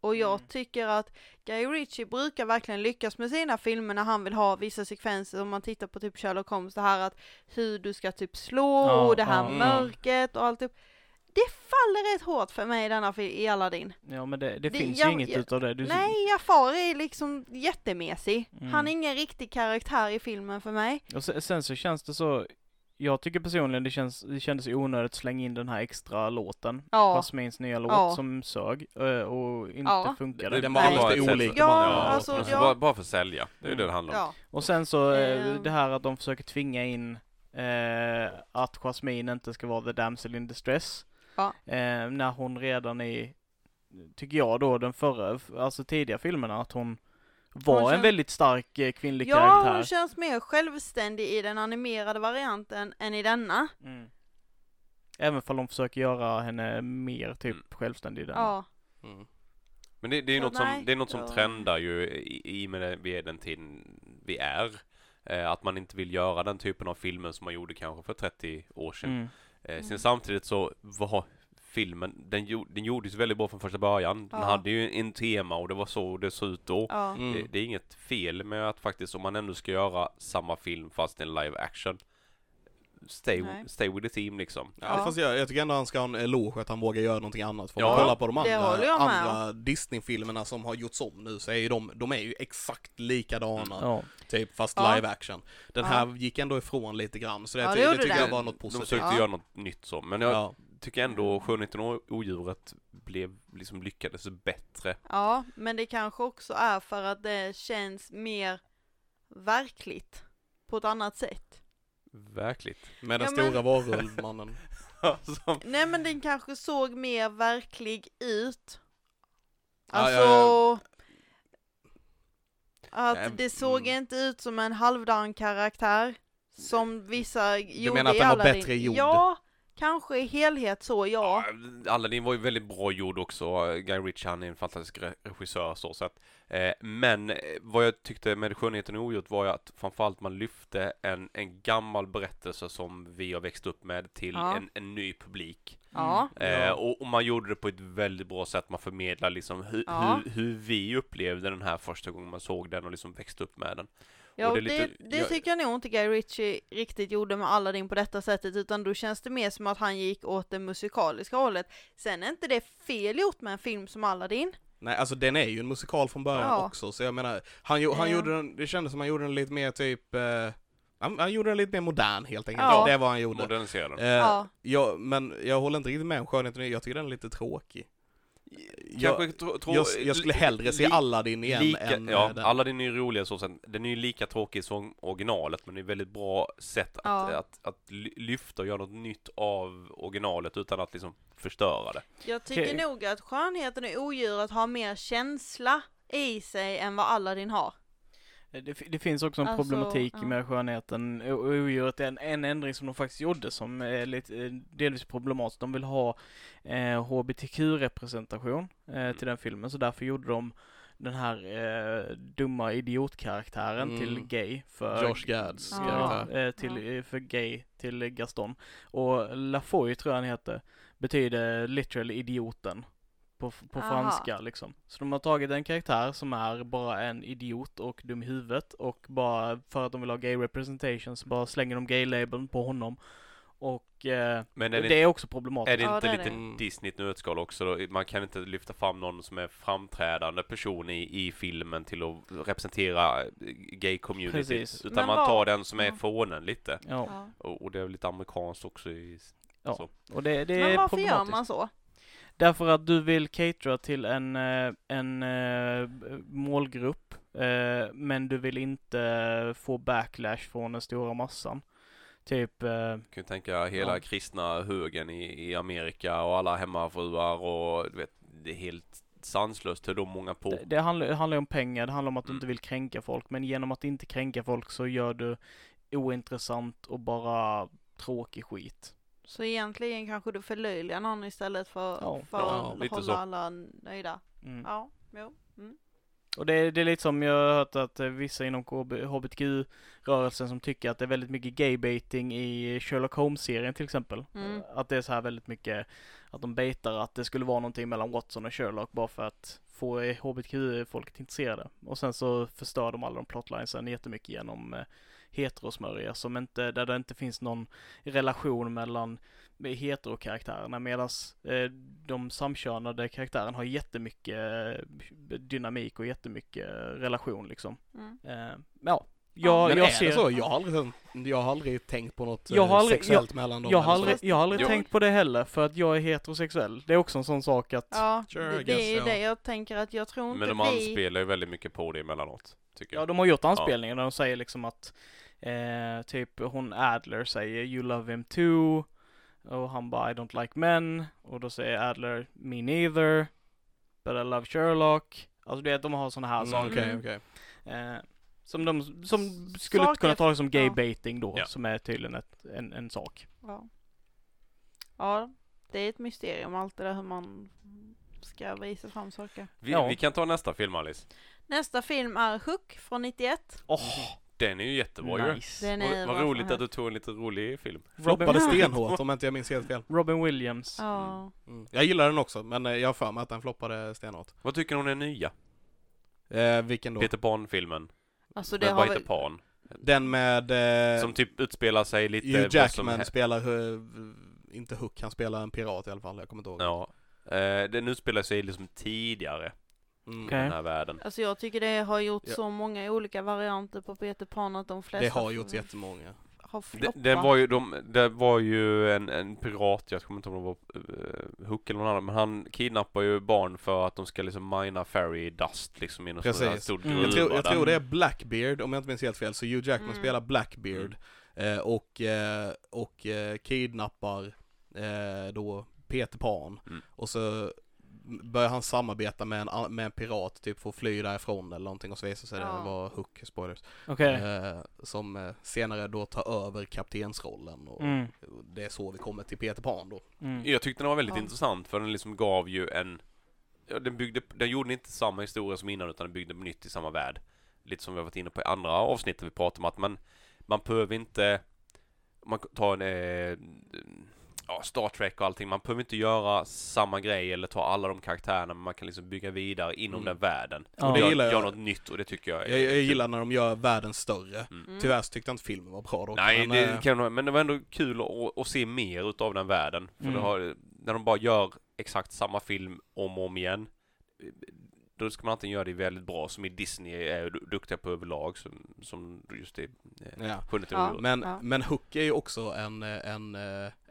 Speaker 2: Och jag
Speaker 1: Mm.
Speaker 2: tycker att Guy Ritchie brukar verkligen lyckas med sina filmer när han vill ha vissa sekvenser. Om man tittar på typ Sherlock Holmes, det här att hur du ska typ slå
Speaker 1: Ja,
Speaker 2: och det här
Speaker 1: ja, mm. ja.
Speaker 2: mörkret och allt. Typ. Det faller rätt hårt för mig i denna fil- i Aladdin.
Speaker 1: Ja men det, det,
Speaker 2: Det-
Speaker 1: finns
Speaker 2: jag-
Speaker 1: ju inget
Speaker 2: jag-
Speaker 1: utav det. Du,
Speaker 2: Nej, Jafar är liksom jättemesig.
Speaker 1: Mm.
Speaker 2: Han är ingen riktig karaktär i filmen för mig.
Speaker 1: Och sen, sen så känns det så, jag tycker personligen det, känns, det kändes onödigt att slänga in den här extra låten.
Speaker 2: Ja.
Speaker 1: Jasmins nya låt
Speaker 2: Ja.
Speaker 1: som sög eh, och inte
Speaker 2: Ja.
Speaker 1: funkade.
Speaker 3: Den
Speaker 4: Nej.
Speaker 3: vanligaste
Speaker 4: Ja,
Speaker 3: olika
Speaker 2: ja,
Speaker 3: man-
Speaker 2: alltså,
Speaker 4: alltså,
Speaker 2: ja. Mm.
Speaker 4: bara, bara för att sälja, det är ju det det handlar om.
Speaker 2: Ja.
Speaker 1: Och sen så eh,
Speaker 2: Ehm.
Speaker 1: det här att de försöker tvinga in eh, att Jasmine inte ska vara the damsel in distress.
Speaker 2: Ja.
Speaker 1: Eh, när hon redan i, tycker jag då, den förra, f- alltså tidiga filmerna, att hon var
Speaker 2: Hon
Speaker 1: en
Speaker 2: känns-
Speaker 1: väldigt stark eh, kvinnlig
Speaker 2: ja, hon
Speaker 1: karaktär.
Speaker 2: känns mer självständig i den animerade varianten än i denna.
Speaker 1: Mm. Även om de försöker göra henne mer typ
Speaker 4: Mm.
Speaker 1: självständig i den.
Speaker 2: Ja.
Speaker 3: Mm.
Speaker 4: Men det, det är ju
Speaker 2: Så
Speaker 4: något som,
Speaker 2: nej,
Speaker 4: det är något som
Speaker 2: ja.
Speaker 4: trendar ju i, i och med det, vi är den tiden vi är. Eh, att man inte vill göra den typen av filmer som man gjorde kanske för 30 år sedan.
Speaker 1: Mm.
Speaker 4: Eh, sen
Speaker 2: Mm.
Speaker 4: samtidigt så var filmen, den, gjo- den gjordes väldigt bra från första början. Den
Speaker 2: Ja.
Speaker 4: hade ju en tema och det var så det såg ut då.
Speaker 2: Ja.
Speaker 3: Mm.
Speaker 4: Det, det är inget fel med att faktiskt om man ändå ska göra samma film fast en live action Stay,
Speaker 2: Nej.
Speaker 4: stay with the team liksom.
Speaker 3: Ja,
Speaker 2: Ja.
Speaker 3: Fast jag, jag tycker ändå han ska ha en eloge att han vågar göra någonting annat. För om
Speaker 4: Ja.
Speaker 3: man kollar på de
Speaker 2: Det håller
Speaker 3: andra,
Speaker 2: jag med
Speaker 3: andra Disney-filmerna som har gjorts om nu så är ju de, de är ju exakt likadana,
Speaker 4: Mm.
Speaker 1: Ja.
Speaker 3: typ fast
Speaker 2: Ja.
Speaker 3: live action. Den
Speaker 2: Ja.
Speaker 3: här gick ändå ifrån lite grann, så det,
Speaker 2: Ja, det
Speaker 3: det,
Speaker 2: gjorde
Speaker 3: tycker
Speaker 2: den.
Speaker 3: jag var något
Speaker 4: De
Speaker 3: positivt.
Speaker 4: försökte
Speaker 2: Ja.
Speaker 4: göra något nytt så, men jag
Speaker 3: Ja.
Speaker 4: tycker ändå Skönheten och Odjuret blev, liksom lyckades bättre.
Speaker 2: ja, men det kanske också är för att det känns mer verkligt på ett annat sätt.
Speaker 4: Verkligt. Alltså,
Speaker 3: Med den
Speaker 2: Ja, men-
Speaker 3: stora varulvmannen.
Speaker 4: Som-
Speaker 2: Nej men den kanske såg mer verklig ut.
Speaker 3: Ja, ja,
Speaker 2: Alltså...
Speaker 3: ja.
Speaker 2: Att
Speaker 4: Nej,
Speaker 2: det såg
Speaker 4: mm.
Speaker 2: inte ut som en halvdan karaktär. Som vissa gjorde
Speaker 3: menar att
Speaker 2: i
Speaker 3: den var
Speaker 2: Aladdin.
Speaker 3: bättre gjord?
Speaker 2: Ja, kanske i helhet så ja.
Speaker 4: Aladdin var ju väldigt bra gjord också. Guy Ritchie han är en fantastisk re- regissör så, så att, eh, Men eh, vad jag tyckte med Skönheten och Odjuret var ju att framförallt man lyfte en, en gammal berättelse som vi har växt upp med till
Speaker 2: Ja.
Speaker 4: en, en ny publik.
Speaker 2: Ja,
Speaker 4: Eh, och, och man gjorde det på ett väldigt bra sätt. Man förmedlar liksom hu,
Speaker 2: Ja.
Speaker 4: hur, hur vi upplevde den här första gången man såg den och liksom växte upp med den.
Speaker 2: ja
Speaker 4: och
Speaker 2: och
Speaker 4: det
Speaker 2: det,
Speaker 4: är lite-
Speaker 2: det
Speaker 4: jag-
Speaker 2: tycker jag nog inte Guy Ritchie riktigt gjorde med Aladdin på detta sättet utan då känns det mer som att han gick åt det musikaliska hållet. Sen är inte det fel gjort med en film som Aladdin.
Speaker 3: Nej, alltså den är ju en musikal från början
Speaker 2: Ja.
Speaker 3: också, så jag menar, han, gjo- han
Speaker 2: Ja.
Speaker 3: gjorde den, det kändes som han gjorde den lite mer typ, eh, han, han gjorde den lite mer modern helt enkelt.
Speaker 2: Ja.
Speaker 3: Det var han gjorde.
Speaker 4: Modernisera den.
Speaker 3: Eh,
Speaker 2: Ja.
Speaker 3: ja, men jag håller inte riktigt med om skönheten, jag tycker den är lite tråkig. Jag,
Speaker 4: Kanske tro, tro,
Speaker 3: jag, jag skulle hellre se
Speaker 4: li-
Speaker 3: Aladdin igen
Speaker 4: lika,
Speaker 3: än eh,
Speaker 4: ja,
Speaker 3: ja, den.
Speaker 4: Aladdin är ju roligare så sen. Den är ju lika tråkig som originalet men det är ett väldigt bra sätt att,
Speaker 2: Ja.
Speaker 4: att, att ly- lyfta och göra något nytt av originalet utan att liksom förstöra det.
Speaker 2: Jag tycker
Speaker 1: Okej.
Speaker 2: nog att skönheten och odjuret har mer känsla i sig än vad Aladdin har.
Speaker 1: Eh, Det, fi- det finns också en
Speaker 2: Alltså,
Speaker 1: problematik
Speaker 2: ja.
Speaker 1: med skönheten och och odjuret. är En, en ändring som de faktiskt gjorde som är lite, eh, delvis problematisk. De vill ha eh, HBTQ-representation
Speaker 3: Mm.
Speaker 1: eh, till den filmen så därför gjorde de den här eh, dumma idiotkaraktären
Speaker 3: Mm.
Speaker 1: till gay för
Speaker 3: Josh Gads
Speaker 2: Ja.
Speaker 3: karaktär.
Speaker 1: Ja, eh, till, eh, för gay till Gaston. Och Lafoy tror jag han heter, betyder literally idioten. På, f- på
Speaker 2: Aha.
Speaker 1: franska liksom. Så de har tagit en karaktär som är bara en idiot och dum i huvudet och bara för att de vill ha gay representation så bara slänger de gay-labeln på honom. Och eh,
Speaker 4: Men är det,
Speaker 1: det är också problematiskt.
Speaker 4: är det
Speaker 2: Ja,
Speaker 4: inte
Speaker 2: det är
Speaker 4: lite
Speaker 2: det.
Speaker 3: Mm.
Speaker 4: Disney i ett nötskal också då? Man kan inte lyfta fram någon som är framträdande person i, i filmen till att representera gay-communityt
Speaker 1: Precis.
Speaker 4: utan
Speaker 2: Men
Speaker 4: man
Speaker 2: vad-
Speaker 4: tar den som är
Speaker 2: Ja.
Speaker 4: fånen lite.
Speaker 1: Ja,
Speaker 4: Och, och det är väl lite amerikanskt också i...
Speaker 1: och det, det
Speaker 2: Men
Speaker 1: är
Speaker 2: varför gör
Speaker 1: problematiskt.
Speaker 2: man så?
Speaker 1: Därför att du vill catera till en, eh, en eh, målgrupp, eh, men du vill inte få backlash från den stora massan. Typ, eh,
Speaker 4: kan ju tänka hela
Speaker 1: Ja.
Speaker 4: kristna högen i, i Amerika och alla hemmafruar och du vet, det är helt sanslöst hur de många på...
Speaker 1: det, det handlar det handlar ju om pengar, det handlar om att du
Speaker 4: Oh. Mm.
Speaker 1: inte vill kränka folk. Men genom att inte kränka folk så gör du ointressant och bara tråkig skit.
Speaker 2: Så egentligen kanske du förlöjligar någon istället för,
Speaker 1: Ja.
Speaker 2: för
Speaker 4: Ja,
Speaker 2: att
Speaker 4: lite
Speaker 2: hålla
Speaker 4: så.
Speaker 2: alla nöjda.
Speaker 1: Mm.
Speaker 2: Ja, jo. Mm.
Speaker 1: Och det, det är lite som jag har hört att eh, vissa inom KB HBTQ-rörelsen som tycker att det är väldigt mycket gaybaiting i Sherlock Holmes-serien till exempel. Eh,
Speaker 2: Mm.
Speaker 1: Att det är så här väldigt mycket att de baitar att det skulle vara någonting mellan Watson och Sherlock bara för att få eh, HBTQ-folket intresserade. Och sen så förstör de alla de plotlinesen jättemycket genom eh, heterosmörja som inte, där det inte finns någon relation mellan med heterokaraktärerna medan eh, de samkönade karaktärerna har jättemycket eh, dynamik och jättemycket relation liksom.
Speaker 2: Mm.
Speaker 1: Eh, ja, jag,
Speaker 3: Men
Speaker 1: jag
Speaker 3: är
Speaker 1: ser...
Speaker 3: det så? Jag har aldrig, sett- jag har aldrig tänkt på något
Speaker 1: Jag
Speaker 3: eh,
Speaker 1: har aldrig-
Speaker 3: sexuellt mellan dem.
Speaker 1: Jag har
Speaker 3: eller så.
Speaker 1: aldrig, jag har aldrig
Speaker 4: Jo.
Speaker 1: tänkt på det heller för att jag är heterosexuell. Det är också en sån sak att
Speaker 2: Ja,
Speaker 3: Sure,
Speaker 2: det, det
Speaker 3: I guess
Speaker 2: är ju
Speaker 3: so.
Speaker 2: det jag tänker att jag tror inte
Speaker 4: Men de
Speaker 2: vi...
Speaker 4: anspelar ju väldigt mycket på det emellanåt, tycker
Speaker 1: Ja,
Speaker 4: jag.
Speaker 1: de har gjort anspelningar där de säger liksom att eh, typ hon Adler säger You love him too och han bara I don't like men och då säger Adler Me neither But I love Sherlock Alltså det är att de har såna här
Speaker 3: Mm,
Speaker 1: saker
Speaker 3: Okej,
Speaker 2: Mm.
Speaker 3: okej.
Speaker 1: eh, som de som skulle
Speaker 2: saker-
Speaker 1: kunna ta som gay
Speaker 2: ja.
Speaker 1: baiting då
Speaker 4: Ja.
Speaker 1: som är tydligen ett, en, en sak.
Speaker 2: Ja. ja, det är ett mysterium allt det där hur man ska visa fram saker.
Speaker 4: Vi,
Speaker 1: Ja.
Speaker 4: vi kan ta nästa film, Alice.
Speaker 2: Nästa film är Hook från 91.
Speaker 1: Åh,
Speaker 4: Den är ju jättebra ju.
Speaker 1: Mm. nice.
Speaker 2: Den är
Speaker 4: Vad- Vad
Speaker 2: som
Speaker 4: roligt att
Speaker 2: helst.
Speaker 4: du tog en lite rolig film.
Speaker 1: Robin,
Speaker 3: Floppade stenhårt om inte jag minns helt fel.
Speaker 1: Robin Williams.
Speaker 2: Ja.
Speaker 3: Mm. Jag gillar den också, men eh, jag har för mig att den floppade stenhårt.
Speaker 4: Vad tycker du om den nya?
Speaker 3: Eh, vilken då?
Speaker 4: Peter Pan-filmen.
Speaker 2: Alltså det
Speaker 4: Den bara
Speaker 2: har
Speaker 4: heter
Speaker 2: väl...
Speaker 4: Pan.
Speaker 3: Den med... Eh,
Speaker 4: Som typ utspelar sig lite...
Speaker 3: Hugh
Speaker 4: vad som hä-
Speaker 3: Jackman spelar, eh, inte Hook, han spelar en pirat i alla fall, jag kommer inte ihåg.
Speaker 4: Ja. Eh, Den utspelar sig liksom tidigare
Speaker 3: Mm.
Speaker 4: i
Speaker 1: Okej.
Speaker 4: den här världen.
Speaker 2: Alltså jag tycker det har gjort
Speaker 3: Ja.
Speaker 2: så många olika varianter på Peter Pan att de flesta
Speaker 3: Det har gjorts jättemånga.
Speaker 2: har
Speaker 4: Den,
Speaker 2: floppat.
Speaker 4: den var ju, de, det var ju en, en pirat, jag kommer inte ihåg om det var uh, Hook eller någon annan, men han kidnappar ju barn för att de ska liksom mina fairy dust liksom i någon sån här
Speaker 3: Precis.
Speaker 4: stor
Speaker 1: Mm.
Speaker 4: gruva
Speaker 3: Jag tror, jag
Speaker 4: där.
Speaker 3: tror det är Blackbeard, om jag inte minns helt fel, så Hugh Jackman
Speaker 2: Mm.
Speaker 3: spelar Blackbeard eh, och, eh, och eh, kidnappar eh, då Peter Pan
Speaker 4: Mm.
Speaker 3: och så börjar han samarbeta med en, a- med en pirat, typ för att fly därifrån eller någonting och så visar sig
Speaker 2: Ja.
Speaker 3: det vara Hook, spoilers,
Speaker 1: Okej.
Speaker 3: eh, som eh, senare då tar över kaptensrollen och
Speaker 1: Mm.
Speaker 3: det är så vi kommer till Peter Pan då.
Speaker 1: Mm.
Speaker 4: Jag tyckte den var väldigt
Speaker 2: Ja.
Speaker 4: intressant för den liksom gav ju en ja, den, byggde, den gjorde inte samma historia som innan utan den byggde på nytt i samma värld. Lite som vi har varit inne på i andra avsnitt där vi pratade om att man, man behöver inte om man tar en eh, ja, Star Trek och allting, man behöver inte göra samma grej eller ta alla de karaktärerna men man kan liksom bygga vidare inom
Speaker 3: Mm.
Speaker 4: den världen.
Speaker 1: Ja.
Speaker 4: Och
Speaker 1: Det
Speaker 4: det
Speaker 3: gillar
Speaker 4: gör,
Speaker 3: jag.
Speaker 4: gör något nytt och det tycker jag är
Speaker 3: Jag, jag
Speaker 4: kul.
Speaker 3: gillar när de gör världen större.
Speaker 4: Mm.
Speaker 2: Mm.
Speaker 3: Tyvärr så tyckte jag inte filmen var bra dock.
Speaker 4: Nej,
Speaker 3: men, eh,
Speaker 4: det kan, jag- men det var ändå kul att, att se mer utav den världen. För
Speaker 1: Mm.
Speaker 4: det har, när de bara gör exakt samma film om och om igen, då ska man antingen göra det väldigt bra, som i Disney är du- duktiga på överlag, som, som just det eh,
Speaker 3: ja.
Speaker 4: Sjunde
Speaker 2: Ja.
Speaker 4: ja.
Speaker 3: Men,
Speaker 2: Ja.
Speaker 3: men Hook är ju också en, eh, en,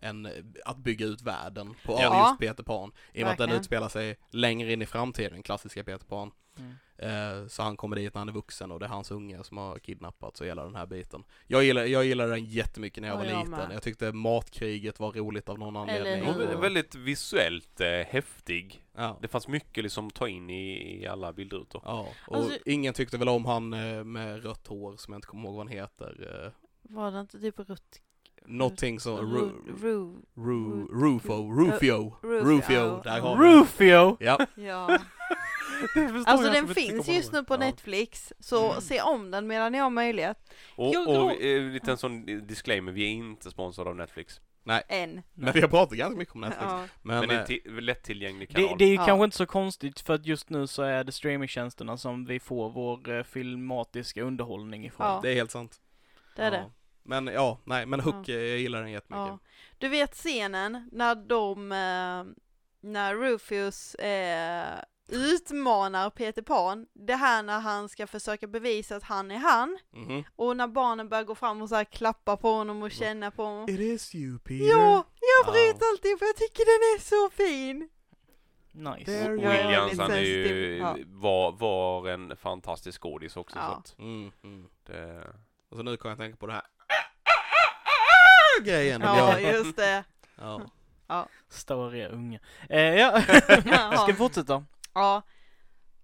Speaker 3: en, eh, att bygga ut världen på av
Speaker 2: Ja.
Speaker 3: just Peter Pan. I och med att den
Speaker 2: Verkligen.
Speaker 3: utspelar sig längre in i framtiden, klassiska Peter Pan.
Speaker 1: Mm.
Speaker 3: Eh, Så han kommer dit när han är vuxen och det är hans unge som har kidnappats och hela den här biten. Jag gillar, jag gillar den jättemycket när jag
Speaker 2: Ja,
Speaker 3: var
Speaker 2: jag
Speaker 3: liten.
Speaker 2: med.
Speaker 3: Jag tyckte matkriget var roligt av någon
Speaker 2: Eller
Speaker 3: anledning.
Speaker 2: hur?
Speaker 3: Och-
Speaker 4: Väldigt visuellt eh, häftig.
Speaker 3: ja.
Speaker 4: Det fanns mycket liksom att ta in i, i alla bildrutor.
Speaker 3: Ja, och
Speaker 2: Alltså-
Speaker 3: ingen tyckte väl om han eh, med rött hår som jag inte kommer ihåg vad han heter. eh,
Speaker 2: Var det inte typ Rut...
Speaker 3: Någonting som...
Speaker 2: Ru...
Speaker 3: Ru,
Speaker 2: Ru...
Speaker 3: Ru, Rufo, Rufio,
Speaker 2: Rufio.
Speaker 3: Rufio, där har vi det.
Speaker 1: Rufio!
Speaker 3: Ja,
Speaker 2: Ja. alltså den finns just nu på
Speaker 3: Ja.
Speaker 2: Netflix, så
Speaker 3: Mm.
Speaker 2: se om den medan ni har möjlighet.
Speaker 4: Och,
Speaker 2: Jag
Speaker 4: och
Speaker 2: tror-
Speaker 4: eh, lite en sån disclaimer, vi är inte sponsrade av Netflix.
Speaker 2: Än.
Speaker 3: men vi har pratat ganska mycket om Netflix.
Speaker 2: Ja.
Speaker 3: Men,
Speaker 4: Men det är
Speaker 3: eh,
Speaker 4: en ti- lättillgänglig
Speaker 1: Det,
Speaker 4: kanal.
Speaker 1: det är ju
Speaker 2: Ja.
Speaker 1: kanske inte så konstigt för att just nu så är det streamingtjänsterna som vi får vår eh, filmatiska underhållning ifrån.
Speaker 2: Ja.
Speaker 3: det är helt sant.
Speaker 2: Det är
Speaker 3: ja.
Speaker 2: det.
Speaker 3: Men ja, nej, men Hook, eh, jag gillar den jättemycket.
Speaker 2: Ja. Du vet scenen när de, eh, när Rufus eh, utmanar Peter Pan, det här när han ska försöka bevisa att han är han,
Speaker 3: Mhm.
Speaker 2: och när barnen börjar gå fram och så här klappa på honom och känna på honom.
Speaker 3: It is you Peter.
Speaker 2: Ja, jag
Speaker 3: Ja.
Speaker 2: bryter alltid för jag tycker den är så fin!
Speaker 1: Nice.
Speaker 2: Där- Jag är
Speaker 4: Williams
Speaker 2: lite
Speaker 4: han är ju,
Speaker 2: sensitiv, ja.
Speaker 4: var, var en fantastisk skådis också
Speaker 2: Ja.
Speaker 4: så att eh,
Speaker 3: Mm, mm.
Speaker 4: det...
Speaker 3: Och så nu kan jag tänka på det här. grejen de
Speaker 2: Ja,
Speaker 3: gör.
Speaker 2: just det.
Speaker 3: Ja.
Speaker 1: Stora unga. Eh, ja, ska vi
Speaker 2: Jaha.
Speaker 1: fortsätta?
Speaker 2: Ja.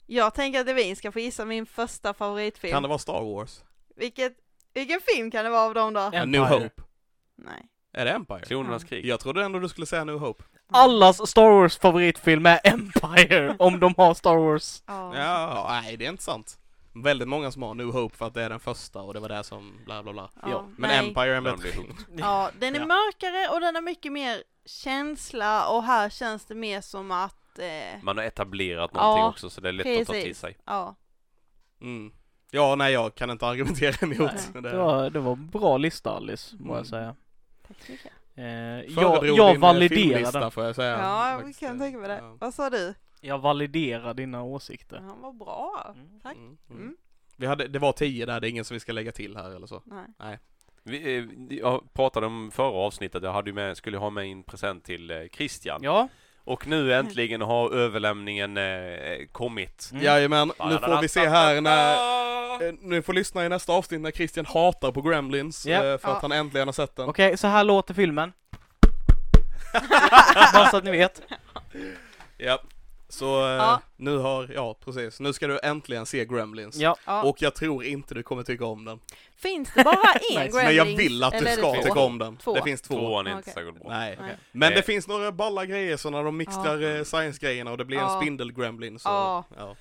Speaker 2: Jag tänker att Devin ska få gissa min första favoritfilm.
Speaker 3: Kan det vara Star Wars?
Speaker 2: Vilket, vilken film kan det vara av dem då?
Speaker 1: Ja.
Speaker 3: A New
Speaker 1: Empire.
Speaker 3: Hope?
Speaker 2: Nej.
Speaker 3: Är det Empire?
Speaker 4: Klonernas krig.
Speaker 3: Jag trodde ändå du skulle säga New Hope.
Speaker 1: Allas Star Wars favoritfilm är Empire, om de har Star Wars.
Speaker 2: Ja.
Speaker 3: Ja, nej det är inte sant. Väldigt många som har New Hope för att det är den första och det var det som bla bla bla.
Speaker 2: Ja,
Speaker 3: Ja, men
Speaker 2: nej.
Speaker 3: Empire är en
Speaker 4: Men
Speaker 3: bättre
Speaker 4: det är
Speaker 3: film.
Speaker 2: Ja, den är
Speaker 3: Ja.
Speaker 2: mörkare och den har mycket mer känsla och här känns det mer som att, eh,
Speaker 4: Man har etablerat någonting
Speaker 2: Ja,
Speaker 4: också så det är lätt att ta till
Speaker 2: precis.
Speaker 4: sig.
Speaker 2: ja.
Speaker 3: Mm. Ja, nej jag kan inte argumentera emot. Det.
Speaker 1: Det var, det var en bra lista Alice, må
Speaker 3: Mm.
Speaker 1: jag säga.
Speaker 2: Tack så mycket.
Speaker 1: Eh, jag,
Speaker 3: Föredrog
Speaker 1: jag
Speaker 3: din, eh,
Speaker 1: validerar
Speaker 3: filmlista, får jag säga.
Speaker 2: Ja, vi
Speaker 3: Faktiskt,
Speaker 2: kan
Speaker 3: eh,
Speaker 2: tänka på det.
Speaker 3: ja.
Speaker 2: Vad sa du?
Speaker 1: Jag validerar dina åsikter.
Speaker 2: Han var bra.
Speaker 1: Mm.
Speaker 2: Tack.
Speaker 3: Mm, mm.
Speaker 2: Mm.
Speaker 3: Vi hade, det var tio där, det är ingen som vi ska lägga till här eller så.
Speaker 2: Nej.
Speaker 4: Vi, eh, jag pratade om förra avsnittet, jag hade ju med, skulle ha med en present till eh, Christian.
Speaker 1: Ja.
Speaker 4: Och nu äntligen har överlämningen eh, kommit.
Speaker 1: Mm.
Speaker 3: Jajamän, nu får vi se här när... eh, Nu får lyssna i nästa avsnitt när Christian hatar på Gremlins
Speaker 1: Ja.
Speaker 3: eh, för
Speaker 2: Ja.
Speaker 3: att han äntligen har sett den.
Speaker 1: Okej, så här låter filmen. Bara så att ni vet.
Speaker 3: Ja. Så eh,
Speaker 2: Ja.
Speaker 3: nu har, ja precis, nu ska du äntligen se Gremlins.
Speaker 1: Ja.
Speaker 2: Ja.
Speaker 3: Och jag tror inte du kommer tycka om den.
Speaker 2: Finns det bara en
Speaker 1: Nice.
Speaker 2: Gremlins?
Speaker 3: Men jag vill att
Speaker 2: eller
Speaker 3: du
Speaker 2: är det
Speaker 3: ska
Speaker 2: två?
Speaker 3: tycka om den.
Speaker 2: Två.
Speaker 3: Det finns två.
Speaker 4: Tvåan är inte
Speaker 2: Okej.
Speaker 4: särskilt bra.
Speaker 3: Nej.
Speaker 2: Nej.
Speaker 3: Men det
Speaker 4: Eh.
Speaker 3: finns några balla grejer så när de mixar eh, science-grejerna och det blir
Speaker 2: Ja.
Speaker 3: en spindel-gremlin så,
Speaker 2: Ja.
Speaker 3: ja.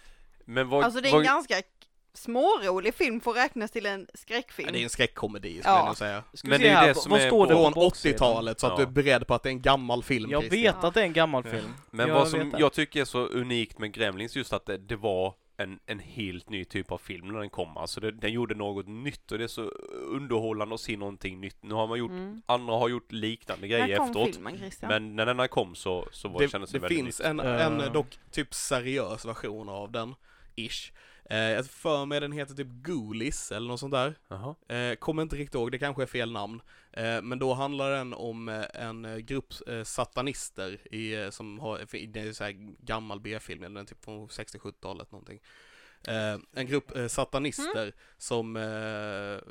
Speaker 4: Men vad,
Speaker 2: Alltså det är en
Speaker 4: vad,
Speaker 2: ganska k- smårolig film för att räknas till en
Speaker 3: ja.
Speaker 2: skräckfilm.
Speaker 3: Det är en skräckkomedi skulle
Speaker 2: Ja.
Speaker 3: jag nog säga.
Speaker 1: Ska vi
Speaker 4: Men
Speaker 1: se
Speaker 4: det är
Speaker 1: här,
Speaker 4: det
Speaker 1: vad-
Speaker 4: som
Speaker 1: vad
Speaker 4: är
Speaker 1: står det på
Speaker 3: Från
Speaker 1: baksidan?
Speaker 3: 80-talet så att
Speaker 4: Ja.
Speaker 3: du är beredd på att det är en gammal film
Speaker 1: Jag
Speaker 3: Christian.
Speaker 1: vet att det är en gammal film.
Speaker 4: men
Speaker 1: jag
Speaker 4: vad som
Speaker 1: vet det.
Speaker 4: jag tycker är så unikt med Gremlins just att det, det var en, en helt ny typ av film när den kom. Alltså det, den gjorde något nytt och det är så underhållande att se någonting nytt. Nu har man gjort,
Speaker 2: Mm.
Speaker 4: andra har gjort liknande grejer
Speaker 2: När kom
Speaker 4: efteråt.
Speaker 2: filmen Christian?
Speaker 4: Men när den här kom så, så var,
Speaker 3: Det,
Speaker 4: kändes det,
Speaker 3: det
Speaker 4: väldigt
Speaker 3: finns
Speaker 4: nytt.
Speaker 3: en,
Speaker 1: Eh.
Speaker 3: en dock typ seriös version av den, ish. Eh, jag för mig den heter typ Ghoulies eller något sånt där.
Speaker 4: Jaha.
Speaker 3: Eh, kommer inte riktigt ihåg, det kanske är fel namn. Eh, men då handlar den om eh, en eh, grupp eh, satanister i, eh, som har, det är så här gammal B-film, eller den är typ från 60-70-talet någonting. Eh, en grupp eh, satanister som, eh,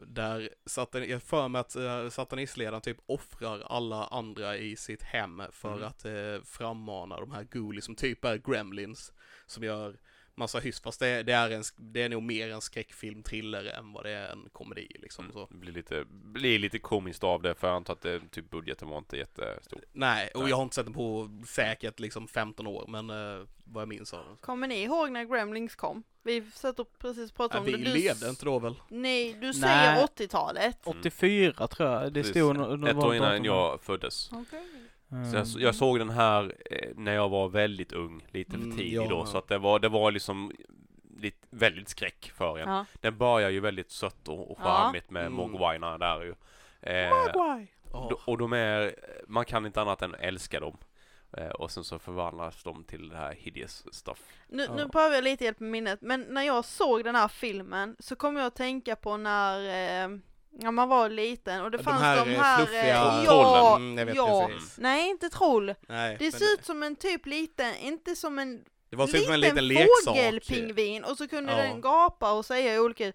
Speaker 3: där satan, jag har för mig att eh, satanistledaren typ offrar alla andra i sitt hem för
Speaker 4: Mm.
Speaker 3: att eh, frammana de här ghoulies som typ är gremlins, som gör massa hyss, fast det, det, är en, sk- det är nog mer en skräckfilm, thriller än vad det är en komedi liksom så.
Speaker 4: Mm. Det blir lite, blir lite komiskt av det för jag antar att det, typ budgeten var inte jättestor.
Speaker 3: Nej, och
Speaker 4: Nej.
Speaker 3: jag har inte sett den på säkert liksom 15 år, men eh, vad jag minns av den.
Speaker 2: Kommer ni ihåg när Gremlings kom? Vi satt och precis pratade
Speaker 3: Nej,
Speaker 2: om
Speaker 3: vi
Speaker 2: det. Du...
Speaker 3: levde inte då väl?
Speaker 2: Nej, du
Speaker 1: Nej.
Speaker 2: säger 80-talet.
Speaker 1: Mm. 84 tror jag det
Speaker 4: Precis.
Speaker 1: stod no- no-
Speaker 4: Ett år innan
Speaker 1: datum.
Speaker 4: jag föddes. Så jag,
Speaker 1: Mm.
Speaker 4: så- jag såg den här eh, när jag var väldigt ung, lite för
Speaker 3: Mm,
Speaker 4: tidig
Speaker 3: ja,
Speaker 4: då,
Speaker 3: ja.
Speaker 4: så att det var, det var liksom lite, väldigt skräck för en.
Speaker 2: Ja.
Speaker 4: Den börjar ju väldigt sött och, och
Speaker 2: Ja.
Speaker 4: charmigt med
Speaker 3: Mm.
Speaker 4: Mogwainerna där ju. Eh,
Speaker 3: Ja.
Speaker 4: d- och de är, man kan inte annat än älska dem. Eh, och sen så förvandlas de till det här hideous stuff.
Speaker 2: Nu, nu
Speaker 1: Ja.
Speaker 2: behöver jag lite hjälp med minnet, men när jag såg den här filmen så kom jag att tänka på när, eh, när man var liten och det
Speaker 3: De
Speaker 2: fanns
Speaker 3: här,
Speaker 2: de
Speaker 3: eh,
Speaker 2: här...
Speaker 3: fluffiga
Speaker 2: eh, ja,
Speaker 4: trollen.
Speaker 3: Mm, jag vet
Speaker 2: ja.
Speaker 3: precis.
Speaker 2: Nej, inte troll.
Speaker 3: Nej,
Speaker 2: Det
Speaker 3: men
Speaker 2: ser ut som en typ liten, inte som en
Speaker 3: det var typ
Speaker 2: liten,
Speaker 3: som en liten leksak.
Speaker 2: fågelpingvin och så kunde
Speaker 3: Ja.
Speaker 2: den gapa och säga olika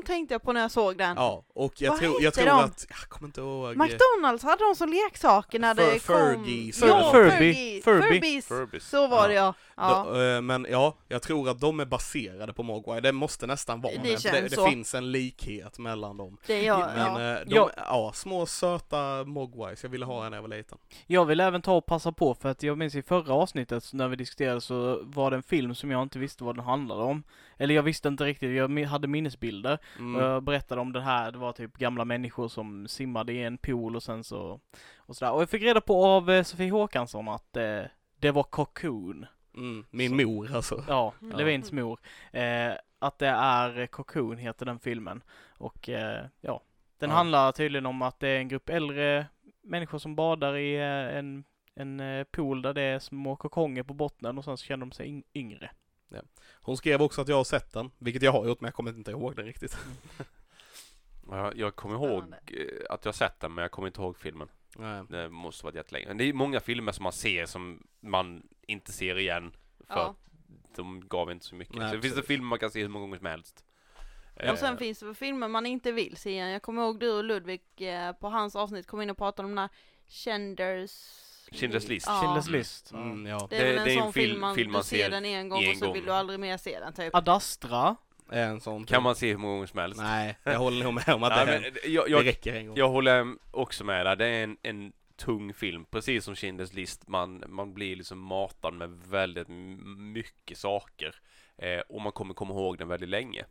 Speaker 2: De tänkte jag på när jag såg den.
Speaker 3: Ja, och jag
Speaker 2: Vad
Speaker 3: tror, jag
Speaker 2: heter
Speaker 3: tror
Speaker 2: de?
Speaker 3: att, jag kommer inte ihåg.
Speaker 2: McDonalds hade de som leksaker när
Speaker 3: Fur-
Speaker 2: det kom.
Speaker 3: Fergies.
Speaker 2: Ja,
Speaker 1: Furby.
Speaker 2: Fergie.
Speaker 1: Furby.
Speaker 2: Furbies.
Speaker 4: Furbies.
Speaker 2: Så var det ja. ja.
Speaker 3: Då, eh, men ja, jag tror att de är baserade på Mogwai, det måste nästan vara
Speaker 2: Det
Speaker 3: det, för det,
Speaker 2: känns
Speaker 3: det
Speaker 2: så.
Speaker 3: finns en likhet mellan dem.
Speaker 2: Det gör jag.
Speaker 3: Men
Speaker 2: Ja.
Speaker 3: eh, de,
Speaker 1: Ja.
Speaker 3: ja. små söta Mogwais, jag ville ha en när jag var liten.
Speaker 1: Jag vill även ta och passa på för att jag minns i förra avsnittet så när vi diskuterade så var det en film som jag inte visste vad den handlade om. Eller jag visste inte riktigt, jag mi- hade minnesbilder. Och
Speaker 3: Mm.
Speaker 1: jag Eh, berättade om det här, det var typ gamla människor som simmade i en pool och sen så... Och sådär. Och jag fick reda på av eh, Sofie Håkansson att eh, det var Cocoon.
Speaker 3: Mm. Min mor alltså.
Speaker 1: Ja,
Speaker 2: Mm.
Speaker 1: Levins mor. Eh, att det är Cocoon heter den filmen. Och eh, ja, den
Speaker 3: Ja.
Speaker 1: handlar tydligen om att det är en grupp äldre människor som badar i eh, en, en eh, pool där det är små kokonger på botten och sen så känner de sig yng- yngre.
Speaker 3: Hon skrev också att jag har sett den, vilket jag har gjort men jag kommer inte ihåg den riktigt.
Speaker 4: Jag, jag kommer ihåg
Speaker 2: Spännande.
Speaker 4: eh, att jag sett den men jag kommer inte ihåg filmen.
Speaker 3: Nej.
Speaker 4: Det måste varit jättelänge. Men det är många filmer som man ser som man inte ser igen. För
Speaker 2: Ja.
Speaker 4: att de gav inte så mycket.
Speaker 3: Nej,
Speaker 4: så det finns det
Speaker 3: absolut.
Speaker 4: filmer man kan se hur många gånger som helst. Eh,
Speaker 2: Och sen finns det väl filmer man inte vill se igen. Jag kommer ihåg du och Ludvig eh, på hans avsnitt kom in och pratade om den här Schindler's...
Speaker 4: Schindler's List.
Speaker 2: Ja.
Speaker 1: Schindler's list.
Speaker 3: Mm, ja.
Speaker 2: Det är väl
Speaker 4: Det-
Speaker 2: en
Speaker 4: det är en
Speaker 2: sån film,
Speaker 4: film-
Speaker 2: man,
Speaker 4: film man
Speaker 2: du ser,
Speaker 4: ser
Speaker 2: den en gång
Speaker 4: en
Speaker 2: och så
Speaker 4: gång.
Speaker 2: vill du aldrig mer se den typ.
Speaker 1: Ad Astra.
Speaker 3: Är en sån typ.
Speaker 4: Kan man se hur många gånger som helst.
Speaker 3: Nej, jag håller nog med om att
Speaker 4: Nej,
Speaker 3: det, är,
Speaker 4: men, jag,
Speaker 3: det
Speaker 4: jag,
Speaker 3: räcker en gång.
Speaker 4: jag håller också med där. Det är en, en tung film, precis som Schindler's list. Man, man blir liksom matad med väldigt m- mycket saker. Eh, och man kommer komma ihåg den väldigt länge.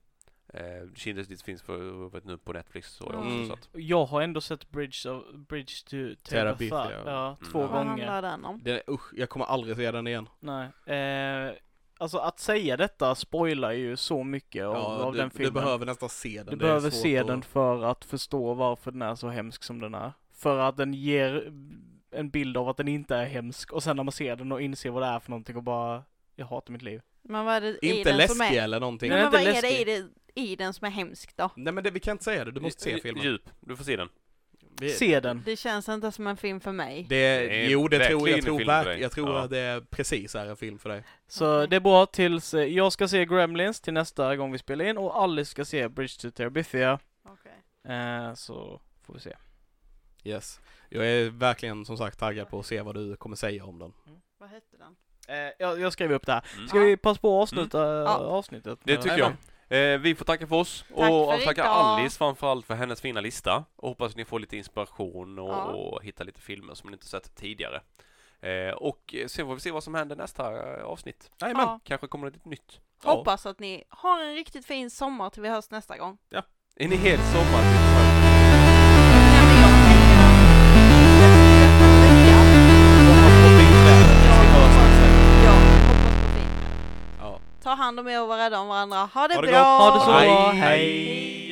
Speaker 4: Eh, Schindler's list finns för, vet nu på Netflix så jag
Speaker 3: Mm.
Speaker 4: också. Så att,
Speaker 1: Jag har ändå sett Bridge, of, Bridge to
Speaker 3: Therapy,
Speaker 1: Terabithia. Ja.
Speaker 3: ja.
Speaker 1: två
Speaker 3: Mm.
Speaker 2: Vad
Speaker 1: gånger.
Speaker 2: handlar den om?
Speaker 3: Det, usch, jag kommer aldrig se den igen.
Speaker 1: Nej. Eh, alltså att säga detta spoilar ju så mycket av, av
Speaker 3: du,
Speaker 1: den filmen.
Speaker 3: du behöver nästan se den.
Speaker 1: Du
Speaker 3: det är
Speaker 1: behöver
Speaker 3: svårt
Speaker 1: se
Speaker 3: att-
Speaker 1: den för att förstå varför den är så hemsk som den är. För att den ger en bild av att den inte är hemsk och sen när man ser den och inser vad det är för någonting och bara jag hatar mitt liv.
Speaker 2: Men vad är det i
Speaker 3: Inte
Speaker 2: den som
Speaker 3: läskig
Speaker 2: är...
Speaker 3: eller någonting.
Speaker 2: Nej,
Speaker 1: Den är
Speaker 2: men vad
Speaker 1: inte
Speaker 2: är det i,
Speaker 1: läskig.
Speaker 2: det i den som är hemskt då?
Speaker 3: Nej men det, vi kan inte säga det, du måste se
Speaker 4: Dju-
Speaker 3: filmen.
Speaker 4: Djup, du får se den.
Speaker 3: Vi-
Speaker 1: Se den.
Speaker 2: Det känns inte som en film för mig.
Speaker 3: Det,
Speaker 4: Det är
Speaker 3: jo, det tror jag. Jag
Speaker 4: verkligen en
Speaker 3: tror,
Speaker 4: film för
Speaker 3: verk,
Speaker 4: dig.
Speaker 3: jag tror
Speaker 4: Ja.
Speaker 3: att det är precis är en film för dig.
Speaker 1: Så
Speaker 2: Okej.
Speaker 1: det är bra tills eh, jag ska se Gremlins till nästa gång vi spelar in och Alice ska se Bridge to Terabithia.
Speaker 2: Okej.
Speaker 1: Eh, så får vi se.
Speaker 3: Yes. Jag är verkligen som sagt taggad på att se vad du kommer säga om den.
Speaker 2: Vad hette den?
Speaker 1: Eh, jag, jag skriver upp det här.
Speaker 4: Mm.
Speaker 1: Ska vi passa på att avsluta eh,
Speaker 2: Ja.
Speaker 1: avsnittet?
Speaker 4: Det tycker jag. Eh, vi får tacka för oss och
Speaker 2: för
Speaker 4: tacka
Speaker 2: idag.
Speaker 4: Alice framförallt för hennes fina lista. Och hoppas ni får lite inspiration och,
Speaker 2: Ja.
Speaker 4: och hittar lite filmer som ni inte sett tidigare. Eh, och eh, sen får vi se vad som händer nästa eh, avsnitt.
Speaker 3: Jajamän.
Speaker 2: Ja.
Speaker 4: Kanske kommer det ett nytt. Ja.
Speaker 2: Hoppas att ni har en riktigt fin sommar till vi hörs nästa gång.
Speaker 4: En hel sommar.
Speaker 2: Nej, men jag tänker att Jag hoppas på fint väder. Jag hoppas på fint väder.
Speaker 3: Ja.
Speaker 2: Ta hand om er och var rädda om varandra. Ha det,
Speaker 3: Ha det
Speaker 2: bra!
Speaker 4: 哎
Speaker 1: Ha det så bra,
Speaker 3: Hej.
Speaker 1: hej!